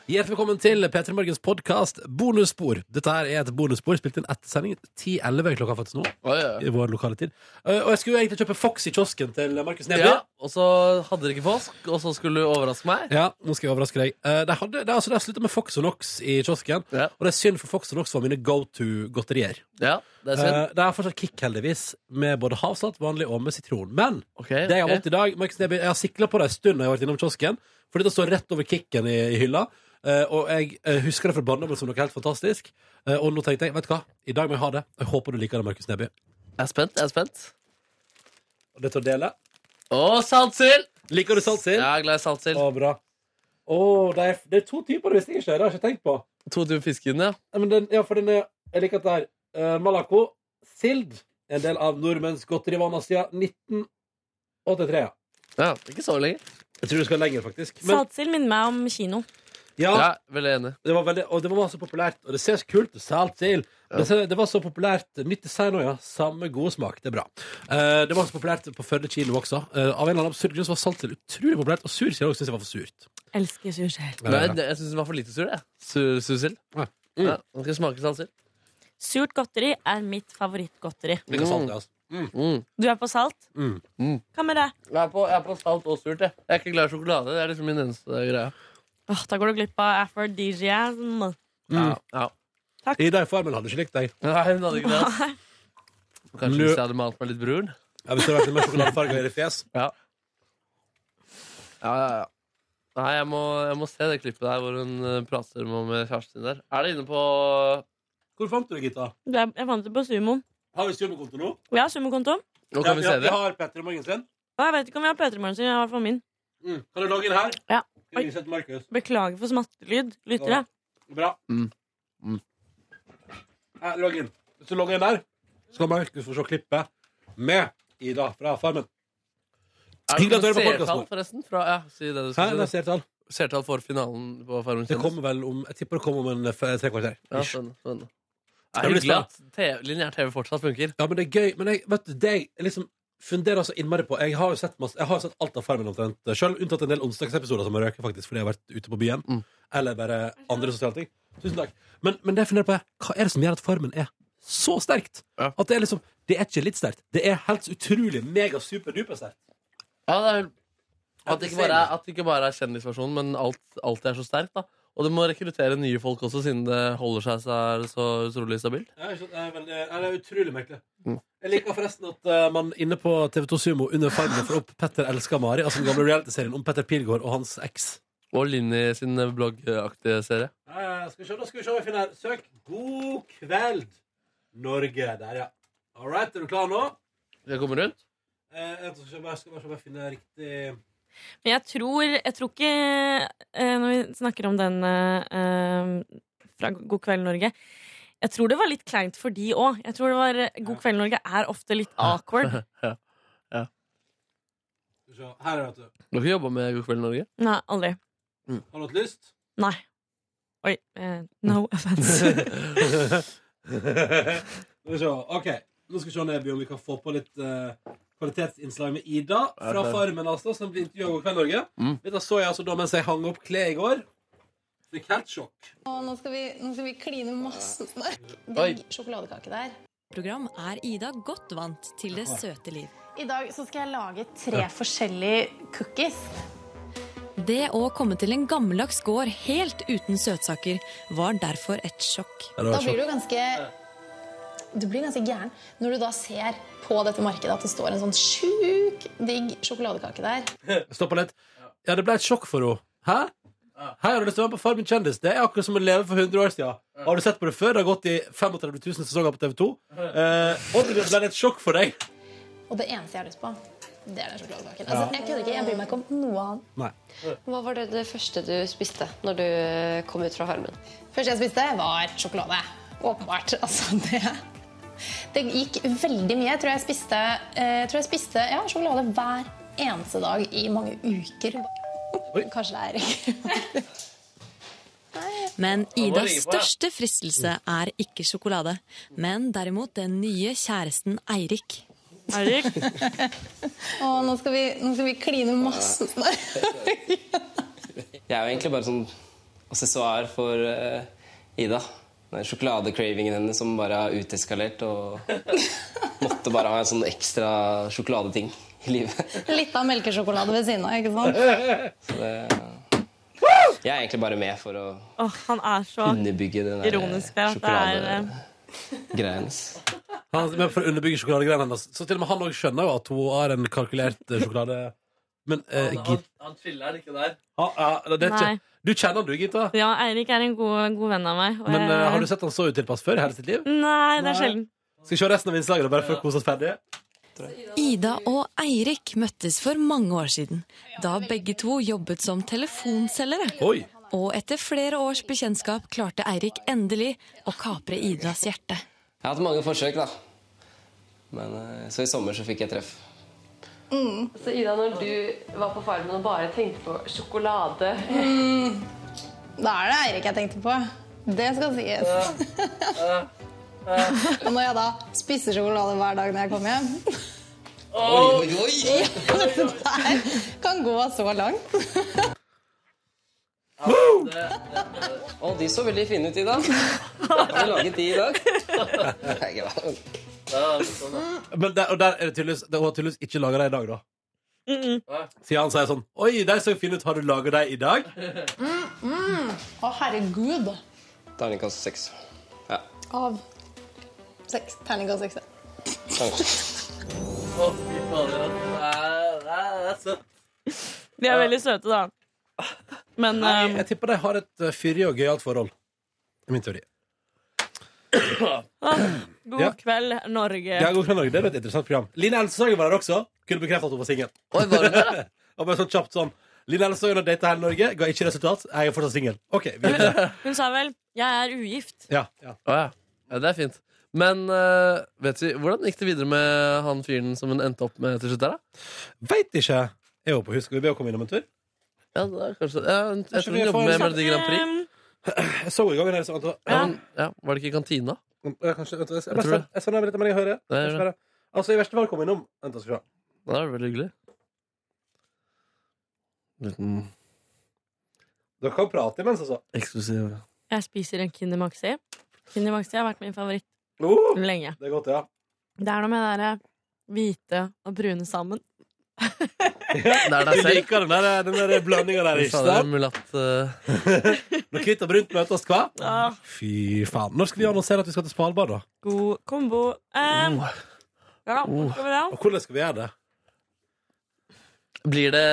B: Hjertelig velkommen til P3 Morgens podkast Bonusspor. Dette her er et bonusspor spilt inn etter sending 10-11 klokka faktisk nå.
C: Oi, oi, oi.
B: I vår lokale tid. Eh, Og jeg skulle jo egentlig kjøpe Fox i kiosken til Markus Neby.
C: Ja, Og så hadde dere ikke påsk, og så skulle du overraske meg.
B: Ja, nå skal jeg overraske deg. Eh, de hadde, de, altså, de har sluttet med Fox og Knox i kiosken.
C: Ja.
B: Og det er synd, for Fox og Knox var mine go to-godterier.
C: Ja, det er synd.
B: Eh, de har fortsatt kick, heldigvis, med både havsalt, vanlig og med sitron. Men
C: Ok,
B: det jeg har
C: ok.
B: valgt i dag Markus Neby, Jeg har sikla på det en stund når jeg har vært innom kiosken, for dette står rett over kicken i, i hylla. Eh, og jeg eh, husker det fra barndommen som noe helt fantastisk. Eh, og nå tenkte jeg, vet du hva, i dag må jeg ha det. Jeg håper du liker det, Markus Neby.
C: Jeg er spent. jeg er spent
B: Og det tar dele.
C: Å, saltsild!
B: Liker du saltsild?
C: Ja, jeg er glad i saltsild.
B: Å, bra. Å, det, er, det er to typer, det visste jeg ikke. Det har jeg ikke tenkt på.
C: To typer fisken, ja.
B: Ja, men den, ja, for den er, jeg liker at det er eh, Malaco, sild, en del av nordmenns godterivaner siden 1983. ja.
C: ja. Ikke så lenge.
B: Jeg tror du skal lenger, faktisk. Men,
J: Saltsild minner meg om kino.
B: ja,
C: Ja, veldig enig.
B: det var veldig, og det var så populært. Og det ser så kult ut. Salt sild. Men så- Det var så populært. Nytt design òg, ja. Samme gode smak. Det er bra. Eh, det var så populært på Førde kino også. Eh, av en eller annen absurd grunn så var saltsild utrolig populært. Og sur sild også synes jeg var for surt.
J: Elsker sursel.
C: Nei, det- jeg syns den var for lite sur. jeg. Sur- Sursild.
B: Ja. Mm.
C: Ja, nå skal jeg smake saltsild.
J: Surt godteri er mitt favorittgodteri.
B: Liker salt, ja, altså.
C: Mm.
J: Du er på salt?
B: Mm.
C: Mm.
J: Hva med deg?
C: Jeg, er på, jeg er på salt og surt. Jeg. jeg er ikke glad i sjokolade. Det er liksom min eneste greie.
J: Åh, da går du glipp av aphrodisiasm.
C: Ja, ja.
B: Ida i Farmen hadde ikke likt deg.
C: Nei, hun hadde ikke det. ass. Kanskje
B: Lø-
C: hvis jeg hadde malt meg litt brun.
B: Ja, hvis det hadde vært litt mer sjokoladefarger i fjes.
C: Ja, ja, ja. Nei, jeg må, jeg må se det klippet der hvor hun eh, prater med med kjæresten sin der. Er det inne på
B: Hvor fant du det, Gitta?
J: Du er- Jeg fant det på Sumo.
B: Har vi sumokonto nå?
J: Og jeg har sumokonto.
C: Nå kan vi se det.
B: har Petter og Morgen sin.
J: Og jeg vet ikke om jeg har P3-morgen sin. Jeg har i hvert fall min.
B: Mm. Kan du logge inn her?
J: Ja. Oi.
B: Skal vi sette Markus?
J: Beklager for smattelyd, lyttere.
B: Bra.
C: Mm. Mm.
B: Ja, Eh, logg inn. Hvis du logger inn der, skal Markus få se klippet med Ida fra Farmen.
C: Er
B: Hyggelig
C: det
B: at du hører på podcasten
C: seertall,
B: vår.
C: forresten? Fra, ja, si det du skal si. Seertall for finalen på Farmen
B: Det
C: kjendis.
B: kommer vel om Jeg tipper det kommer om en eh, f- tre kvarter.
C: Ja, sånn,
B: Ish.
C: spennende, spennende. Det
B: Det
C: er
B: blir
C: hyggelig at TV, lineær TV fortsatt funker.
B: Ja, men det er gøy. Men jeg, vet du, det jeg liksom funderer så innmari på Jeg har jo sett, masse, jeg har jo sett alt av Farmen omtrent sjøl, unntatt en del onsdagsepisoder som har røket, faktisk, fordi jeg har vært ute på byen.
C: Mm.
B: Eller bare andre sosiale ting. Tusen takk. Men, men det jeg funderer på, er hva er det som gjør at Farmen er så sterkt?
C: Ja.
B: At det er liksom Det er ikke litt sterkt. Det er helt utrolig mega-super-duper sterkt.
C: Ja, det er, at, det ikke bare er, at det ikke bare er kjendisversjonen, men alt, alt er så sterkt. da Og det må rekruttere nye folk også, siden det holder seg så, så utrolig stabilt.
B: Ja, ikke sant? Det er, veldig, ja, det er utrolig merkelig.
C: Mm.
B: Jeg liker forresten at eh, man inne på TV2 Sumo under farmen får opp Petter elsker Mari, altså den gamle realityserien om Petter Pilgaard og hans eks.
C: Og Linni sin bloggaktige serie.
B: Eh, skal vi se, da skal vi se om vi finner her. Søk 'God kveld, Norge'. Der, ja. All right, er du klar nå?
C: Det kommer rundt.
B: Eh, jeg skal bare, skal bare, skal bare finne riktig
J: Men jeg tror, jeg tror ikke eh, Når vi snakker om den eh, eh, fra God kveld, Norge Jeg tror det var litt kleint for de òg. Jeg tror det var eh, God kveld, Norge er ofte litt awkward.
B: Skal vi se. Her er det, vet du.
C: Du har ikke jobba med God kveld, Norge? Mm.
J: Nei, aldri.
B: Har du hatt lyst?
J: Nei. Oi. eh, no offense.
B: Skal vi se. OK. Nå skal vi se Neby, om vi kan få på litt eh, kvalitetsinnslag med Ida fra Farmen, altså, som blir intervjua i God kveld, Norge.
C: Mm.
B: Dette så jeg altså da mens jeg hang opp klær i går. Fikk helt sjokk.
E: Og nå skal vi, nå skal vi kline masse
C: Oi.
E: Digg sjokoladekake der.
F: Program er Ida godt vant til det søte liv.
E: I dag så skal jeg lage tre forskjellige cookies.
F: Det å komme til en gammeldags gård helt uten søtsaker var derfor et sjokk.
B: Ja, det
E: Da
B: var
E: blir
B: sjokk.
E: du ganske Du blir ganske gæren når du da ser på dette markedet at det står en sånn sjuk digg sjokoladekake der.
B: Stoppa litt. Ja, det ble et sjokk for henne. Hæ? Hei, har du lyst til å være med på Farmen kjendis? Det er akkurat som å leve for 100 år siden. Har du sett på det før? Det har gått i 35 000 sesonger på TV 2. Eh, og det ble et sjokk for deg.
E: Og det eneste jeg har lyst på, det er den sjokoladekaken. Altså, jeg kødder ikke. Jeg bryr meg ikke om noe annet.
B: Nei.
E: Hva var det, første du spiste når du kom ut fra farmen? Første jeg spiste, var sjokolade. Åpenbart. Altså, det Det gikk veldig mye. Jeg tror jeg spiste, eh, jeg tror jeg spiste ja, sjokolade hver eneste dag i mange uker. Kanskje det er ikke
F: Men Idas største fristelse er ikke sjokolade, men derimot den nye kjæresten Eirik.
J: Eirik,
E: Å, nå skal vi, nå skal vi kline masse
G: Jeg er jo egentlig bare sånn assessoar for eh, Ida. Den sjokoladecravingen hennes som bare har uteskalert og måtte bare ha en sånn ekstra sjokoladeting i livet.
E: Litt av melkesjokolade ved siden av, ikke sant?
G: Så det, jeg er egentlig bare med for å
J: Åh, han er så
G: underbygge den der
J: ironisk her. at Det er, eh,
G: greia hennes.
B: Han, men for å underbygge sjokoladegreiene hennes. Så til og med han også skjønner jo at hun har en kalkulert eh, sjokolade... Men eh, Git-
C: Han chiller'n ikke der.
B: ah, ah, det er ikke,
J: Nei.
B: Du kjenner han du, Gita.
J: ja, Eirik er en god, god venn av meg. og
B: Men
J: jeg-
B: eh, har du sett han så utilpass før i hele sitt liv?
J: Nei, det er
B: Nei.
J: sjelden.
B: Skal vi se resten av innslagene bare før kose oss ferdig?
F: Ida og Eirik møttes for mange år siden, da begge to jobbet som telefonselgere.
B: Oi.
F: Og etter flere års bekjentskap klarte Eirik endelig å kapre Idas hjerte.
G: Jeg har hatt mange forsøk, da. Men, eh, så i sommer så fikk jeg treff.
K: Så Ida, når du var på Farmen og bare tenkte på sjokolade
E: Da er det Eirik jeg tenkte på. Det skal sies. Og når jeg da spiser sjokolade hver dag når jeg kommer hjem
G: Oi, oi, oi!
E: Ja, det der kan gå så langt.
G: Å, de så veldig fine ut i dag. Har du laget de i dag? Det er ikke bra.
C: sånn,
B: Men der, og der er det tydeligvis det- Hun har tydeligvis ikke laga dem i dag, da.
J: Mm
B: Siden han sier sånn Oi, de så fine ut. Har du laga dem i dag?
E: Å, herregud.
G: Terningkast seks. Ja.
E: Av seks. Terningkast seks.
C: Å, fy fader. Det
B: Ah,
C: er- det er det er søtt.
J: De er veldig søte, da. Men
B: Nei,
J: eh,
B: jeg tipper de har et eh, fyrig og gøyalt forhold. I min teori.
J: åh, god
B: Ja.
J: kveld, Norge.
B: Ja, God kveld, Norge. Det er et interessant program. Line Elsesagen var der også. Kunne bekrefte at hun var singel. og bare sånn kjapt sånn Line Elsesagen har data hele Norge, ga ikke resultat. Jeg er fortsatt singel. OK. videre.
J: Hun sa vel 'jeg er ugift'.
B: Ja, ja.
C: Å ja. ja, det er fint. Men eh, vet vi, hvordan gikk det videre med han fyren som hun endte opp med til slutt? der da?
B: Veit ikke. Jeg håper hun skal vi be henne komme innom en tur.
C: Ja, det er kanskje, ja, hun- jeg
B: Kanskje
C: tror
B: vi
C: hun jobber med
B: får- sånn,
C: Melodi Grand Prix.
J: Ehm,
B: Jeg så i gang en sånn at det var-
C: Ja, men, ja, var det ikke i kantina?
B: Ja, kanskje, vent, jeg, jeg,
C: Jeg tror
B: jeg, jeg sender meg litt melding og hører.
C: Nei,
B: Kanskje bare- Altså, I verste fall kom innom. Vent, jeg skal se.
C: Ja, Det var veldig hyggelig. Liten
B: Dere kan prate imens, altså.
C: eksklusiv
J: Jeg spiser en Kinder Maxi. Kinder Maxi har vært min favoritt
B: Oh,
J: lenge.
B: det er godt, ja.
J: Det er noe med det derre hvite og brune sammen.
C: Det er deg
B: Du
C: selv.
B: liker den der, den der blandinga der,
C: Fy
B: ikke
C: fader,
B: sant?
C: mulatt eh,
B: Når hvitt og brunt møtes, hva?
J: Åh,
B: Fy faen. Når skal vi annonsere at vi skal til Svalbard, da?
J: god kombo. Ehm,
C: Oh.
J: ja, hva skal vi da?
B: Og hvordan skal vi gjøre det?
C: Blir det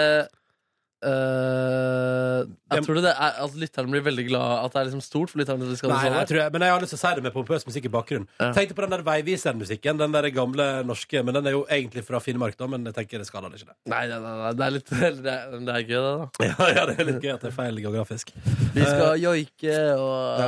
C: eh, Jeg tror det er at lytterne blir veldig glad at det er liksom stort for lytterne. til Skal
B: Nei, jeg
C: Svalbard.
B: tror jeg, men jeg har lyst til å si det med pompøs musikk i bakgrunnen.
C: Ja.
B: Tenkte på den der Veiviseren-musikken. Den der gamle norske. Men den er jo egentlig fra Finnmark, da, men jeg tenker det skader det ikke. det.
C: Nei, nei, nei, nei, det er litt Det er, det er gøy, det, da.
B: Ja, ja, det er litt gøy at det er feil geografisk. Eh,
C: Vi skal joike og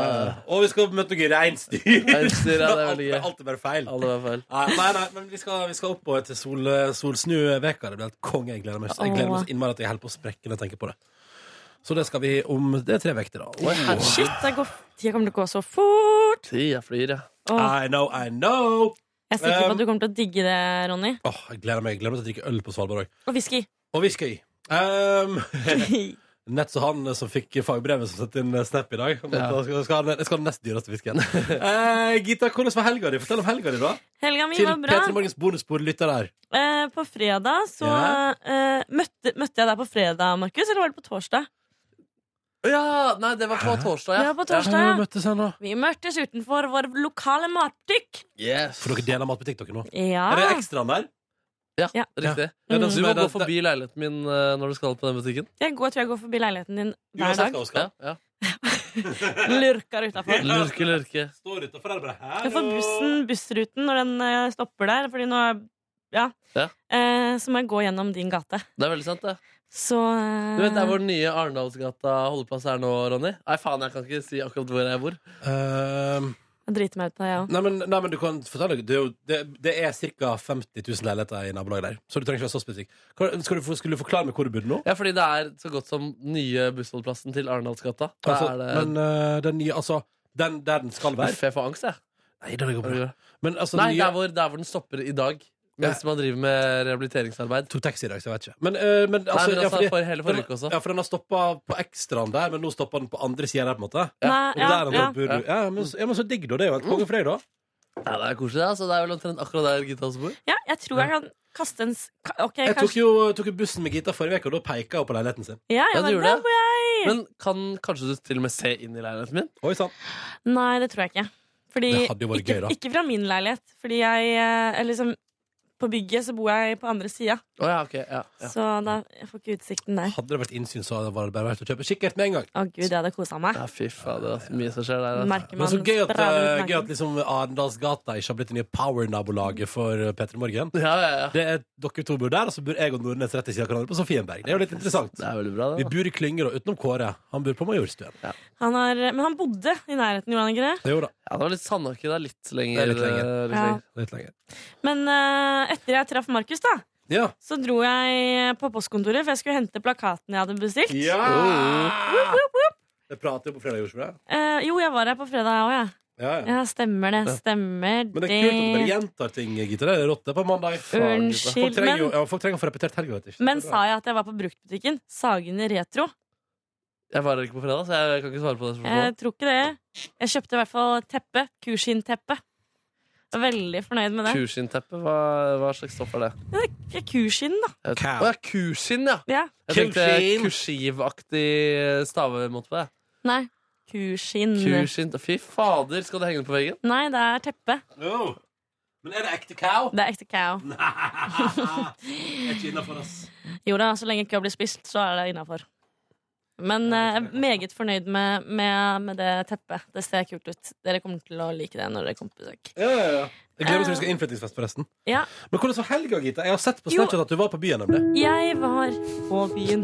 B: Og vi skal møte noen reinsdyr.
C: Reinsdyr, ja, det er
B: Alt-
C: veldig gøy.
B: Alt er bare feil.
C: Alle var feil.
B: Nei, nei, nei, men vi skal, vi skal opp på et sol, solsnuveka. Det blir helt konge. Jeg gleder meg så- Jeg gleder meg så innmari at jeg holder på å sprekke når jeg tenker på det. Så det skal vi om Det er tre vekter, da. Oh.
J: Shit, det går, tida kommer til å gå så fort!
C: Tida flyr, ja.
J: Åh,
B: I know, I know! Ehm,
J: jeg er sikker på at du kommer til å digge det, Ronny.
B: Åh, jeg gleder meg jeg gleder meg til å drikke øl på Svalbard òg.
J: Og whisky.
B: Og whisky. Um, nett så han som fikk fagbrevet som sendte inn snap i dag.
C: Ja.
B: Da Skal, skal, ha den- skal ha den nest dyreste whiskyen. Eh, Gita, hvordan var helga di? Fortell om helga di, da.
J: Helga mi
B: Til
J: var bra.
B: P3 Morgens bonusbordlytter der.
J: Eh, på fredag så
B: Ja.
J: eh, møtte, møtte jeg deg på fredag, Markus, eller var det på torsdag?
C: Ja, nei, det var på torsdag, ja.
J: Ja, på torsdag, ja.
B: Vi møttes her nå.
J: Vi møttes utenfor vår lokale matbutikk.
C: Ja. Yes.
B: For dere deler matbutikk, dere nå.
J: Ja.
B: Er det ekstraen der? Mm.
C: Ja,
J: Ja.
C: riktig.
B: Det er den
C: Du
B: som
C: må
B: er
C: gå
B: den-
C: forbi leiligheten min eh, når du skal på den butikken.
J: Jeg går, tror jeg går forbi leiligheten din hver
B: Uansett
J: dag.
B: hva hun skal.
C: Ja, ja.
J: Lurker utafor.
C: Lurke, lurke.
B: Står utafor der og bare
J: Jeg
B: her
J: får bussen, bussruten når den eh, stopper der, fordi nå Ja.
C: Ja.
J: Eh, så må jeg gå gjennom din gate.
C: Det er veldig sant, det.
J: Så eh,
C: Du vet, Det er hvor den nye Arendalsgata holdeplass er nå, Ronny. Nei, faen, jeg kan ikke si akkurat hvor jeg bor.
B: Ehm.
J: Jeg driter meg ut på det, jeg òg.
B: nei, men, nei, men du kan fortelle Det er, jo- det, det er ca. 50 000 leiligheter i nabolaget der. Så du trenger ikke være så spesifikk. Hva- Skal du, få- skulle du forklare meg hvor du bodde nå?
C: Ja, fordi det er så godt som nye bussholdeplassen til Arendalsgata. Da
B: Altså,
C: er det
B: men eh, den nye Altså, den der den skal være?
C: Uff, jeg får angst, jeg.
B: Nei, den går bra. Men altså,
C: Nei,
B: den
C: det er
B: nye
C: hvor, det er hvor den stopper i dag. Mens man driver med rehabiliteringsarbeid.
B: Tok taxi i dag, så jeg vet ikke. Men, eh, men altså,
C: Nei,
B: ja,
C: men altså,
B: fordi-
C: for hele forrige uke også.
B: Ja, for den har stoppa på ekstraen der, men nå stopper den på andre sida der, på en måte.
C: Ja,
B: Og
J: Nei, ja,
B: der,
J: ja.
B: ja. Bor du. Ja, men, så- ja, men så digg, da. Det er jo helt konge for deg, da.
C: Ja, det er koselig, altså. Det er vel omtrent akkurat der Gitas bor.
J: ja, jeg tror jeg kan kaste en s- ka- Ok,
B: Jeg tok
J: kanskje
B: jo, tok jo bussen med Gita forrige uke, og da peka hun på leiligheten sin.
J: Ja, jeg Ja, du var gjorde der det. hvor jeg-
C: Men kan kanskje du til og med se inn i leiligheten min?
B: Oi sann.
J: Nei, det tror jeg ikke. Fordi,
C: Det hadde jo vært
J: ikke,
C: gøy, da.
J: ikke fra min leilighet. Fordi jeg eh, eller liksom, På bygget så bor jeg på andre sida.
C: Å ja, ok. Ja, ja.
J: Så da jeg får ikke utsikten der.
B: Hadde det vært innsyn, så hadde det bare vært å kjøpe kikkert med en gang.
J: Å gud, jeg hadde kosa meg.
C: Ja, fy fader, altså, mye som skjer der. altså.
J: Merker
B: Men så
J: man
B: gøy at,
J: sprader
B: eh, gøy at liksom Arendalsgata ikke har blitt det nye Power-nabolaget for P3 Morgen. Det er Dere to bor der, og så bor jeg og Nordnes rett i siden av hverandre på Sofienberg. Det er jo litt interessant. Vi bor i Klynger, og utenom Kåre. Han bor på Majorstuen.
J: Han har, men han bodde i nærheten, gjorde han ikke det?
B: Jo da.
C: Ja, det var litt Sandåker der litt lenger.
B: Det er litt lenger.
C: eh, litt
J: Ja.
C: lenger.
J: Men eh, etter jeg traff Markus, da,
B: Ja.
J: så dro jeg på postkontoret, for jeg skulle hente plakaten jeg hadde bestilt.
B: Ja!
J: Woop, woop, woop.
B: Det prater jo på fredag, gjorde det?
J: Eh, jo, jeg var her på fredag òg, jeg.
B: Ja,
J: Ja.
B: ja.
J: stemmer det.
B: Ja.
J: Stemmer
B: Men det er kult at du bare gjentar ting, Gitte. Det er rått. Det er på mandag.
J: Unnskyld,
B: folk trenger, jo,
J: men-
B: ja, folk trenger å få repetert helga, vet du.
J: Men sa jeg at jeg var på bruktbutikken? Sagene Retro.
C: Jeg var her ikke på fredag, så jeg kan ikke svare på det spørsmålet.
J: Jeg tror ikke det. Jeg kjøpte i hvert fall et teppe. Kurshin-teppe. Jeg var Veldig fornøyd med det.
C: Kursin-teppe, hva, hva slags stoff er det?
J: Ja, det er Kurshin, da.
C: Jeg vet- Å ja, kursin, ja!
J: Ja.
C: Jeg tenkte kursivaktig stavemåte på det.
J: Nei. Kurshin.
C: Kursin, Fy fader, skal det henge det på veggen?
J: Nei, det er teppe.
B: Men er det ekte cow?
J: Det er ekte cow.
B: Er ikke innafor, ass.
J: Jo da, så lenge køa blir spist, så er det innafor. Men eh, jeg er meget fornøyd med, med, med det teppet. Det ser kult ut. Dere kommer til å like det når dere kommer på besøk.
B: Ja, ja, ja. Jeg gleder meg til vi skal ha innflyttingsfest, forresten.
J: Eh, Ja,
B: Men hvordan var helga, Gita? Jeg har sett på
J: Jo.
B: Snapchat at du var på byen, nemlig.
J: jeg var på byen.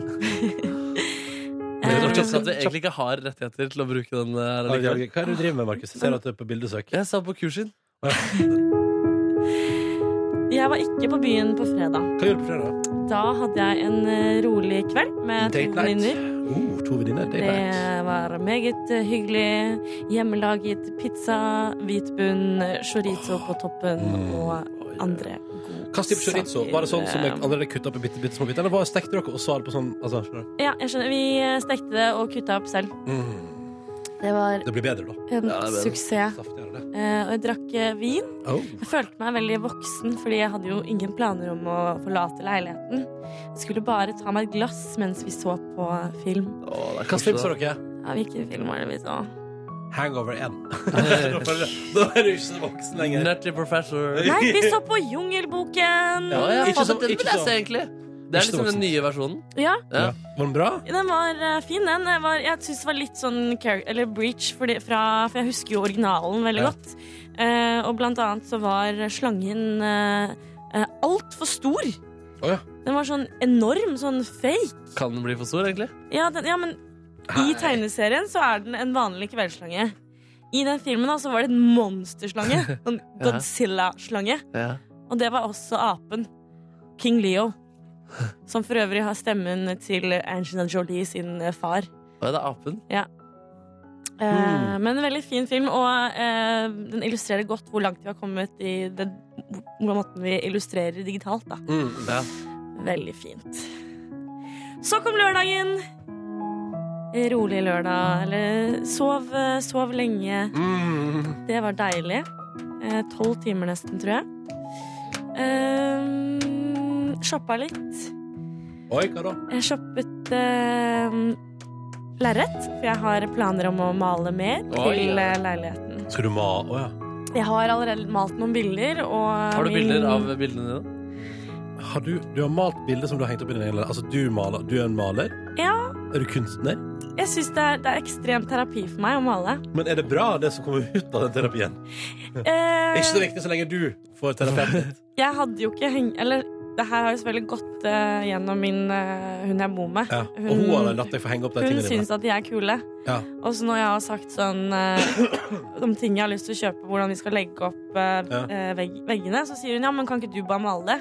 C: Jeg tror ikke at vi egentlig ikke har rettigheter til å bruke den. eh, her
B: Hva er
C: likevel.
B: det du driver med, Markus? Jeg ser at du er på bildesøk.
C: Jeg sa på kursin.
J: Jeg var ikke på byen på fredag.
B: Hva gjorde du på fredag?
J: Da hadde jeg en eh, rolig kveld med to
B: Date night.
J: venninner.
B: Oh, to venninner. Date night.
J: Det var meget eh, hyggelig. Hjemmelaget pizza, hvit bunn, chorizo på toppen og andre
B: Kast i på chorizo. Var det sånn som jeg allerede kutta opp i bitte, bitte små biter? Eller var stekte dere og så det på sånn altså, skjønner du?
J: Ja, jeg skjønner. Vi eh, stekte det og kutta opp selv.
B: mm.
J: Det var
B: Det blir bedre, da.
J: en
B: Ja, det er bedre.
J: suksess.
B: Saftigere, det.
J: Eh, og jeg drakk eh, vin.
B: Oh.
J: Jeg følte meg veldig voksen, fordi jeg hadde jo ingen planer om å forlate leiligheten. Jeg skulle bare ta meg et glass mens vi så på film.
B: Hva film så dere?
J: Ja, hvilken film var det vi så?
B: Hangover 1. da får du- da er du ikke så voksen lenger.
C: Nutty professor.
J: Nei, vi så på Jungelboken!
C: Ja, ja,
J: Ikke
C: faen,
J: så-
C: den
J: ikke
C: vil jeg
J: så-
C: se, egentlig. Det er
B: Ikke så
C: liksom den
B: voksent.
C: nye versjonen.
J: Ja.
C: Ja.
B: Var den bra?
J: Den var eh, fin, den. Jeg, var, jeg syns det var litt sånn char- eller breach, fordi, fra, for jeg husker jo originalen veldig
C: Ja.
J: godt. Eh, og blant annet så var slangen uh, altfor stor.
B: Å ja.
J: Den var sånn enorm, sånn fake.
C: Kan den bli for stor, egentlig?
J: Ja, den, ja men i tegneserien så er den en vanlig kveldsslange. I den filmen da, så var det en monsterslange. En
C: Ja.
J: Godzilla-slange.
C: Ja.
J: Og det var også apen. King Leo. Som for øvrig har stemmen til Angela Jolie sin eh, far.
C: Å, ja, det er apen.
J: Ja. Eh, men en veldig fin film, og eh, den illustrerer godt hvor langt vi har kommet i den hvor måten vi illustrerer digitalt. Da.
B: Mm,
C: Ja.
J: Veldig fint. Så kom lørdagen. Eh, Rolig lørdag. Eller sov, eh, sov lenge. Det var deilig. Eh, Tolv timer nesten, tror jeg. Eh, shoppa litt.
B: Oi, hva da?
J: Jeg shoppet eh, lerret, for jeg har planer om å male mer
B: Oi.
J: til eh, leiligheten.
B: Skal du ma... Å ja.
J: Jeg har allerede malt noen bilder, og
C: Har du
J: Eh, min-
C: bilder av bildene dine?
B: Har du, du har malt bilder som du har hengt opp i din egen leilighet. Altså, du maler. Du er en maler.
J: Ja.
B: Er du kunstner?
J: Jeg syns det, er- det er ekstrem terapi for meg å male.
B: Men er det bra, det som kommer ut av den terapien?
J: Eh,
B: Ikke så viktig så lenge du får terapeuten.
J: Jeg hadde jo ikke heng... Eller, det her har jo selvfølgelig gått eh, gjennom min, eh, hun jeg bor med.
B: Ja. Og hun har latt deg få henge opp de
J: Hun
B: tingene
J: syns
B: dine.
J: at de er kule.
B: Ja.
J: Og så når jeg har sagt sånn eh, om ting jeg har lyst til å kjøpe, hvordan vi skal legge opp eh,
B: Ja.
J: eh, vegg, veggene, så sier hun ja, men kan ikke du bare male det?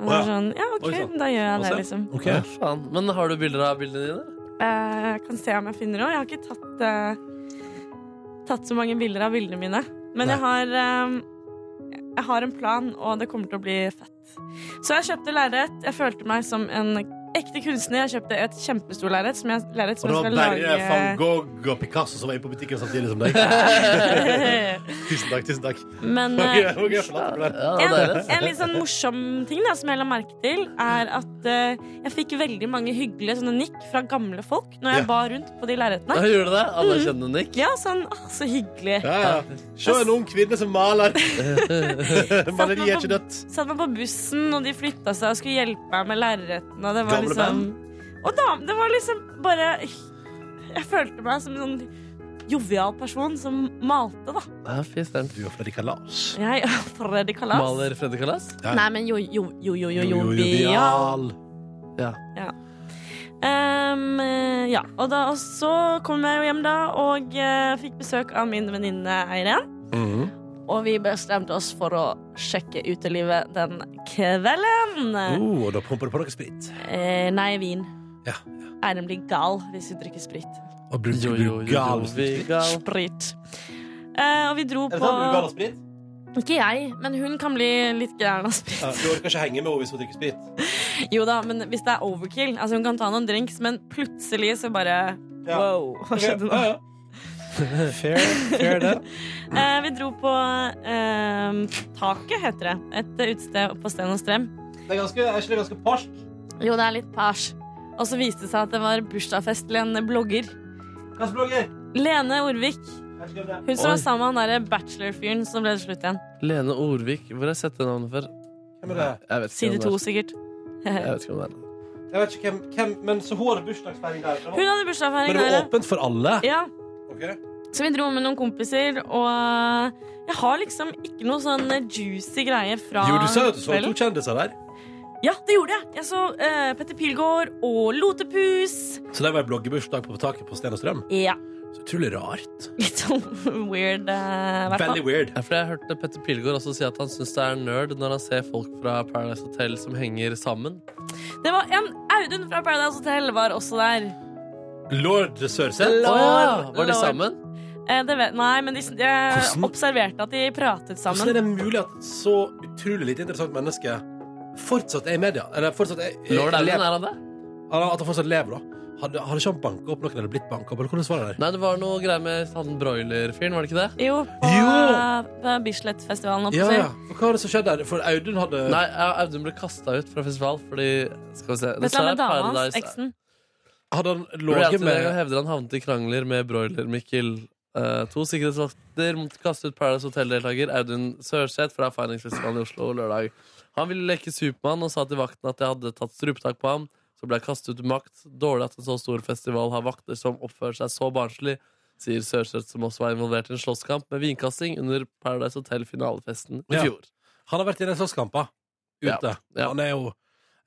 J: Og
C: Å, ja.
J: så er det sånn, ja,
C: Oi,
J: OK,
C: sant.
J: da gjør jeg det,
C: Altså,
J: liksom.
C: Ja, faen. Men har du bilder av bildene dine?
J: Eh, Jeg kan se om jeg finner noe. Jeg har ikke tatt, eh, tatt så mange bilder av bildene mine. Men jeg har, eh, jeg har en plan, og det kommer til å bli fett. Så jeg kjøpte lerret. Jeg følte meg som en ekte kunstner. Jeg kjøpte et kjempestort lerret som jeg, lerret
L: Og
J: som
L: det
J: jeg
L: var
J: skal
L: Berre van
J: lage
L: Gogh og Picasso som var inne på butikken samtidig som deg. tusen takk, tusen takk.
J: Men,
L: Ok,
J: eh,
L: ok, forlatt for det.
J: en, en litt sånn morsom ting da, som jeg la merke til, er at eh, jeg fikk veldig mange hyggelige sånne nikk fra gamle folk når jeg
C: Ja.
J: bar rundt på de lerretene. Mm.
C: Ja, gjorde du det? Anerkjennende nikk?
J: Ja, sånn «Åh, så hyggelig.
L: Ja, ja. Se en ung kvinne som maler. Maleri er ikke dødt.
J: Satt meg på bussen, og de flytta seg og skulle hjelpe meg med lerretene. og Det var
L: Gamle
J: liksom Og da, det var liksom bare Jeg følte meg som en sånn jovial person som malte, da.
C: Ja, fy søren.
L: Du og Freddy Kalas.
J: Jeg Freddy Kalas.
C: Maler Freddy Kalas?
J: Nei, men jo, jo, jo, jo, jo, jo,
C: Ja.
J: Ja. Ehm, eh, ja. Og, da, og så kom jeg jo hjem da og eh, fikk besøk av min venninne Eiren.
B: Mhm.
J: Og vi bestemte oss for å sjekke utelivet den kvelden.
B: Oh, og da pumper du på noe sprit.
J: Eh, nei, vin.
B: Ja,
J: Eiren blir gal hvis hun drikker sprit.
B: Og blir
C: Jo,
B: du
C: jo, jo,
B: gal
C: jo,
B: hvis du
C: vi
B: drikker
C: gal.
J: Sprit. Eh, og vi dro
B: Er det
J: på
B: sant? Blir du gal av sprit?
J: Ikke jeg, men hun kan bli litt gæren av sprit.
B: Ja, du orker ikke henge med henne hvis hun drikker sprit.
J: Jo da, men hvis det er overkill Altså hun kan ta noen drinks, men plutselig så bare Wow, hva skjedde nå?
B: Fair, fair det.
J: Eh, vi dro på eh, Taket, heter det. Et eh, utested på Sten og Strøm.
B: Det er ganske, er ikke det ganske parsk?
J: Jo, det er litt pers. Og så viste det seg at det var bursdagsfest til en blogger.
B: Hvilken blogger?
J: Lene Orvik. Hun som
C: Oi.
J: var sammen med han derre bachelor-fyren som ble det slutt igjen.
C: Lene Orvik. Hvor har jeg sett det navnet før?
B: Hvem er det?
C: Jeg vet ikke
J: Side
C: hvem
J: to,
C: det er.
J: sikkert.
C: Jeg
J: Hun
C: vet ikke hvem det er.
B: Jeg vet ikke hvem, hvem men så hun hadde bursdagsfeiring der. Det var-
J: hadde bursdagsfeiring.
B: Men det var
J: der,
B: åpent for alle?
J: Ja. Ja.
B: Ok.
J: Så vi dro med noen kompiser, og jeg har liksom ikke noe sånn juicy greie fra
B: Jo, du sa jo at du så to
J: kvelden.
B: kjendiser der.
J: Ja, det gjorde jeg. Jeg så eh, Petter Pilgaard og Lotepus.
B: Så det var en bloggebursdag på taket på Sten og Strøm.
J: Ja.
B: Så utrolig rart.
J: Litt sånn weird, eh, hvert fall.
B: weird.
C: Ja, for jeg hørte Petter Pilgaard også si at han syns det er nerd når han ser folk fra Paradise Hotel som henger sammen.
J: Det var en Audun fra Paradise Hotel var også der.
B: Lord Sørseth.
J: Lord,
C: Å, Var de
J: Lord.
C: sammen?
J: Eh, det vet, nei, men de, jeg
B: Hvordan?
J: observerte at de pratet sammen.
B: Hvordan er det mulig at et så utrolig lite interessant menneske fortsatt er i media? Eller fortsatt er,
C: Lord Audun,
B: lever?
C: er han det?
B: Han- At han fortsatt lever, da. Hadde, hadde ikke han banka opp noen eller blitt banka opp? Eller hvordan var det der?
C: Nei, det var noe greier med han broiler-fyren, var det ikke det?
J: Jo, på,
B: Jo!
J: på Bislett-festivalen. holdt
B: Ja,
J: jeg på å si.
B: ja. Og Hva var det som skjedde der? For Audun hadde
C: Nei, Audun ble kasta ut fra festival fordi Skal vi se
J: Vet du
C: dette
J: hva
C: er
J: med dama hans,
C: Paradise-
J: eksen?
B: Hadde han ligget
C: Reality Radio
B: med
C: hevder han havnet i krangler med broiler-Mikkel. Eh, to sikkerhetsvakter måtte kaste ut Paradise Hotel-deltaker Audun Sørseth fra Finingsfestivalen i Oslo lørdag. Han ville leke Supermann og sa til vakten at jeg hadde tatt strupetak på ham. Så ble jeg kastet ut med makt. Dårlig at en så stor festival har vakter som oppfører seg så barnslig, sier Sørseth, som også var involvert i en slåsskamp med vinkasting under Paradise Hotel-finalefesten i
B: Ja.
C: fjor.
B: Han har vært i den slåsskampa ute. Han er jo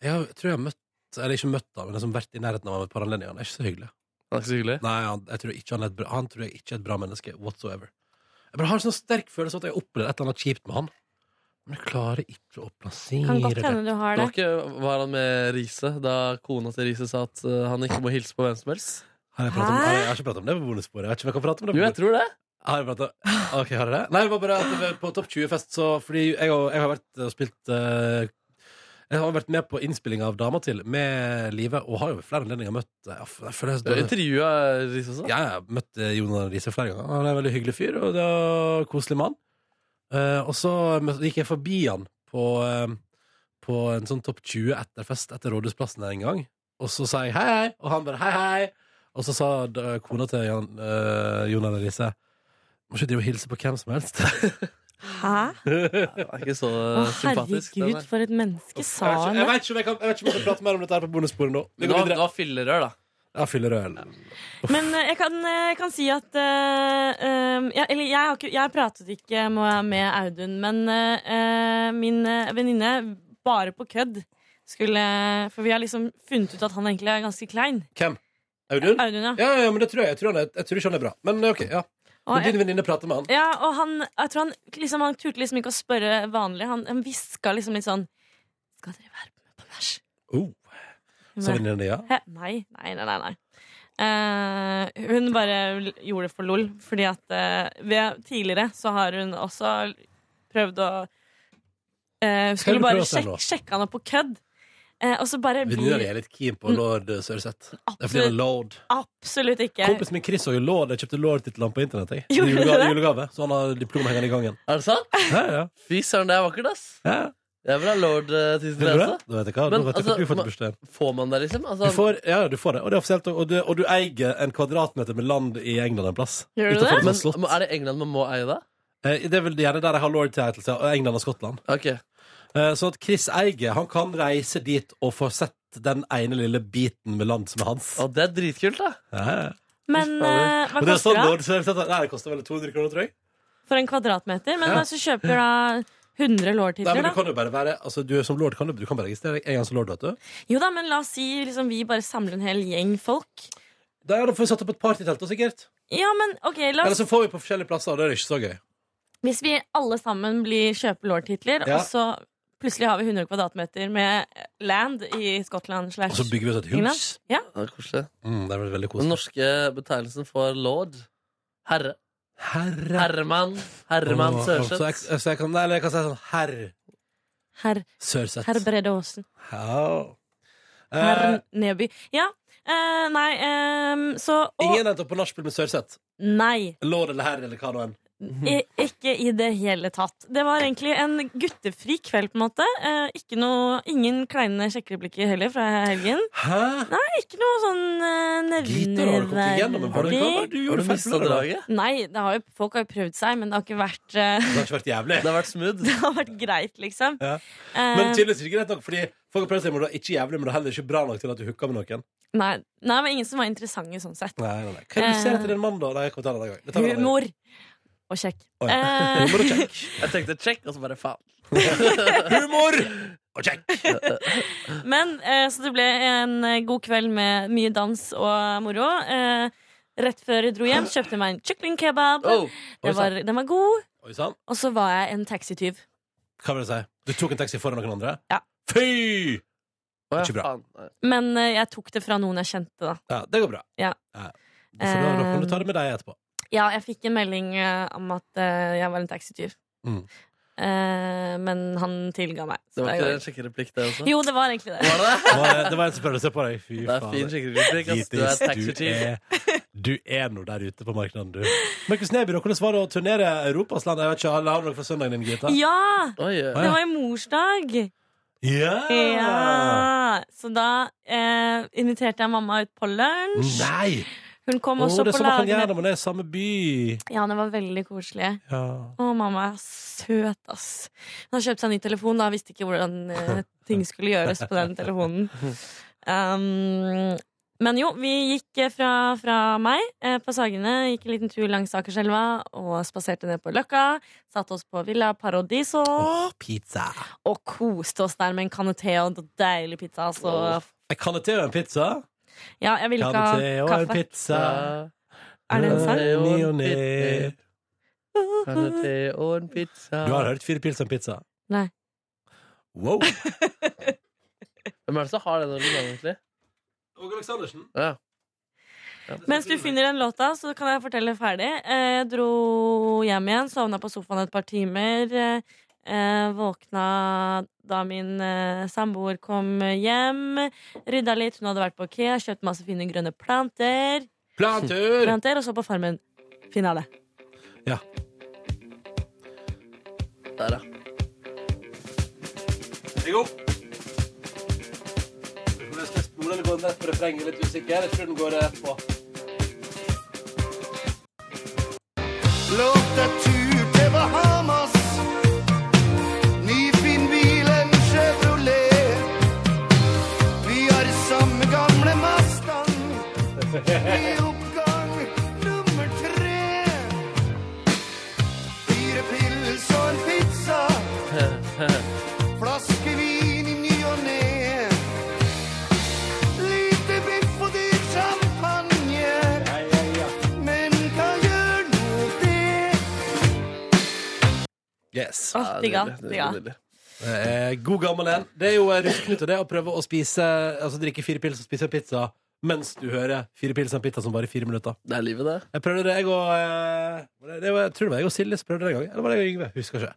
B: Jeg har- tror jeg har møtt Eller ikke møtt ham, men liksom vært i nærheten av ham et par anledninger. Han er ikke så hyggelig.
C: Han er ikke så hyggelig?
B: Nei, han, jeg tror ikke han, er et, bra- han tror jeg ikke er et bra menneske whatsoever. Jeg bare har en sånn sterk følelse av at jeg opplever et eller annet kjipt med han. Men jeg klarer ikke å plassere
J: Kan godt hende du har det.
C: Det var, ikke, var han med Riise da kona til Riise sa at eh, han ikke må hilse på hvem som helst?
B: Har jeg, pratet om, har jeg, jeg har ikke pratet om det på bonussporet. Jeg vet ikke om jeg kan prate om det.
C: Jo,
B: på
C: jeg tror det.
B: Har jeg pratet Ah, Ok, har jeg det? Nei, det var bare at det- på Topp 20-fest så Fordi jeg, har- jeg har vært og spilt eh, Jeg har vært med på innspilling av Dama til med Live, og har jo ved flere anledninger møtt eh, jeg føler- jeg føler-
C: Du har intervjua Riise også?
B: Ja, jeg har møtt eh, Jonas Riise flere ganger. Han er en veldig hyggelig fyr, og det er en koselig mann. Eh, og så mø- gikk jeg forbi han på, eh, på en sånn Topp 20 etter fest etter Rådhusplassen der en gang. Og så sa jeg hei, hei, og han bare hei, hei. Og så sa da, kona til Jan, eh, Jonas Riise må ikke drive og hilse på hvem som helst.
J: Hæ?
C: Det var ikke så
J: Å,
C: eh, sympatisk. den
J: herregud,
C: der.
J: for et menneske sa
B: Jeg
J: han
B: vet
J: det.
B: ikke om jeg, kan, jeg vet ikke om jeg kan prate mer om dette her på bonussporet nå. Vi
C: Men det
B: går
C: var, det
B: videre.
C: var fillerør, da.
B: Jeg fyller øl.
J: Men eh, jeg kan, eh, jeg kan si at eh, eh, jeg, Eller jeg, har ikke, jeg pratet ikke med med Audun, men eh, eh, min eh, venninne, bare på kødd, skulle For vi har liksom funnet ut at han egentlig er ganske klein.
B: Hvem? Audun?
J: Audun, ja.
B: Ja, ja, men det tror jeg. Jeg tror, han er, jeg tror ikke han er bra. Men ok, ja.
J: Og
B: Men din venninne prater med han.
J: Ja, og han, jeg tror han, liksom, han turte liksom ikke å spørre vanlig. Han, han hviska liksom litt sånn Skal dere være med på vers?
B: Oh. Så venninnen din, ja.
J: Hæ? Nei, nei, nei, nei. nei. Eh, hun bare l- gjorde det for lol, fordi at eh, ved, tidligere så har hun også prøvd å eh,
B: Skal du
J: Skulle bare
B: prøve å se
J: sjek
B: nå?
J: sjekke han opp på kødd. Eh, og så bare
B: Venninna di
J: blir
B: er litt keen
J: Mm.
B: på lord eh, Sørseth. Det er fordi han er lord.
J: Absolutt ikke.
B: Kompisen min Chris har jo lord. Jeg kjøpte lord-titlene på internett. Jeg. I
J: Gjorde du
B: julegave,
J: det?
B: julegave, så han har diplom hengende i gangen.
C: Er det sant?
B: Ja, ja.
C: Fy søren, det er vakkert, ass.
B: Ja.
C: Jeg vil ha lord eh, til
B: Vil du det? Da vet jeg hva, da
C: Men,
B: vet jeg hva du får til
C: ma-
B: bursdagen.
C: Får man det, liksom? Altså,
B: Du får, ja, du får det. Og det er offisielt, og du, og du eier en kvadratmeter med land i England en plass.
C: Gjør du
B: Utenfor
C: det?
B: et
C: Men,
B: slott.
C: men er det England man må eie, da?
B: Eh, Det er vel gjerne der jeg har lord titles, ja, og England og Skottland.
C: Ok.
B: Eh, Sånn at Chris Eige han kan reise dit og få sett den ene lille biten med land som er hans.
C: Og det er dritkult, da.
B: Ja, ja.
J: Men eh,
B: Og
J: hva
B: det er
J: koster
B: sånn
J: det da?
B: lord Sørseth Nei, det koster vel 200 kroner, tror jeg.
J: for en kvadratmeter? Men
B: Ja.
J: hvis du kjøper da 100
B: Nei,
J: lårtitler,
B: men du
J: da?
B: kan jo bare være Altså, du som lord kan du, du kan bare registrere deg en gang som lord, vet du.
J: Jo da, men la oss si liksom, vi bare samler en hel gjeng folk.
B: Da ja, da får vi satt opp et partytelt, da, sikkert.
J: Ja, men ok, la
B: Eller
J: oss
B: så får vi på forskjellige plasser, og det er ikke så gøy.
J: Hvis vi alle sammen blir kjøper lårtitler,
B: Ja.
J: og så plutselig har vi 100 kvadratmeter med land i Skottland slash
B: Og så bygger vi oss et
J: England.
B: hus.
J: Ja.
C: Det er koselig.
B: Mm, det er vel veldig
C: Den
B: koselig.
C: norske betegnelsen for lord Herre.
B: Herre.
C: Herremann. Herremann
B: Åh, Så jeg,
C: Sørseth.
B: så jeg kan, nei, eller jeg kan si sånn herr
J: Herr
B: Sørseth.
J: Herr Bredde Aasen.
B: Ja. Eh,
J: Herr Neby. Ja. eh, nei, ehm, så og,
B: ingen endte opp på nachspiel med Sørseth.
J: Nei.
B: Lord eller herr eller hva nå enn.
J: I, ikke i det hele tatt. Det var egentlig en guttefri kveld, på en måte. Eh, ikke noe, ingen kleine sjekkereplikker heller fra helgen.
B: Hæ?
J: Nei, ikke noe sånn eh,
B: Gitar har du kommet igjennom, men var det- hva var det du gjorde Har du feil mistet på lørdag? draget?
J: Nei, det har jo, folk har jo prøvd seg, men det har ikke vært eh,
B: Det har ikke vært jævlig.
C: Det har vært smooth.
J: Det har vært greit, liksom.
B: Ja.
J: Eh,
B: Men tydeligvis ikke greit nok, fordi folk har prøvd seg, men det er ikke jævlig, men det er heller ikke bra nok til at du hooka med noen.
J: Nei, nei, men ingen som var interessante sånn sett.
B: Nei, nei, nei. Hva er det du ser etter en mann, da? Nei, jeg kommer til å ta det en gang. Det tar vi en annen gang.
J: Eh, Humor og kjekk.
B: Oi.
J: Eh,
B: Humor og kjekk.
C: Jeg tenkte check, og så bare faen.
B: Humor og kjekk!
J: men eh, så det ble en eh, god kveld med mye dans og moro. Eh, rett før jeg dro hjem, kjøpte jeg meg en kyklingkebab.
B: Oh, oi
J: Den var,
B: sann.
J: den var god.
B: Oi sann.
J: Og så var jeg en taxityv.
B: Hva vil det si? Du tok en taxi foran noen andre?
J: Ja.
B: Fy! Ikke bra.
J: Men eh, jeg tok det fra noen jeg kjente, da.
B: Ja, det går bra.
J: Ja.
B: Ja. For da, da kan du ta det med deg etterpå.
J: Ja, jeg fikk en melding eh, om at eh, jeg var en taxityv.
B: Mm.
J: Eh, men han tilga meg.
C: Det
J: Så
C: var
J: det
C: ikke
J: går.
C: en sjekkereplikk, det også?
J: Jo, det var egentlig det.
C: Var det?
B: Det var, det var en som prøvde å se på deg. Fy
C: Det er
B: faen.
C: fin sjekkereplikk, ass. Du er
B: Gitis,
C: taxityv.
B: du, er, du er nå der ute på markedet, du. Markus Neby, da, hvordan var det å turnere Europas land? Jeg vet ikke, alle Har du noe fra søndagen din, Gita?
J: Ja!
B: ja.
J: Det var i morsdag.
B: Ja!
J: Ja. Så da eh, inviterte jeg mamma ut på lunsj.
B: Nei!
J: Hun kom
B: Å,
J: også
B: det er
J: på
B: sånn man kan gjøre
J: lagene.
B: når man er i samme by.
J: Ja, det var veldig koselig.
B: Ja.
J: Å, mamma er søt, ass. Hun har kjøpt seg ny telefon, da. Visste ikke hvordan eh, ting skulle gjøres på den telefonen. Um, men jo, vi gikk eh, fra, fra meg eh, på Sagene, gikk en liten tur langs Akerselva og spaserte ned på Løkka. Satte oss på Villa Paradiso
B: Pizza.
J: og koste oss der med en kanne te og deilig pizza. Så
B: Jeg kan det til en pizza.
J: ja, jeg ville
B: Kan det
J: ikke
B: til
J: ha
B: og en
J: kaffe.
B: pizza.
J: Er
B: Eh,
J: det en sang?
B: Ny og ny.
C: Kan det te og en pizza
B: Du har hørt Fire pils og en pizza?
J: Nei.
B: Wow.
C: Hvem er det som har den originalen, egentlig?
B: Åge Aleksandersen.
C: Ja.
J: Mens du finner den låta, så kan jeg fortelle ferdig. Eh, Jeg dro hjem igjen, sovna på sofaen et par timer. eh, Eh, våkna da min eh, samboer kom hjem. Rydda litt, hun hadde vært på IKEA, kjøpt masse fine grønne planter.
B: Plantur!
J: planter og så på Farmen. Finale.
C: Der, ja.
B: Jeg er god. Hvordan skal jeg spole eller gå rett på refrenget? Litt usikker. Jeg tror den går rett på.
M: Lovte tur til Bahamas. Nyfinn bil, en Chevrolet. Vi har samme gamle Mustang. I oppgang nummer tre. Fire pils og en pizza. Flaskevin i ny og ne. Lite biff og dyr champagne. Men hva gjør nå det?
B: Yes.
M: Å, digga, digga.
B: Det er god gammel en. Det er jo eh, russeknut og det å prøve å spise Altså drikke fire pils og spise pizza mens du hører fire pils og en pizza som varer i fire minutter.
C: Det er livet, det.
B: Jeg prøvde det, jeg og eh, var det- det var- Jeg tror det var jeg og Silje som prøvde det en gang. Eller var det jeg og Yngve? Husker ikke.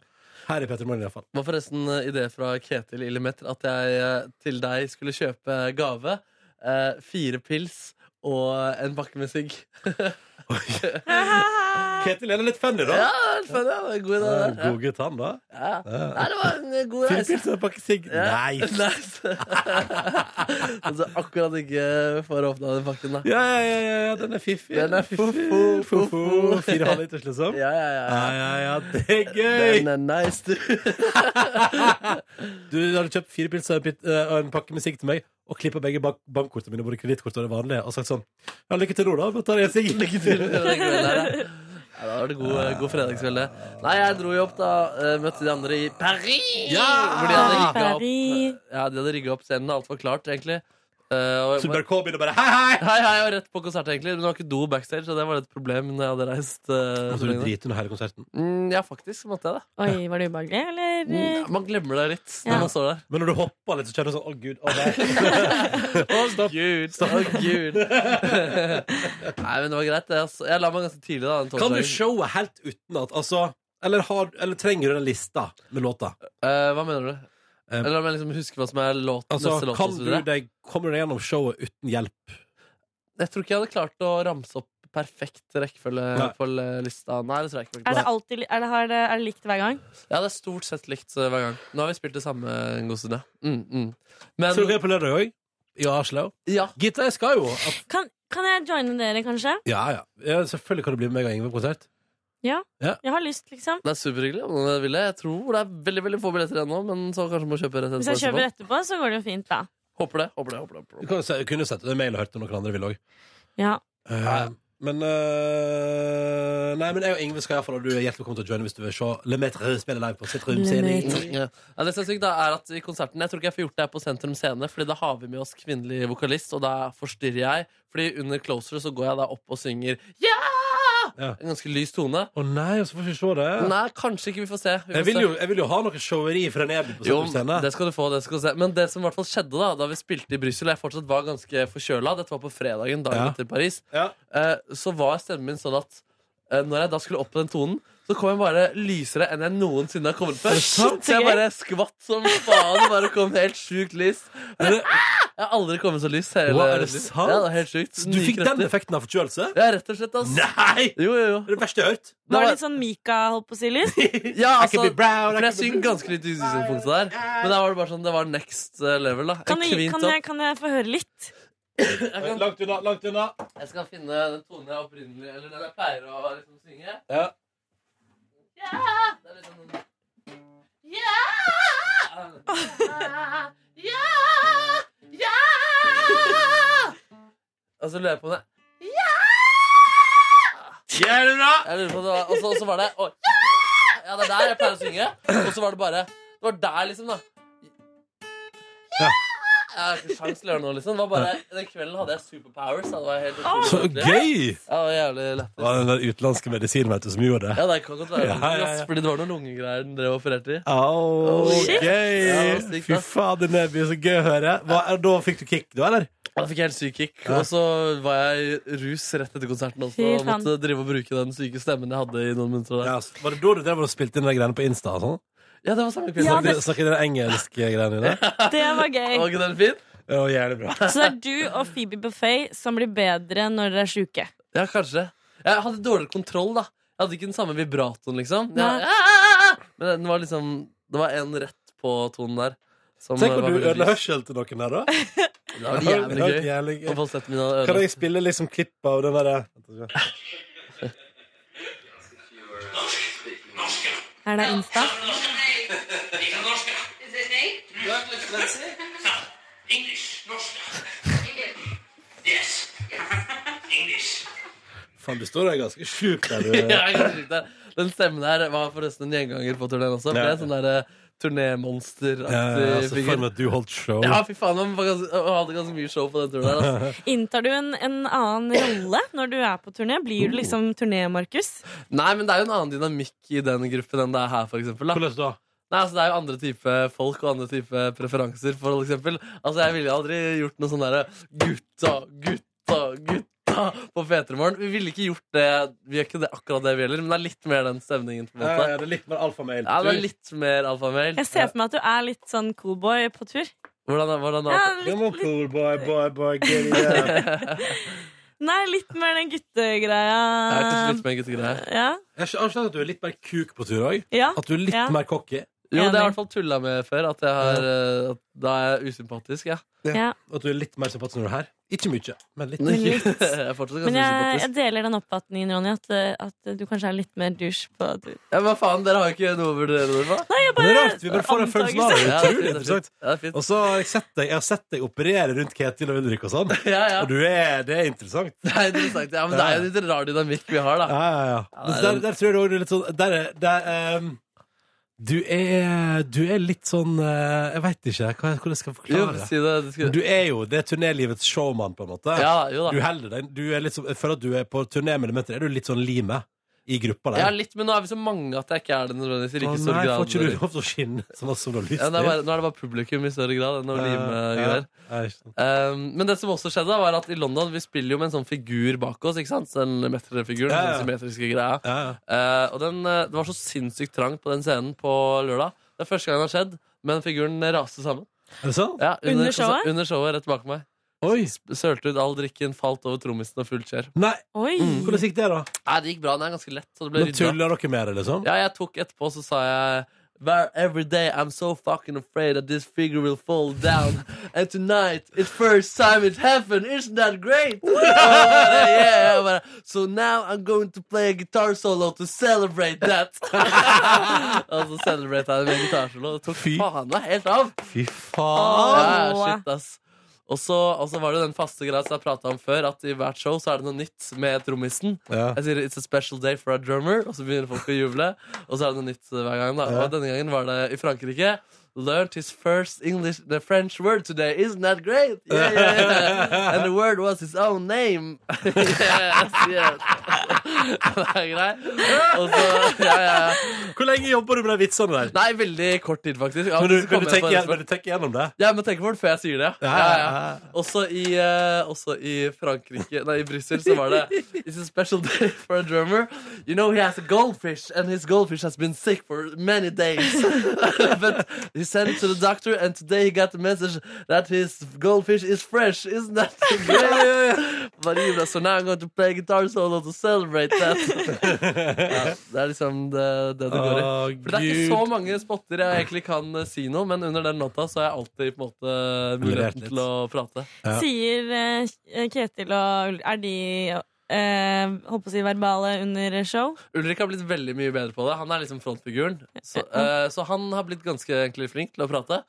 B: Her i Petter Morgen, iallfall.
C: Det var forresten eh, idé fra Ketil Illemeter at jeg eh, til deg skulle kjøpe gave. Eh, fire pils og en pakke med sigg.
B: Ketil er litt funny, da.
C: Ja, litt funny, ja. Det er en god idé,
B: Ja,
C: det.
B: God gutt, han, da.
C: Ja. Nei, det var en god
B: Fire
C: reise.
B: pils og en pakke sigg.
C: Ja.
B: Nice.
C: altså, akkurat ikke får åpna den pakken, da.
B: Ja, ja, ja, ja, ja, den er fiffig.
C: Den er
B: fiffig. Fofo. Fire halvliters, liksom?
C: Ja, ja, ja.
B: Ja, ja, ja, det er gøy!
C: Den er nice, du.
B: Du hadde kjøpt fire pils og en pit- eh, og en pakke med sigg til meg, og klippa begge bank bankkortene mine, både kredittkort og det vanlige, og sagt sånn Ja, lykke til nå, da. Nå tar jeg en sigg.
C: Lykke til med den kvelden her, da. Ja, da var det god, eh, god fredagskveld. det. Nei, jeg dro jo opp, da. eh, Møtte de andre i Paris!
B: Ja!
C: Hvor de hadde rigga opp,
J: Paris.
C: ja, de hadde rigget opp scenen. Alt var klart, egentlig. Eh, og,
B: Så bare kom inn og bare hei, hei!
C: Hei, hei, og rett på konsert, egentlig. Men det var ikke do backstage, så det var et problem når jeg hadde reist. eh,
B: Måtte du
C: lenge.
B: drite under hele konserten?
C: Mm, ja, faktisk måtte jeg det.
J: Oi, var det ubehagelig, eller?
C: Mm, Man glemmer det litt når
J: Ja.
C: man står der.
B: Men når du hopper litt, så kjenner du sånn Å, gud. Å, nei.
C: Å, gud! Å, gud! Nei, men det var greit, det. Altså. Jeg la meg ganske tidlig, da. Den
B: Kan du
C: torsdagen.
B: showet helt utenat? Altså, eller, har, eller trenger du den lista med låta?
C: Eh, hva mener du? Eller om jeg liksom husker hva som er låt,
B: Eh, Altså,
C: neste låt
B: kan
C: og så
B: du
C: videre?
B: deg, kommer du deg gjennom showet uten hjelp?
C: Jeg tror ikke jeg hadde klart å ramse opp perfekt rekkefølge
B: Nei.
C: på l- lista. Nei, det tror jeg ikke.
J: Er det
C: faktisk.
J: alltid er det, har det, er det likt hver gang?
C: Ja, det er stort sett likt eh, hver gang. Nå har vi spilt det samme en god stund, ja. Mm, mm.
B: Skal dere på lørdag òg? I Oslo?
C: Ja.
B: Gitta, jeg skal jo. At,
J: Kan, kan jeg joine dere, kanskje?
B: ja, ja. ja, selvfølgelig kan det bli med meg og Ingvild på konsert.
J: Ja.
B: Ja.
J: Jeg har lyst, liksom.
C: Det er superhyggelig. om noen vil det. Jeg tror det er veldig veldig få billetter igjen nå, men så kanskje må kjøpe rett
J: Hvis
C: etterpå.
J: jeg kjøper etterpå, så går det jo fint, da.
C: Håper det. håper det, håper det, håper det.
B: Du kan, jo se- kunne sett det i mail og hørt om noen andre ville òg.
J: Ja.
B: men eh, Nei, men jeg og Ingvild skal iallfall, og du er hjertelig velkommen til å joine hvis du vil se Le Metre spille live på sitt rom.
C: Le
B: scene.
C: Ja. Ja, det som er sykt, da, er at i konserten Jeg tror ikke jeg får gjort det her på Sentrum Scene, Fordi da har vi med oss kvinnelig vokalist, og da forstyrrer jeg. Fordi under Closer så går jeg da opp og synger Ja! En ganske lys tone.
B: Å nei, så får vi ikke se det.
C: Nei, kanskje ikke. Vi får se. Vi får
B: Jeg vil,
C: se.
B: jo, jeg vil jo ha noe showeri fra Neby på
C: Jo,
B: Sentrum Scene.
C: det skal du få. det skal du se Men det som i hvert fall skjedde da Da vi spilte i Brussel, og jeg fortsatt var ganske forkjøla Dette var på fredagen, dagen
B: Ja.
C: etter Paris. eh, Så var stemmen min sånn at eh, når jeg da skulle opp på den tonen, så kom jeg bare lysere enn jeg noensinne har kommet før.
B: sant?
C: Så jeg bare skvatt som faen. Bare kom helt sjukt lys. Jeg har aldri kommet så lys. hele
B: Hva, er det
C: livet.
B: sant?
C: Ja, det er helt sjukt.
B: Du fikk den effekten av forkjølelse?
C: Ja, rett og slett. ass.
B: Nei!
C: Jo, jo, jo.
B: Det er det verste jeg har hørt.
J: Var det litt sånn Mika, holdt på å si, lyst?
C: Ja,
B: I can
C: altså,
B: be brown, I
C: for
B: can
C: jeg
B: be
C: synger ganske litt i utgangspunktet der. Men da var det bare sånn, det var next eh, level, da.
J: Kan, jeg-
C: Kvint
J: kan,
C: opp.
J: jeg- kan jeg få høre litt?
B: Langt unna, langt unna.
C: Jeg skal finne den tonen jeg opprinnelig Eller den jeg pleier å liksom synge.
B: Ja.
C: Det er litt sånn Ja! Ja! Ja! Og så lurer jeg på om det
B: Gjør det bra!
C: Jeg lurer på om det var Og så- og så var det å, Ja, det er der jeg pleier å synge. Og så var det bare Det var der, liksom, da.
B: Ja.
C: Jeg har ikke sjans til å gjøre noe, liksom. Det var bare, den kvelden hadde jeg superpowers. Da. Det var helt utrolig.
B: Så gøy!
C: Ja, det var jævlig lett.
B: Det var den der utenlandske medisinen vet du, som gjorde
C: Ja,
B: det.
C: det kan godt være.
B: Ja, ja, ja.
C: ass, Fordi det var noen lungegreier den drev og opererte i. Oh,
B: Au,
C: Shit. Ja, det var
B: gøy!
C: sykt,
B: Fy
C: ass.
B: fader, Neby, så gøy å høre. Hva, er- da fikk du kick, da, eller?
C: Da fikk jeg helt syk kick. Og så var jeg i rus rett etter konserten også.
J: Fy
C: Og
J: faen.
C: måtte drive og bruke den syke stemmen jeg hadde i noen minutter. Der.
B: Var det da du drev og spilte inn de greiene på Insta? og sånn?
C: Ja, det var samme kveld.
J: Ja,
B: Snakket
J: det-
B: snakket dere engelske greiene dine?
J: Det var gøy.
C: Var ikke den fin?
B: Ja, jævlig bra.
J: Så det er du og Phoebe Buffet som blir bedre når dere er sjuke.
C: Ja, kanskje. Jeg hadde dårligere kontroll, da. Jeg hadde ikke den samme vibratoen, liksom.
J: Nei.
C: Jeg, Ah! men den var liksom Det var en rett på tonen der. som eh,
B: Tenk
C: var
B: om du
C: veldig
B: ødela
C: lys.
B: hørselen til noen her, da.
C: Det var jævlig
B: Det
C: gøy.
B: var jævlig gøy.
C: Og falsetten min hadde
B: Kan
C: ødelagt.
B: jeg spille liksom klipp av den derre
J: Er det Insta?
B: Faen, du står der ganske sjukt der, du.
C: Ja, jeg kan si det. Den stemmen her var forresten en gjenganger på turneen også. For det
B: Ja.
C: er sånn der eh,
B: Ja,
C: turnémonsteraktig
B: altså, for meg at du holdt show.
C: Ja, fy faen, man var ganske, man hadde ganske mye show på den turen der. Altså.
J: Inntar du en, en annen rolle når du er på turné? Blir du liksom turné-Markus?
C: Nei, men det er jo en annen dynamikk i den gruppen enn det er her, for eksempel. Da.
B: Hvordan da?
C: Nei, altså, det er jo andre type folk og andre type preferanser, for eksempel. Altså, jeg ville aldri gjort noe sånn derre gutta, gutta, gutta på P3morgen. Vi ville ikke gjort det Vi gjør ikke det akkurat det vi heller, men det er litt mer den stemningen. På en
B: Ja,
C: måte.
B: ja, det er litt mer alfamail.
C: Ja, det er litt mer alfamail.
J: Jeg ser for meg at du er litt sånn coolboy på tur.
C: Hvordan, er- hvordan er
J: Ja,
C: alfa-
B: Come on, cool boy, boy, boy, get it up.
J: Nei, litt mer den guttegreia.
B: Jeg er til
C: Litt mer guttegreier.
J: Ja.
B: Jeg har skjønt at du er litt mer kuk på tur òg.
J: Ja.
B: At du er litt
J: Ja.
B: mer cocky.
C: Jo, det har jeg i hvert fall tulla med før. At jeg har, eh, at da er jeg usympatisk, ja.
J: Ja.
B: At du er litt mer sympatisk når du er her. Ikke mye, men litt.
C: Men litt. Jeg er fortsatt ganske
J: Men jeg, jeg
C: usympatisk.
J: deler den oppfatningen, Ronny, at, eh, at du kanskje er litt mer douche på tur.
C: Ja, men faen, dere har jo ikke noe å vurdere dere på?
J: Nei, jeg
B: Men
J: bare
B: det er rart, Vi bare får en følelse av det.
C: Ja, det er
B: Utrolig
C: fint, det er
B: interessant. Og så har jeg sett deg, jeg har sett deg operere rundt Ketil og Ulrik og sånn. Og du er, det er interessant.
C: Det er interessant. Ja, men det er jo litt rar dynamikk vi har, da.
B: Ja, ja, ja. Men
C: det er-
B: der, der tror jeg du også er litt sånn Der er der, ehm, du, er, du er litt sånn eh, Jeg veit ikke hva, hvordan jeg skal
C: Jo,
B: forklare det.
C: si det, det skal...
B: Men Du er jo det er turnélivets showman, på en måte.
C: Ja, jo da.
B: Du holder deg. Du er litt som, jeg føler at du er på turné med elementer. Er du litt sånn limet i gruppa der?
C: Ja, litt, men nå er vi så mange at jeg ikke er det nødvendigvis. i
B: Å,
C: Like stor
B: nei, får
C: grad.
B: ikke du lov til å skinne så masse som du har lyst
C: Ja, det er bare,
B: til?
C: nå er det bare publikum i større grad enn å
B: Ja,
C: lime
B: ja,
C: greier.
B: ja, jeg
C: Um, men det som også skjedde, da, var at i London vi spiller jo med en sånn figur bak oss. ikke sant? Den metrefiguren, sånn
B: Ja, ja.
C: den symmetriske greia. Eh, og den, eh, det var så sinnssykt trangt på den scenen på lørdag. Det er første gang det har skjedd, men figuren raste sammen.
B: Er det sant?
C: Ja, under, altså,
J: Under showet?
C: Under showet, rett bak meg.
B: Oi.
C: Sølte ut all drikken, falt over trommisen og fullt skjer.
B: Nei!
J: Oi.
B: Mm, Hvordan gikk det, da?
C: Nei, det gikk bra. Den er ganske lett. Så det ble
B: Nå
C: rydda.
B: tuller dere med det, liksom?
C: Ja, jeg tok etterpå, så sa jeg "Ver- Every day I'm so fucking afraid that this figure will fall down. And tonight, it's first time it happened. Isn't that great? Og bare, yeah, jeg bare, so now I'm going to play a guitar solo to celebrate that. Og så celebrate jeg det med en gitarsolo. Det tok faen meg helt av.
B: Fy
C: Ja,
B: faen!
C: shit, ass. Og så, og så var det den faste greia som jeg prata om før, at i hvert show så er det noe nytt med trommisen.
B: Ja.
C: Jeg sier 'It's a special day for a drummer', og så begynner folk å juble. Og så er det noe nytt hver gang. da
B: Ja.
C: Og denne gangen var det i Frankrike. Learned his first English the French word today. Isn't that great? Yeah, yeah, yeah. And the word was his own name. yes, yes. Det er greit. Og så, ja, ja.
B: Hvor lenge jobber du med de vitsene der?
C: Nei, veldig kort tid, faktisk. Ja,
B: Men du,
C: så
B: men du
C: kom jeg på
B: tenker
C: det
B: igjen- men du tenker gjennom det?
C: ja, men tenk på det før jeg sier det. Ja,
B: ja,
C: ja, ja. Også, i, eh, også i Frankrike Nei, i Brussel så var det It's a special day for a drummer. You know he has a goldfish, and his goldfish has been sick for many days. But he sent it to the doctor, and today he got the message that his goldfish is fresh. Isn't that great? But even so now I'm going to play guitar solo to celebrate that. ja, det er liksom det det, det går i.
B: Å,
C: For det er ikke
B: Gud.
C: så mange spotter jeg egentlig kan eh, si noe, men under den låta så har jeg alltid på en måte
B: Vurdert
C: muligheten
B: litt.
C: til å prate.
J: Sier eh, Ketil og Ulrik Er de eh, holdt på å si verbale under show?
C: Ulrik har blitt veldig mye bedre på det. Han er liksom frontfiguren. Så, eh, så han har blitt ganske egentlig flink til å prate.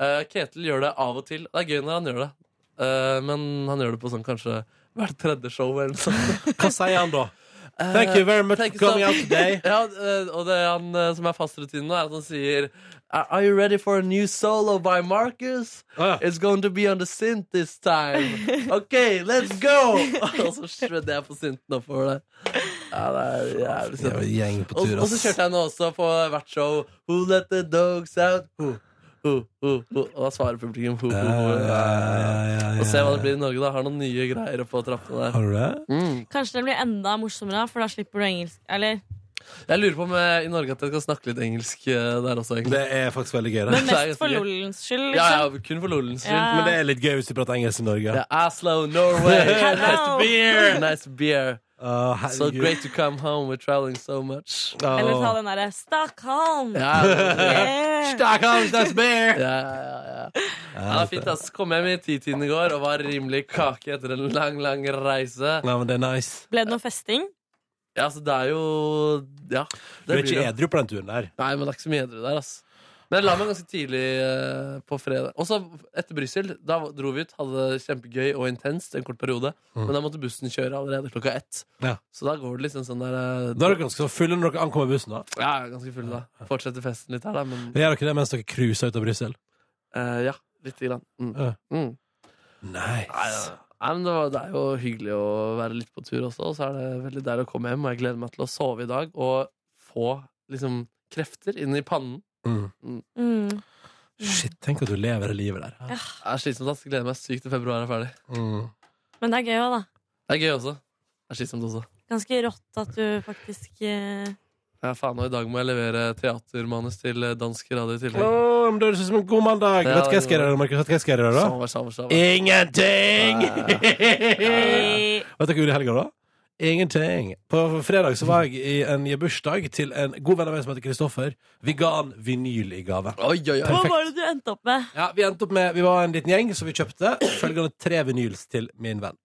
C: Eh, Ketil gjør det av og til. Det er gøy når han gjør det, Eh, men han gjør det på sånn kanskje hvert tredje show eller noe sånt. sånn.
B: Hva sier han da? Thank you very much
C: Thank
B: for coming
C: you so-
B: out today.
C: ja, eh, og det er han eh, som er fast rutinen nå, er at han sier Are are you ready for a new solo by Marcus? It's going to be on the synth this time. OK, let's go! og så shredder jeg på synthen oppover der. Ja, det er jævlig søtt.
B: Det er jo en gjeng på
C: Og,
B: tur,
C: og så
B: ass.
C: kjørte jeg nå også på hvert show Who let the dogs out? Who? Who? Who? Who? Og da svarer publikum ho, ho, ho. Ja, ja, ja. Og se hva det blir i Norge, da. Har noen nye greier oppå trappene der.
B: Har du det?
C: Mm.
J: Kanskje det blir enda morsommere, da, for da slipper du engelsk. Eller?
C: Jeg lurer på om jeg, i Norge at jeg skal snakke litt engelsk eh, der også, egentlig.
B: Det er faktisk veldig gøy. det.
J: Men mest for lolens skyld,
C: Ja,
J: liksom.
C: ja, kun for lolens skyld.
J: Ja.
B: Men det er litt gøy hvis du prater engelsk i Norge.
C: Ja, Oslo, Norway. nice
J: Hello.
C: beer. Nice beer. so
B: herregud.
C: great to come home. We're traveling so much.
J: Eller ta den derre 'Stockholm'.
C: Ja,
J: Yeah.
C: Ja, ja, ja. ja, det er fint, ass. Kom hjem i titiden i går og var rimelig kake etter en lang, lang reise.
B: Nei, men det er nice.
J: Ble det noe festing?
C: Ja, altså, det er jo Ja.
B: Du er
C: blir
B: ikke
C: det.
B: edru på den turen der.
C: Nei, men det er ikke så mye edru der, ass. Men jeg la meg ganske tidlig eh, på fredag. Og så etter Brussel. Da dro vi ut, hadde det kjempegøy og intenst en kort periode.
B: Mm.
C: Men da måtte bussen kjøre allerede klokka ett.
B: Ja.
C: Så da går det liksom sånn der eh,
B: Da er dere ganske så fulle når dere ankommer bussen. da
C: Ja, jeg er ganske full da. Fortsetter festen litt her, da, men
B: Gjør dere det mens dere cruiser ut av Brussel?
C: eh, ja, lite grann. Mm.
B: Ja.
C: Mm. Nei,
B: Nice.
C: ja. Nei, men det, var, det er jo hyggelig å være litt på tur også, og så er det veldig deilig å komme hjem. Og jeg gleder meg til å sove i dag og få liksom krefter inn i pannen.
B: Mm.
C: Mm.
B: Shit, tenk at du lever det livet der.
J: Ja.
C: Det er slitsomt. ass. Jeg gleder meg sykt til februar er ferdig.
B: Mm.
J: Men det er gøy òg, da.
C: Det er gøy også. Det er slitsomt også.
J: Ganske rått at du faktisk eh,
C: Ja, faen, og i dag må jeg levere teatermanus til eh, dansk radio i tillegg.
B: Åh, men det høres ut som en god mandag.
C: Ja,
B: Vet du hva jeg skal gjøre, Markus? Vet du hva jeg skal gjøre da?
C: Samme, samme, samme.
B: Ingenting!
C: Ja.
B: Vet du hva jeg gjorde i helga, da? Ingenting. På fredag så var jeg i en bursdag til en god venn av meg som heter Kristoffer. Vi ga han vinyl i gave.
J: Hva
B: Perfekt.
J: var det du endte opp med?
B: Ja, vi endte opp med Vi var en liten gjeng, så vi kjøpte følgende tre vinyls til min venn.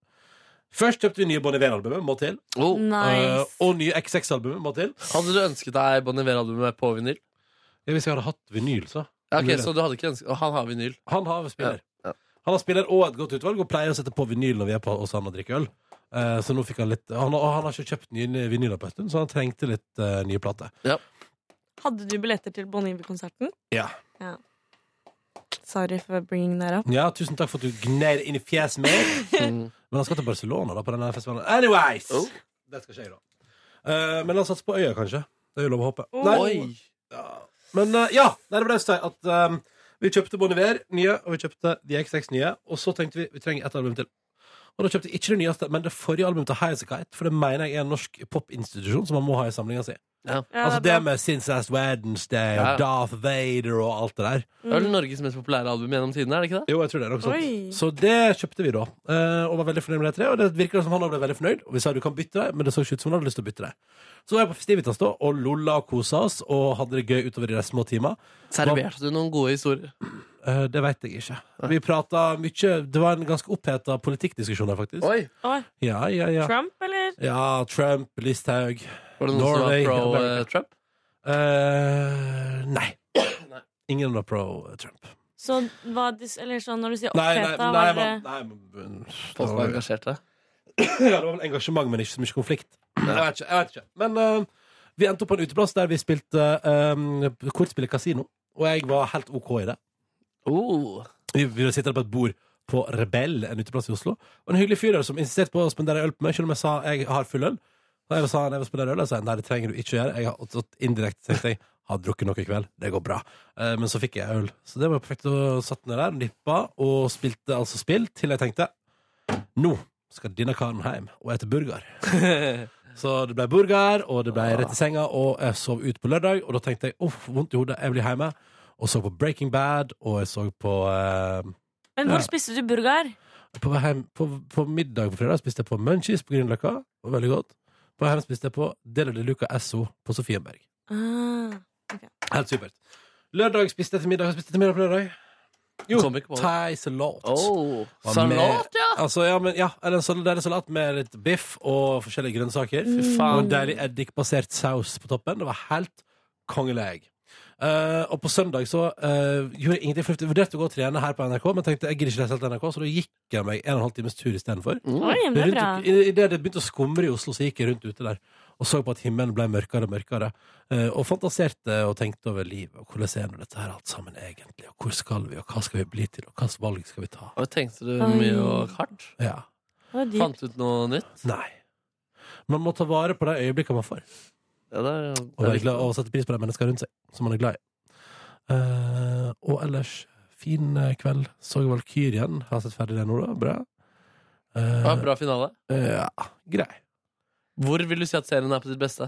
B: Først kjøpte vi nye Bon Iver-albumet, må til.
C: Nice.
B: Eh, og nye XX-albumet, må til.
C: Oh. Hadde du ønsket deg Bon Iver-albumet på vinyl?
B: Ja, hvis jeg hadde hatt vinyl, så.
C: Ja, ok, så du hadde ikke ønsket, og han har vinyl?
B: Han har spiller. Han har spiller og et godt utvalg, og pleier å sette på vinyl når vi er på hos han og drikker øl. Eh, så nå fikk han litt han, har- Og han har ikke kjøpt nye vinyler på en stund, så han trengte litt eh, nye plater.
J: Hadde du billetter til Bon Iver-konserten?
B: Ja.
J: Ja. Sorry for bringing that up.
B: ja, tusen takk for at du gned inn i fjeset mitt. Men han skal til Barcelona, da, på denne festivalen. Anyways! Det skal skje, da. Eh, men la oss satse på Øya, kanskje. Det er jo lov å håpe. Nei.
C: Oi.
B: Men eh, ja, nei, det ble det at eh, vi kjøpte Bon Iver nye, og vi kjøpte The XX nye, og så tenkte vi vi trenger et album til. Og da kjøpte jeg ikke det nyeste, men det forrige albumet til Highasakite, for det mener jeg er en norsk popinstitusjon som man må ha i samlinga si.
C: Ja,
B: altså
C: det er
B: det med Since Last Wednesday og
C: Ja.
B: Darth Vader og alt det der.
C: Det er vel Norges mest populære album gjennom tidene, er det ikke det?
B: Jo, jeg tror det er nok
C: Mm. Oi.
B: sånt. Så det kjøpte vi da, eh, og var veldig fornøyd med de tre. Og det virker som han også ble veldig fornøyd, og vi sa du kan bytte deg, men det så ikke ut som han hadde lyst til å bytte deg. Så var jeg på Festivitas da, og lolla og kosa oss, og hadde det gøy utover de der små timer.
C: Serverte du noen gode historier?
B: Eh, det veit jeg ikke. Vi prata mye Det var en ganske oppheta politikkdiskusjon der, faktisk.
C: Oi.
J: Oi.
B: Ja, ja, ja.
J: Trump, eller?
B: Ja, Trump, Listhaug
C: Var det noen som var pro, eh, Trump?
B: Eh, nei. Ingen var pro eh, Trump.
J: Så hva dis Eller sånn når du sier
B: Nei, nei,
J: oppheta,
B: nei,
J: var det
B: man- nei, man-
C: Folk var engasjerte?
B: Ja, det var vel engasjement, men ikke så mye konflikt. Jeg vet ikke. Jeg vet ikke. Men eh, vi endte opp på en uteplass der vi spilte eh, kortspillet Casino, og jeg var helt OK i det. Vi, vi sitter på et bord på Rebell, en uteplass i Oslo. Og en hyggelig fyr der som insisterte på å spendere øl på meg, selv om jeg sa jeg har full øl. Og jeg sa han jeg vil spendere øl, og jeg sa nei, det trenger du ikke gjøre. Jeg har og så indirekte tenkte jeg har drukket noe i kveld, det går bra. Eh, men så fikk jeg øl. Så det var perfekt. Og satt ned der, nippa og spilte altså spill til jeg tenkte nå skal denne karen hjem og ete burger. Så det ble burger, og det ble rett i senga, og jeg sov ut på lørdag. Og da tenkte jeg uff, vondt i hodet, jeg blir hjemme. Og så på Breaking Bad, og jeg så på eh,
J: Men
B: ja.
J: hvor spiste du burger?
B: På, vei hjem, på, på middag på fredag spiste jeg på Munchies på Grünerløkka. det var Veldig godt. På vei hjem spiste jeg på Delo de Luca Esso på Sofienberg.
J: Ah.
B: Helt supert. Lørdag spiste jeg til middag. Hva spiste jeg til middag på lørdag? Jo,
C: Kom ikke på det.
B: thai salat.
C: Oh,
B: Var
C: salat,
B: med-
C: ja.
B: Altså, ja, men, ja eller en sal- det er en salat med litt biff og forskjellige grønnsaker.
C: Fy faen.
B: Og deilig eddikbasert saus på toppen. Det var helt kongelig. Eh, og på søndag så eh, gjorde jeg ingenting. For jeg vurderte å gå og trene her på NRK, men tenkte jeg gidder ikke reise helt til NRK, så da gikk jeg meg en og en halv times tur istedenfor.
C: Mm.
J: Oi, men det er bra.
B: Idet det begynte å skumre i Oslo, så gikk jeg rundt ute der og så på at himmelen ble mørkere og mørkere. eh, Og fantaserte og tenkte over livet og hvordan er nå dette her alt sammen egentlig, og hvor skal vi, og hva skal vi bli til, og hva slags valg skal vi ta?
C: Og tenkte du
B: Oi.
C: mye og hardt?
B: Ja.
C: Fant du ut noe nytt?
B: Nei. Man må ta vare på de øyeblikkene man får,
C: Ja, det er,
B: og,
C: det er
B: være glad,
C: riktig.
B: og sette pris på de menneskene rundt seg som man er glad i. Eh, og ellers, fin eh, kveld. Så Valkyrien. Har sett ferdig det nå, da. Bra. Eh,
C: Ja, bra finale.
B: ja, grei.
C: Hvor vil du si at serien er på sitt beste?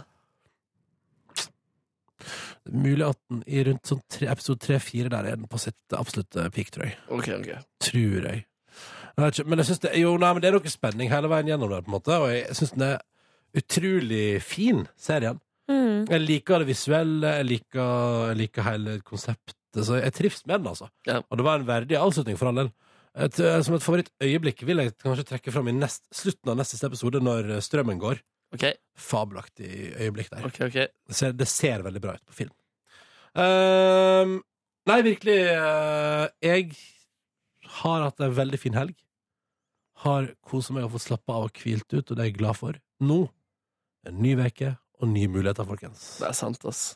B: Mulig at den i rundt sånn tre, episode 3-4 der er den på sitt absolutte peak, tror jeg.
C: Ok, ok.
B: Tror jeg. jeg vet ikke, men jeg synes det, jo, nei, men det er noe spenning hele veien gjennom der, på en måte, og jeg syns den er utrolig fin, serien.
J: Mm.
B: Jeg liker det visuelle, jeg liker, jeg liker hele konseptet, så jeg trives med den, altså. Og det var en verdig avslutning for all del. Et, eh, som et favorittøyeblikk vil jeg kanskje trekke fram i nest, slutten av neste episode, når eh, strømmen går. Fabelaktig øyeblikk der. Det, ser, det ser veldig bra ut på film. Ehm, nei, virkelig. eh, jeg har hatt en veldig fin helg. Har koset meg og fått slappe av og hvilt ut, og det er jeg glad for. Nå en ny uke og nye muligheter, folkens.
C: Det er sant, ass.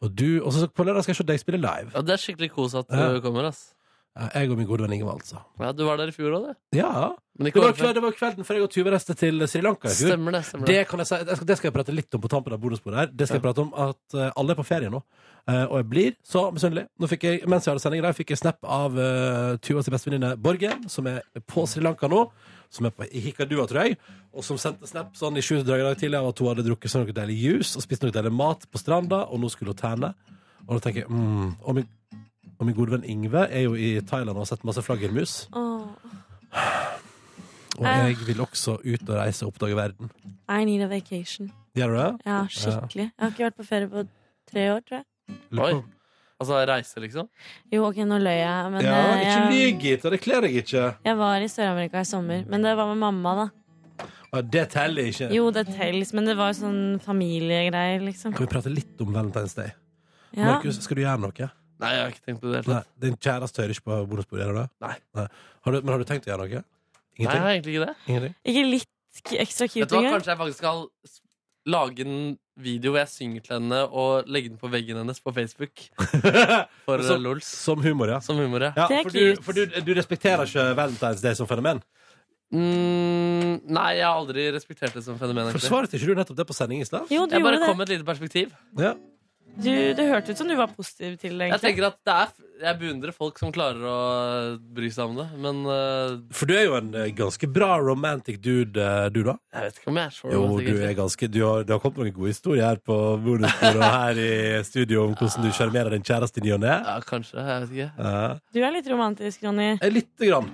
B: Og du, og så på lørdag skal jeg se deg spille live.
C: Ja, det er skikkelig kos at
B: Ja.
C: du kommer, ass.
B: Eh, Jeg og min gode venn Ingvald, altså.
C: Ja, du var der i fjor òg, du.
B: Ja.
C: Men
B: Det
C: ikke
B: var,
C: året før.
B: kveld, det var kvelden før jeg og Tuve reiste til Sri Lanka. i fjor.
C: Stemmer det, stemmer
B: det
C: det.
B: kan jeg si, jeg skal, det skal jeg prate litt om på tampen av bonusbordet her. Det skal jeg
C: Ja.
B: prate om at eh, alle er på ferie nå. Eh, og jeg blir så misunnelig. Nå fikk jeg, mens jeg hadde sending i dag, fikk jeg snap av eh, Tuvas bestevenninne Borgen, som er på Sri Lanka nå. som er på Hikadua, tror jeg, og som sendte snap sånn i sju dager tidlig av at hun hadde drukket sånn noe deilig juice og spist noe deilig mat på stranda, og nå skulle hun terne. Og da tenker jeg mm, og, min, og min gode venn Ingve er jo i Thailand og har sett masse flaggermus.
J: Åh.
B: Og
J: Eh.
B: jeg vil også ut og reise og oppdage verden.
J: I need a vacation.
B: Gjør du det?
J: Ja, skikkelig. Jeg har ikke vært på ferie på tre år, tror jeg.
C: Oi. Altså reise, liksom?
J: Jo, ok, nå løy jeg, men
B: ja,
J: eh,
B: ikke
J: jeg,
B: lyg, Gita. Det kler deg ikke.
J: jeg var i Sør-Amerika i sommer. Men det var med mamma, da.
B: Ja, det teller ikke.
J: Jo, det telles, men det var sånn familiegreier, liksom.
B: Kan vi prate litt om Valentine's Day?
J: Ja.
B: Markus, skal du gjøre noe?
C: Nei, jeg har ikke tenkt på det.
B: Nei, Din kjæreste hører ikke på bonusbordet, gjør du det?
C: Nei.
B: Har du, men har du tenkt å gjøre noe?
C: Nei, jeg
B: Ingenting?
C: har egentlig ikke det.
B: Ingenting?
J: Ikke litt k- ekstra
C: Vet
J: cute
C: du hva,
J: engang.
C: Kanskje jeg faktisk skal s- lage en video hvor jeg synger til henne og legge den på veggen hennes på Facebook. For
B: Som-
C: eh, lols.
B: Som humor, ja.
C: Som humor, ja.
B: Ja, for du, for du, du respekterer ikke Valentine's Day som fenomen?
C: Mm, nei, jeg har aldri respektert det som fenomen. egentlig.
B: Forsvarte ikke du nettopp det på sending i stad?
J: Jo, du
C: jeg bare
J: gjorde det.
C: kom med et lite perspektiv.
B: Ja.
J: Du, det hørtes ut som du var positiv til det,
C: Jeg
J: egentlig.
C: tenker at det er, f- jeg beundrer folk som klarer å bry seg om det, men eh,
B: For du er jo en eh, ganske bra romantic dude, eh, du da?
C: jeg vet ikke om jeg er så
B: Jo,
C: romantisk,
B: du
C: egentlig.
B: er ganske Du har, du har kommet med noen gode historier her på bonusbordet og her i studio om hvordan du sjarmerer din kjæreste i ny og ne.
C: Ah. Ja, kanskje. Jeg vet ikke.
B: Ja.
J: Du er litt romantisk, Ronny.
B: Eh, Lite grann.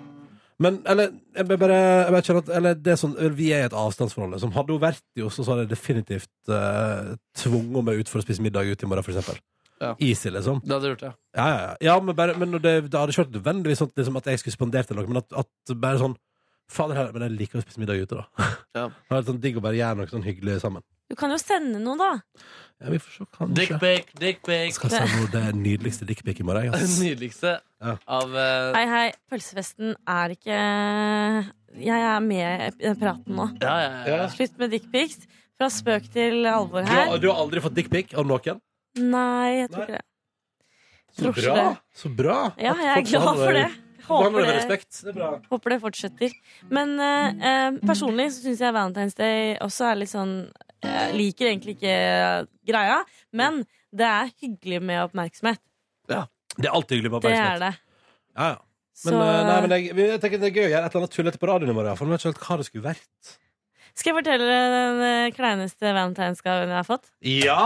B: Men eller, jeg bare, jeg bare kjenner at eller, det er sånn, Vi er i et avstandsforhold. Liksom. Hadde hun vært i Oslo, så hadde jeg definitivt eh, tvunget meg ut for å spise middag ute i morgen, f.eks.
C: Ja.
B: Easy, liksom.
C: Det hadde jeg gjort, ja.
B: Ja, ja, ja. ja men, bare, men når det, det hadde ikke vært nødvendigvis sånn at, liksom, at jeg skulle spandert eller noe, men at, at bare sånn Fader her, men jeg liker å spise middag ute, da.
C: Ja.
B: Det hadde vært sånn digg å bare gjøre noe sånn hyggelig sammen.
J: Du kan jo sende noe, da.
B: Ja, vi får se, kanskje.
C: Dickpic, dickpic.
B: Skal sende henne det nydeligste dickpic i morgen.
C: Den
B: ass.
C: nydeligste
B: Ja.
C: av eh,
J: Hei, hei. Pølsefesten er ikke Jeg er med i den praten nå.
C: Ja, ja, ja.
J: Slutt med dickpics. Fra spøk til alvor
B: Du,
J: her.
B: har, du har aldri fått dickpic av noen?
J: Nei, jeg tror ikke det.
B: Så
J: Tror ikke
B: bra!
J: det.
B: Så bra.
J: Ja, jeg er glad for det.
B: Håper det.
J: Håper
B: Med
J: det,
B: respekt. Det er bra.
J: håper det fortsetter. Men eh, eh, personlig så syns jeg Valentine's Day også er litt sånn Jeg liker egentlig ikke eh, greia, men det er hyggelig med oppmerksomhet.
B: Det er alltid hyggelig med
J: Det er
B: oppmerksomhet.
J: det.
B: Ja, ja. Men,
J: Så-
B: eh, nei, men jeg, jeg tenker det er gøy å gjøre et eller annet tullete på radioen i morgen. For jeg vet ikke helt hva det skulle vært.
J: Skal jeg fortelle dere den eh, kleineste valentinsgaven jeg har fått?
B: Ja!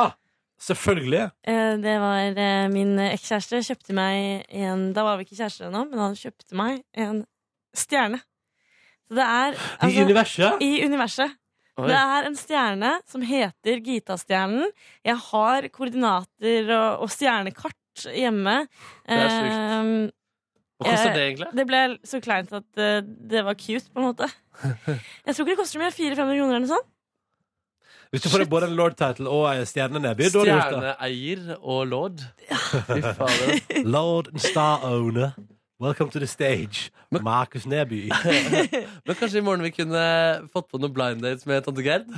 B: Selvfølgelig.
J: Eh, Det var eh, min ekskjæreste kjøpte meg en Da var vi ikke kjærester ennå, men han kjøpte meg en stjerne. Så det er altså,
B: universet?
J: I universet.
C: Oi.
J: Det er en stjerne som heter Gitastjernen. Jeg har koordinater og, og stjernekart hjemme. Ehm,
C: Det er sjukt. Hva koster det egentlig?
J: Det ble så kleint at eh, det var cute, på en måte. Jeg tror ikke det koster så mye. 400-500 kroner eller noe sånt.
B: Hvis du får både en lord title og en stjernenebby, da har du gjort det.
C: Stjerneeier og lord. Fy fader.
B: Lord and star owner, welcome to the stage. Markus Neby.
C: Men kanskje i morgen vi kunne fått på noen blind dates med tante Gerd?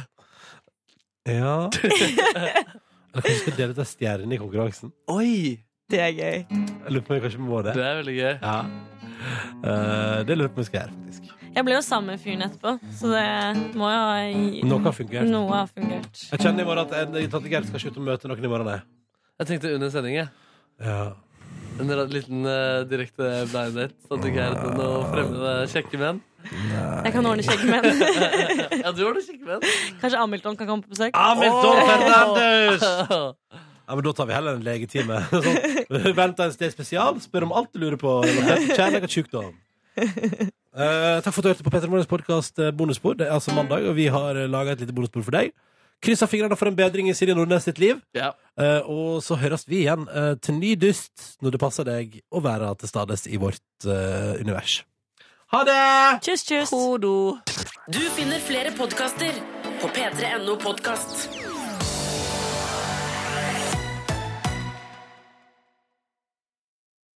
B: Ja Eller kanskje vi skal dele ut en stjerne i konkurransen?
C: Oi!
J: Det er gøy.
B: Jeg lurer på om vi kanskje må det.
C: Det er veldig gøy.
B: Ja. Eh, det lurer jeg på om vi skal gjøre, faktisk.
J: Jeg ble jo sammen med fyren etterpå, så det må jo ha i-
B: Noe har fungert.
J: Noe har fungert.
B: Jeg kjenner i morgen at en- tante Gerd skal ikke ut og møte noen i morgen, nei.
C: Jeg tenkte under sending, jeg.
B: Ja.
C: En ra- liten eh, direkte blind date. Tante Gerd og noen fremmede kjekke menn.
J: Jeg kan ordne kjekkmenn.
C: ja, du ordner kjekkmenn.
J: Kanskje Hamilton kan komme på besøk?
B: Hamilton
J: Åh!
B: Fernandes! Ja, men Da tar vi heller en legetime. Sånn. Vent en sted spesial. Spør om alt du lurer på. relatert til Kjærlighet og sykdom. Eh, takk for at du hørte på Petter Morgens podkast Bonusbord. Det er altså mandag, og vi har laga et lite bonusbord for deg. Kryss av fingrene for en bedring i Silje Nordnes sitt liv.
C: Ja.
B: Eh, og så høres vi igjen eh, til ny dyst når det passer deg å være til stades i vårt eh, univers. Ha det!
J: Kyss, kyss.
A: Du finner flere podkaster på p3.no podkast.